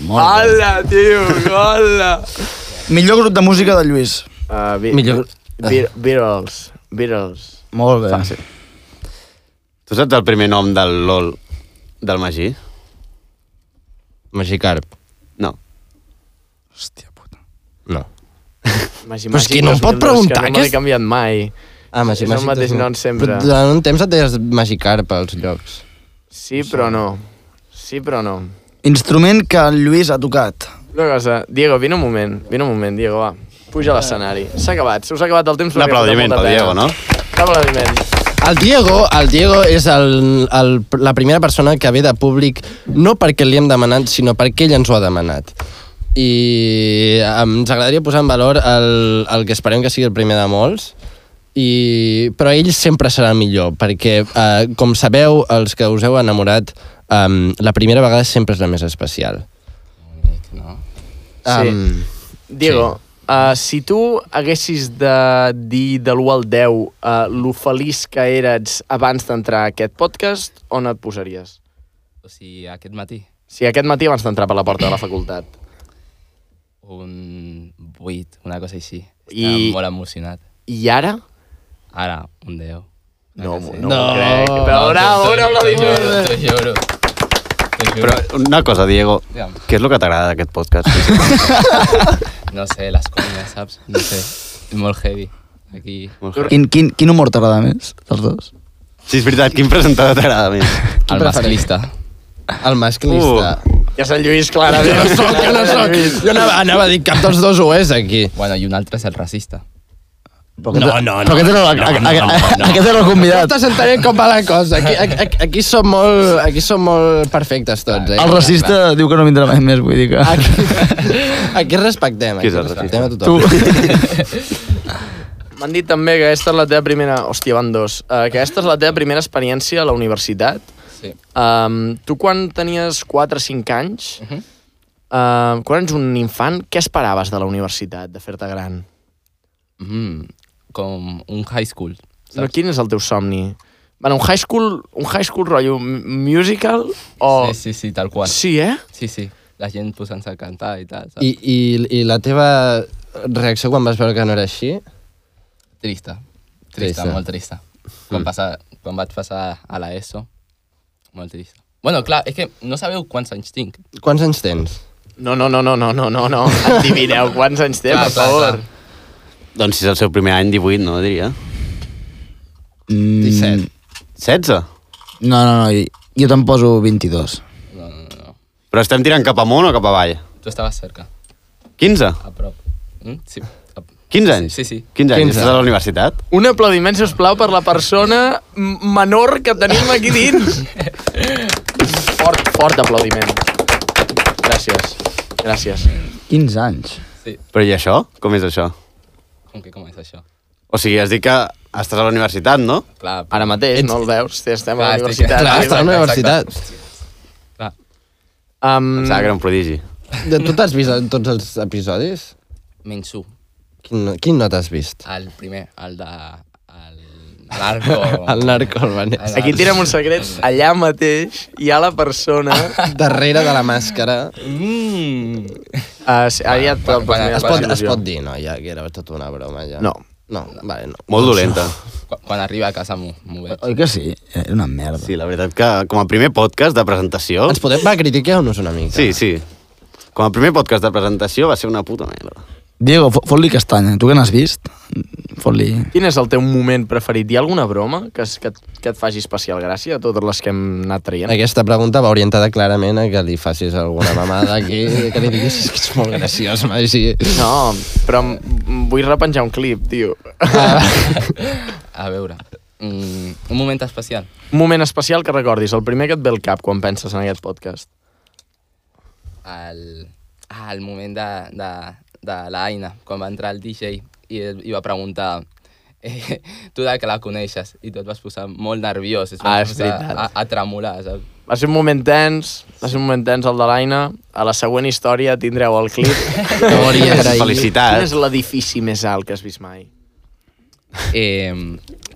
C: Molt
B: Hola, tio, (laughs) hola.
C: Millor grup de música de Lluís.
B: Uh, vi,
A: Millor-
B: Vi, Beatles. Beatles.
C: Molt bé.
D: Fàcil. Tu saps el primer nom del LOL del Magí?
A: Magicarp.
D: No.
C: Hòstia puta.
A: No.
B: Magi,
A: Però és
B: Magi
A: que no em pot
B: 2002,
A: preguntar,
B: Que no
A: que
B: m'he
A: és-
B: canviat mai.
A: Ah, Magic,
B: És el mateix nom sempre.
A: Però durant un temps et deies Magicarp als llocs.
B: Sí, però no. Sí, però no.
C: Instrument que el Lluís ha tocat.
B: Una cosa, Diego, vine un moment, vine un moment, Diego, va. Puja a l'escenari. S'ha acabat, se us ha acabat el temps.
D: Un aplaudiment pel Diego, no?
B: Un aplaudiment.
A: El Diego, el Diego és el, el, la primera persona que ve de públic no perquè li hem demanat, sinó perquè ell ens ho ha demanat. I em- ens agradaria posar en valor el, el que esperem que sigui el primer de molts, i, però ell sempre serà el millor, perquè, eh, com sabeu, els que us heu enamorat, um, la primera vegada sempre és la més especial.
B: Sí.
A: Em,
B: Diego, uh, si tu haguessis de dir de l'1 al 10 uh, lo feliç que eres abans d'entrar a aquest podcast, on et posaries?
G: O sigui, aquest matí,
B: Si aquest matí abans d'entrar per la porta de la facultat.
G: un 8, una cosa així. Estava
B: I-
G: molt emocionat.
B: I ara?
G: Ara, un 10.
B: No, no, no,
A: Ah, No.
B: ho crec. Però bravo, un aplaudiment.
G: T'ho juro, t'ho juro.
D: Però una cosa, Diego,
G: Digue'm.
D: què és el que t'agrada d'aquest podcast?
G: No sé, les cuines, saps? No sé, és molt heavy. Aquí...
C: Quin, quin, quin humor t'agrada més, dels dos?
D: sí, és veritat, quin presentador t'agrada més?
G: El masclista.
A: El masclista. Uh.
B: Ja és el Lluís, clarament.
A: No sóc, que no sóc. Jo anava, anava a dir cap dels dos ho és, aquí.
G: Bueno, i un altre és el racista.
C: No, no, no. Però aquest era, la, no, no, no, no. Aquest era el convidat.
A: Estàs entenent com va la cosa. Aquí, aquí, aquí, som, molt, aquí som molt perfectes tots, eh?
C: El racista diu que no vindrà mai més, vull dir que...
A: Aquí, (laughs) aquí respectem. Aquí
D: Qui és el
A: respectem a
C: Tu.
A: tothom.
B: M'han dit també que aquesta és la teva primera... Hòstia, van dos. Uh, que aquesta és la teva primera experiència a la universitat.
G: Sí.
B: Um, tu quan tenies 4 o 5 anys, uh -huh.
A: Mhm.
B: uh, quan ets un infant, què esperaves de la universitat, de fer-te gran?
G: Mm, com un high school.
B: No, quin és el teu somni? Bueno, un high school, un high school rotllo m- musical o...
G: Sí, sí, sí, tal qual.
B: sí eh?
G: Sí, sí. La gent posant-se a cantar i tal, saps?
A: I, i, I la teva reacció quan vas veure que no era així?
G: Trista. Trista,
A: Trista.
G: molt trista. Quan,
B: Mm.
G: passa, quan vaig passar a l'ESO, molt trista. Bueno, clar, és que no sabeu quants anys tinc.
A: Quants anys tens?
B: No, no, no, no, no, no, no, no. Endivineu quants anys (laughs) té, per favor.
D: doncs si és el seu primer any, 18, no, diria.
C: Mm,
A: 17.
D: 16?
C: No, no, no, jo- jo te'n poso 22.
G: No, no, no, no.
D: Però estem tirant cap amunt o cap avall?
G: Tu estaves cerca,
D: 15?
G: a prop. Mm? Sí, a...
D: 15 anys?
G: Sí, sí.
D: 15 anys,
A: 15.
D: estàs a la universitat?
B: Un aplaudiment, si us plau, per la persona m- menor que tenim aquí dins. (laughs) Fort, fort aplaudiment. Gràcies. Gràcies.
C: 15 anys.
G: Sí.
D: Però i això? Com és això?
G: Com que com és això?
D: O sigui, has dit que estàs a la universitat, no?
G: Clar, però...
B: Ara mateix, no el veus? Sí, estem a la
G: Clar, estic-
B: universitat.
A: Clar,
G: Ah, exacte,
A: està a la
G: exacte.
A: universitat.
G: clar.
B: Um,
D: Pensava que era un prodigi.
A: De, tu t'has vist en tots els episodis?
G: Menys un,
A: Quin, no- quin no t'has vist?
G: el primer, el de... El narco...
A: El narco albanès.
B: aquí tirem un secret. Allà mateix hi ha la (laughs) persona...
A: Darrere de la màscara.
G: Mm.
B: Uh, sí, aviat te'l
G: Bueno, bueno,
B: posaré.
A: Es
G: Quasi
A: pot, es
B: Il·lusió.
A: pot dir, no? Ja, que era tot una broma, ja.
B: No.
A: No, vale, no.
D: Molt dolenta.
G: Quan, quan arriba a casa m'ho m'ho veig.
C: Oi que sí? Era una merda.
D: Sí, la veritat que com a primer podcast de presentació...
A: Ens podem... Va, critiqueu-nos una mica.
D: Sí, sí. Com a primer podcast de presentació va ser una puta merda.
C: Diego, fo- fot-li castanya. Tu que n'has vist? Fot-li...
B: Quin és el teu moment preferit? Hi ha alguna broma que, es- que, et- que et faci especial gràcia a totes les que hem anat traient?
A: Aquesta pregunta va orientada clarament a que li facis alguna mamada aquí, que li diguis "És que és molt graciós, Magí.
B: No, però em- em vull repenjar un clip, tio. (laughs)
G: A veure, mm, un moment especial.
B: Un moment especial que recordis, el primer que et ve al cap quan penses en aquest podcast.
G: El, ah, el moment de, de, de l'Aina, quan va entrar el DJ i, i va preguntar (laughs) eh, tu de que la coneixes i tu et vas posar molt nerviós, et
B: Ah,
G: vas
B: és
G: posar
B: veritat.
G: a, a tremolar. Saps?
B: Va ser un moment tens, va ser un moment tens el de l'Aina. A la següent història tindreu el (laughs) clip.
A: No ho hauria agraït.
B: Quin
D: Felicitats.
B: és l'edifici més alt que has vist mai?
G: Eh,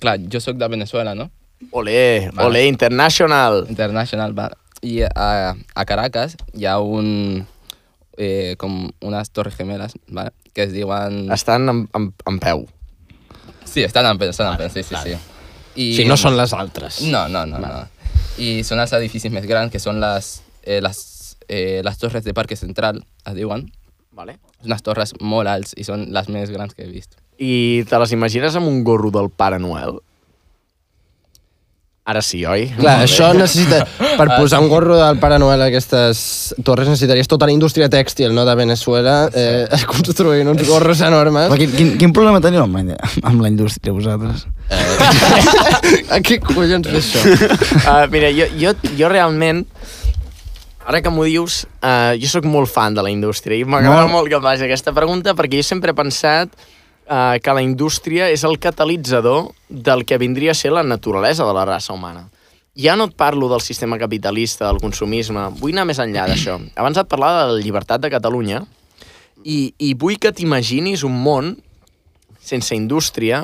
G: clar, jo sóc de Venezuela, no?
B: Olé,
G: Vale.
B: olé, international.
G: International, va. I a, a Caracas hi ha un, eh, com unes torres gemeles, vale? que es diuen...
B: Estan en, en, en peu.
G: Sí, estan en pes, estan en pes, sí, sí, sí. I...
A: I... Si no són les altres.
G: No, no, no, no. I són els edificis més grans, que són les, eh, les, eh, les torres de Parque Central, es diuen.
B: Vale.
G: Són unes torres molt alts i són les més grans que he vist.
B: I te les imagines amb un gorro del Pare Noel? Ara sí, oi? (laughs)
A: Clar, això necessita... Per posar un gorro del Pare Noel a aquestes torres necessitaries tota la indústria tèxtil, no?, de Venezuela, eh, (laughs) construint uns gorros enormes.
C: Però quin, quin, quin problema teniu amb la, amb la indústria, vosaltres?
A: A què collons ve això?
B: Uh, mira, jo, jo, jo realment, ara que m'ho dius, uh, jo sóc molt fan de la indústria i m'agrada
C: Molt.
B: molt que em facis aquesta pregunta perquè jo sempre he pensat uh, que la indústria és el catalitzador del que vindria a ser la naturalesa de la raça humana. Ja no et parlo del sistema capitalista, del consumisme, vull anar més enllà d'això. Abans et parlava de la llibertat de Catalunya i, i vull que t'imaginis un món sense indústria,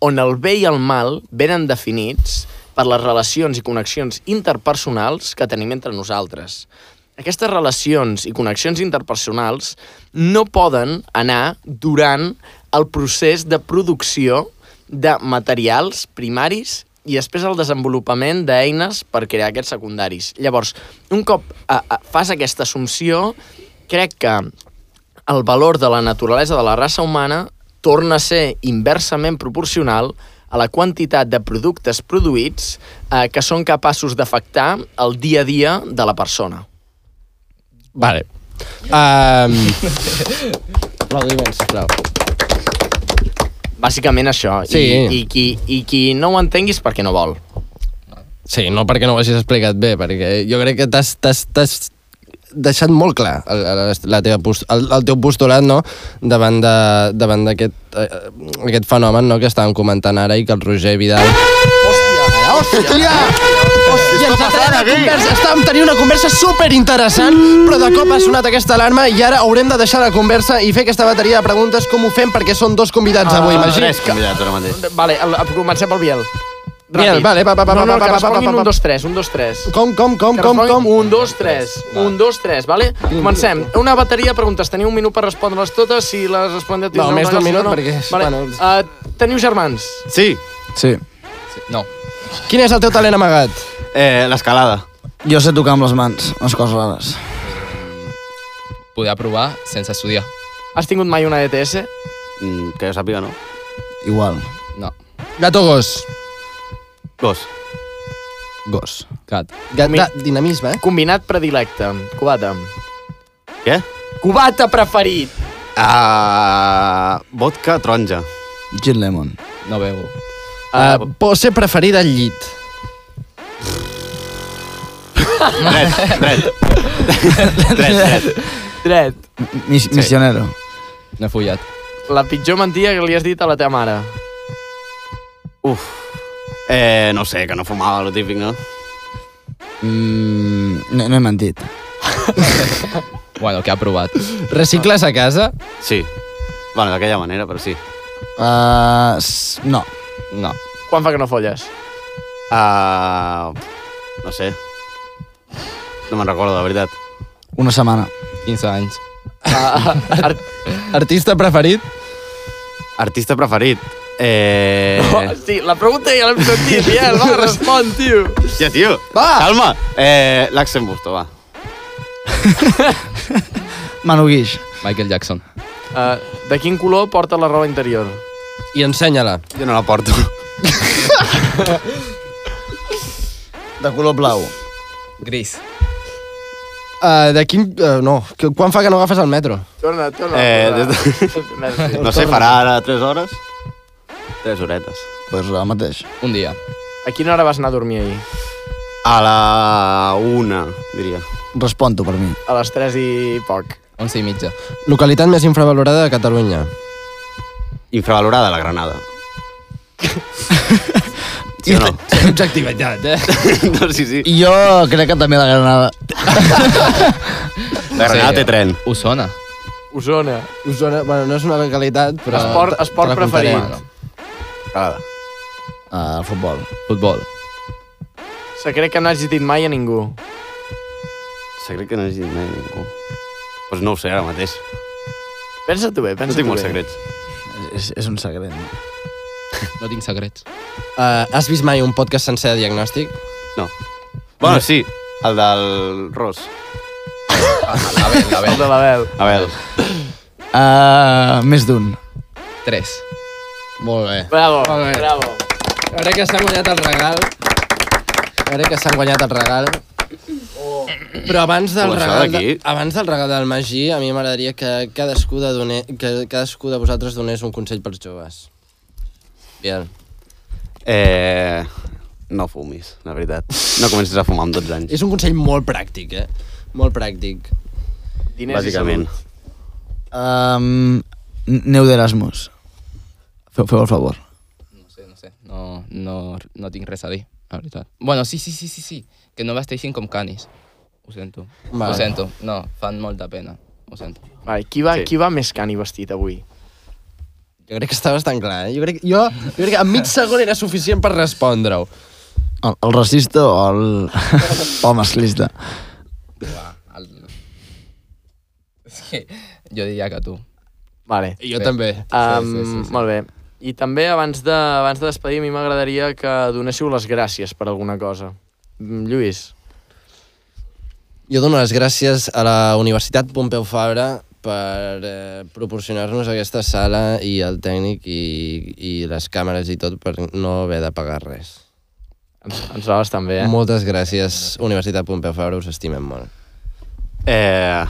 B: on el bé i el mal venen definits per les relacions i connexions interpersonals que tenim entre nosaltres. Aquestes relacions i connexions interpersonals no poden anar durant el procés de producció de materials primaris i després el desenvolupament d'eines per crear aquests secundaris. Llavors, un cop a, a, fas aquesta assumpció, crec que el valor de la naturalesa de la raça humana torna a ser inversament proporcional a la quantitat de productes produïts eh, que són capaços d'afectar el dia a dia de la persona.
A: Vale. Um... (laughs) Aplaudiments, sisplau.
B: Bàsicament això.
A: Sí.
B: I, i, qui, I qui no ho entengui és perquè no vol.
A: Sí, no perquè no ho hagis explicat bé, perquè jo crec que t'has- t'has t'has deixat molt clar el, el, la teva post, el, el teu postulat no? davant de- davant d'aquest eh, eh, aquest fenomen no? que estàvem comentant ara i que el Roger Vidal... Hòstia! Hòstia! Hòstia, ens ha tallat la conversa. Estàvem tenint una conversa superinteressant, però de cop ha sonat aquesta alarma i ara haurem de deixar la conversa i fer aquesta bateria de preguntes com ho fem perquè són dos convidats avui, Magí.
D: Tres convidats Ah, ara mateix.
B: Vale, el, el- comencem pel Biel.
A: Biel, vale, va, va, va,
B: no, no,
A: va, va,
B: que
A: va, va,
B: responguin
A: va, va.
B: un, dos, tres, un, dos, tres.
A: Com, com, com,
B: Que
A: com,
B: responguin
A: com?
B: Un, dos, tres. Un, dos, tres, vale? Comencem. Una bateria de preguntes. Teniu un minut per respondre-les totes. Si les respondeu... tindreu
A: més d'un
B: una, si
A: minut, perquè,
B: Vale.
A: bueno,
B: Uh, teniu germans?
D: Sí,
C: Sí.
G: Sí. No,
A: Quin és el teu talent amagat?
D: eh, l'escalada.
C: Jo sé tocar amb les mans, les coses rares.
G: poder aprovar sense estudiar.
B: Has tingut mai una E ETS?
D: Mm, que jo sàpiga, no.
C: Igual.
G: No.
A: Gato gos.
D: Gos.
C: Gos.
G: Cat.
A: Gat,
B: Mi-
A: da, dinamisme, eh?
B: Combinat predilecte. Cubata.
D: Què?
B: Cubata preferit.
D: Uh, vodka taronja.
C: Gin Lemon.
G: No bebo.
A: Uh, pose preferida al llit.
D: Dret,
A: (laughs)
D: dret. dret, dret.
B: Dret.
C: Mis Misionero.
G: No he follat.
B: La pitjor mentida que li has dit a la teva mare.
D: Uf. Eh, no sé, que no fumava, lo típic, no?
C: Mm, no, no he mentit.
G: Bueno, que ha aprovat.
A: Recicles a casa?
D: Sí. Bueno, d'aquella manera, però sí.
C: Uh, s- no.
G: No.
B: Quan fa que no folles?
A: (laughs)
D: Uh, no sé. No me'n recordo, de veritat.
C: Una setmana.
G: 15 anys.
B: Ah, Ar
A: Artista preferit?
D: Artista preferit. Eh...
B: Oh, sí, la pregunta ja l'hem
A: (laughs)
B: sentit, Biel, va, respon, tio.
D: Ja, tio.
A: Va!
D: Calma. Eh, L'Axel Busto, va.
C: Manu Guix.
G: Michael Jackson.
B: Uh, de quin color porta la roba interior?
A: I ensenya-la.
D: Jo no la porto.
C: De color blau.
G: Gris.
A: Uh, de quin... Uh, no, que- quan fa que no agafes el metro?
B: Torna, torna.
D: Eh,
B: torna.
D: des
B: (laughs) Merci.
D: No sé, farà ara 3 hores? 3 horetes.
C: Pues el mateix.
G: Un dia.
B: A quina hora vas anar a dormir ahir?
D: A la una, diria.
C: Respon-t'ho per mi.
B: A les 3 i poc.
G: 11 i mitja.
A: Localitat més infravalorada de Catalunya.
D: Infravalorada, la Granada. (laughs) Sí o no?
A: Objectivitat, eh?
D: no sí, sí.
C: I jo crec que també la Granada.
D: La Granada té tren.
G: Osona.
B: Osona.
A: Osona, bueno, no és una localitat, però...
B: Esport-
A: te-
B: esport
A: te la contaré.
B: preferit.
A: Bueno.
D: Granada.
C: Ah, el futbol.
G: Futbol.
B: Se crec que no has dit mai a ningú.
D: Se crec que no és dit mai ningú. Pues no ho sé ara mateix.
B: Pensa-t'ho bé, pensa-t'ho bé.
D: No tinc molts secrets.
C: És, és un secret. No?
G: No tinc secrets.
A: Uh, has vist mai un podcast sencer de diagnòstic?
D: No. Bueno, sí, el del Ros.
G: Abel,
B: El de
G: Abel.
B: l'Abel.
D: Abel.
C: Uh, més d'un.
G: Tres.
A: Molt bé.
B: Bravo,
A: Molt bé.
B: bravo.
A: Ara que s'han guanyat el regal... Ara que s'han guanyat el regal... Però abans del,
D: Oh, això
A: regal de,
D: d'aquí.
A: abans del regal del Magí, a mi m'agradaria que, cadascú de doner, que cadascú de vosaltres donés un consell pels joves. Biel.
D: Eh, no fumis, la veritat. No comencis a fumar amb 12 anys.
A: És un consell molt pràctic, eh? Molt pràctic.
B: Diners
D: Bàsicament.
B: i salut.
C: Um, neu d'Erasmus. Feu, feu el favor.
G: No sé, no sé. No, no, no tinc res a dir, la veritat. Bueno, sí, sí, sí, sí, sí. Que no vesteixin com canis. Ho sento.
A: Vale.
G: Ho sento. No, fan molta pena. Ho sento.
B: Vale, qui, va,
D: Sí.
B: qui va més cani vestit avui?
A: Jo crec que està bastant clar, eh? Jo crec, jo, jo crec que en mig segon era suficient per respondre-ho.
C: El, el racista o el, (laughs) o el masclista?
G: El... És que jo diria que tu.
B: Vale.
A: I jo
G: Sí.
A: també.
B: Um,
G: sí, sí, sí.
B: Molt bé. I també, abans de, abans de despedir, a mi m'agradaria que donéssiu les gràcies per alguna cosa. Mm, Lluís,
A: Jo dono les gràcies a la Universitat Pompeu Fabra per eh, proporcionar-nos aquesta sala i el tècnic i, i les càmeres i tot per no haver de pagar res.
B: ens, ens la vas tan
A: Eh?
B: bé, eh?
A: Moltes gràcies, Universitat Pompeu Fabra, us estimem molt.
D: Eh...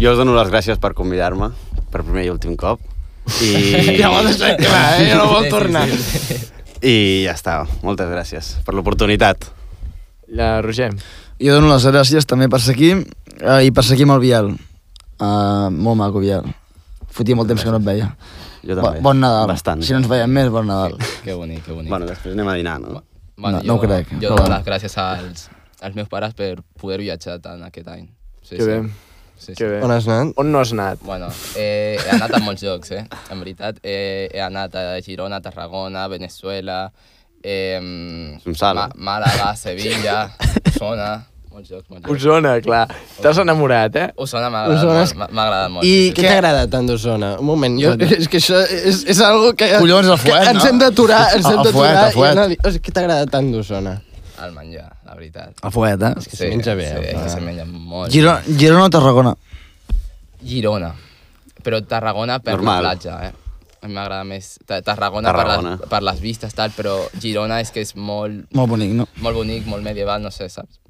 D: Jo us dono les gràcies per convidar-me, per primer i últim cop. I... (laughs) ja ho deixat clar, eh? Ja no vol tornar. I ja està, moltes gràcies per l'oportunitat.
B: La Roger,
C: Jo dono les gràcies també per ser aquí eh, i per ser aquí amb el Biel. Uh, molt maco, Biel. Fotia molt temps que no et veia.
D: Jo també.
C: Bo- Bon Nadal.
D: Bastant.
C: Si no ens veiem més, bon Nadal.
G: Que bonic, que bonic.
D: Bueno, després anem a dinar, no?
C: No- no ho crec,
G: Jo
C: però
G: dono
C: bueno.
G: les gràcies als, als meus pares per poder viatjar tant aquest any. Sí,
B: que
G: sí.
B: bé,
G: Sí, sí.
B: que bé.
A: On has anat?
B: On no has anat?
G: Bueno, eh, he anat a molts llocs, eh? En veritat, eh, he anat a Girona, Tarragona, Venezuela, eh,
D: Sonsala.
A: (laughs)
G: Màlaga, Sevilla, Osona, molts llocs, molts llocs.
B: Osona, clar. T'has enamorat, eh?
G: Osona m'ha agradat
A: Osona
G: molt,
A: és-
G: m'ha- m'ha agradat molt.
A: I
G: sí, sí.
A: què t'agrada tant d'Osona? Un moment, jo, (laughs) és que això és, és algo que...
C: Collons, el fuet,
A: que ens
C: no?
A: hem d'aturar, ens
C: El
A: hem
C: fuet,
A: d'aturar.
C: el
A: Ah,
C: fuet.
A: i anar a dir, "Ostres, Què t'agrada tant d'Osona?
G: El menjar, la veritat.
C: El fuet, eh?
A: que se menja bé,
G: Sí,
A: eh?
G: és que se menja molt.
C: Girona, Girona o Tarragona?
G: Girona. Però Tarragona per
D: Normal.
G: la platja, eh? A mi m'agrada més Ta- Tarragona, Tarragona. Per,
D: Tarragona.
G: les, per les vistes, tal, però Girona és que és molt,
C: Molt bonic, no?
G: molt bonic, molt medieval, no sé, saps?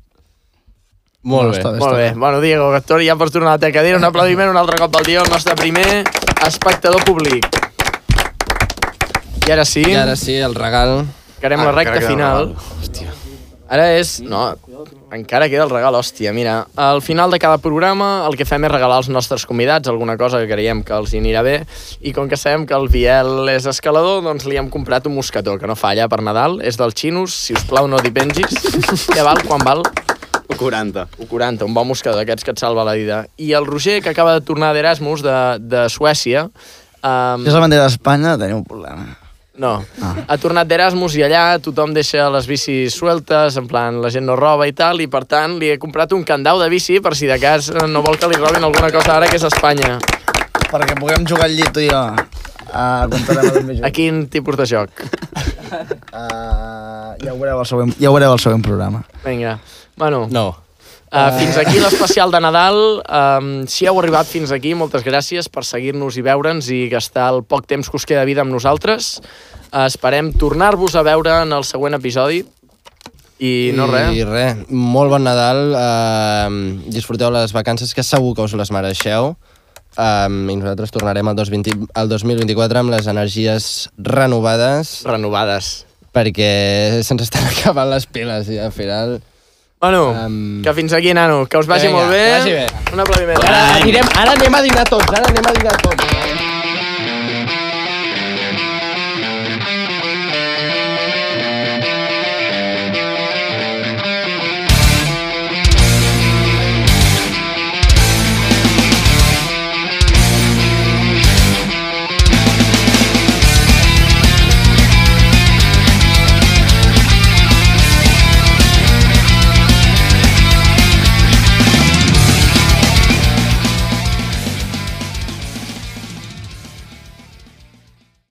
A: Molt bé.
C: està
B: Molt bé. Bueno, Diego, que et torni ja pots tornar a la teva cadira. Un aplaudiment un altre cop al dia, el nostre primer espectador públic. I ara sí,
A: I ara sí, el regal...
B: que anem a la recta
D: Ah, Encara queda
B: final.
D: Nadal. Hòstia.
B: Ara és... No, encara queda el regal, hòstia, mira. Al final de cada programa el que fem és regalar als nostres convidats alguna cosa que creiem que els hi anirà bé i com que sabem que el Biel és escalador, doncs li hem comprat un mosquetó, que no falla per Nadal, és del Xinus, si us plau no t'hi pengis. Ja val, quan val?
D: 40.
B: 1,40, un bon mosquetó d'aquests que et salva la vida. I el Roger, que acaba de tornar d'Erasmus de, de Suècia, um,
C: Si és la bandera d'Espanya, teniu un problema.
B: no. Ah. Ha tornat d'Erasmus i allà tothom deixa les bicis sueltes, en plan, la gent no roba i tal, i per tant li he comprat un candau de bici per si de cas eh, no vol que li robin alguna cosa ara que és a Espanya.
C: Perquè puguem jugar al llit, tu i jo. Uh, comptarem el
B: A quin tipus de joc?
C: Uh, ja, ho veureu al següent, ja ho veureu al següent programa.
B: Vinga. Bueno, no.
A: No.
B: uh, fins aquí l'especial de Nadal. Um, si heu arribat fins aquí, moltes gràcies per seguir-nos i veure'ns i gastar el poc temps que us queda de vida amb nosaltres. Uh, esperem tornar-vos a veure en el següent episodi. I no res.
A: I res, molt bon Nadal, eh, disfruteu les vacances, que segur que us les mereixeu, eh, i nosaltres tornarem al, 2020, al 2024 amb les energies renovades,
B: Renovades.
A: perquè se'ns estan (laughs) acabant les piles, i al final...
B: Bueno,
A: Em-
B: um... que fins aquí, nano. Que us vagi
A: Vinga,
B: molt bé.
A: que vagi bé.
B: Un aplaudiment.
A: Ara, anirem, ara anem a dinar tots, ara anem a dinar tots.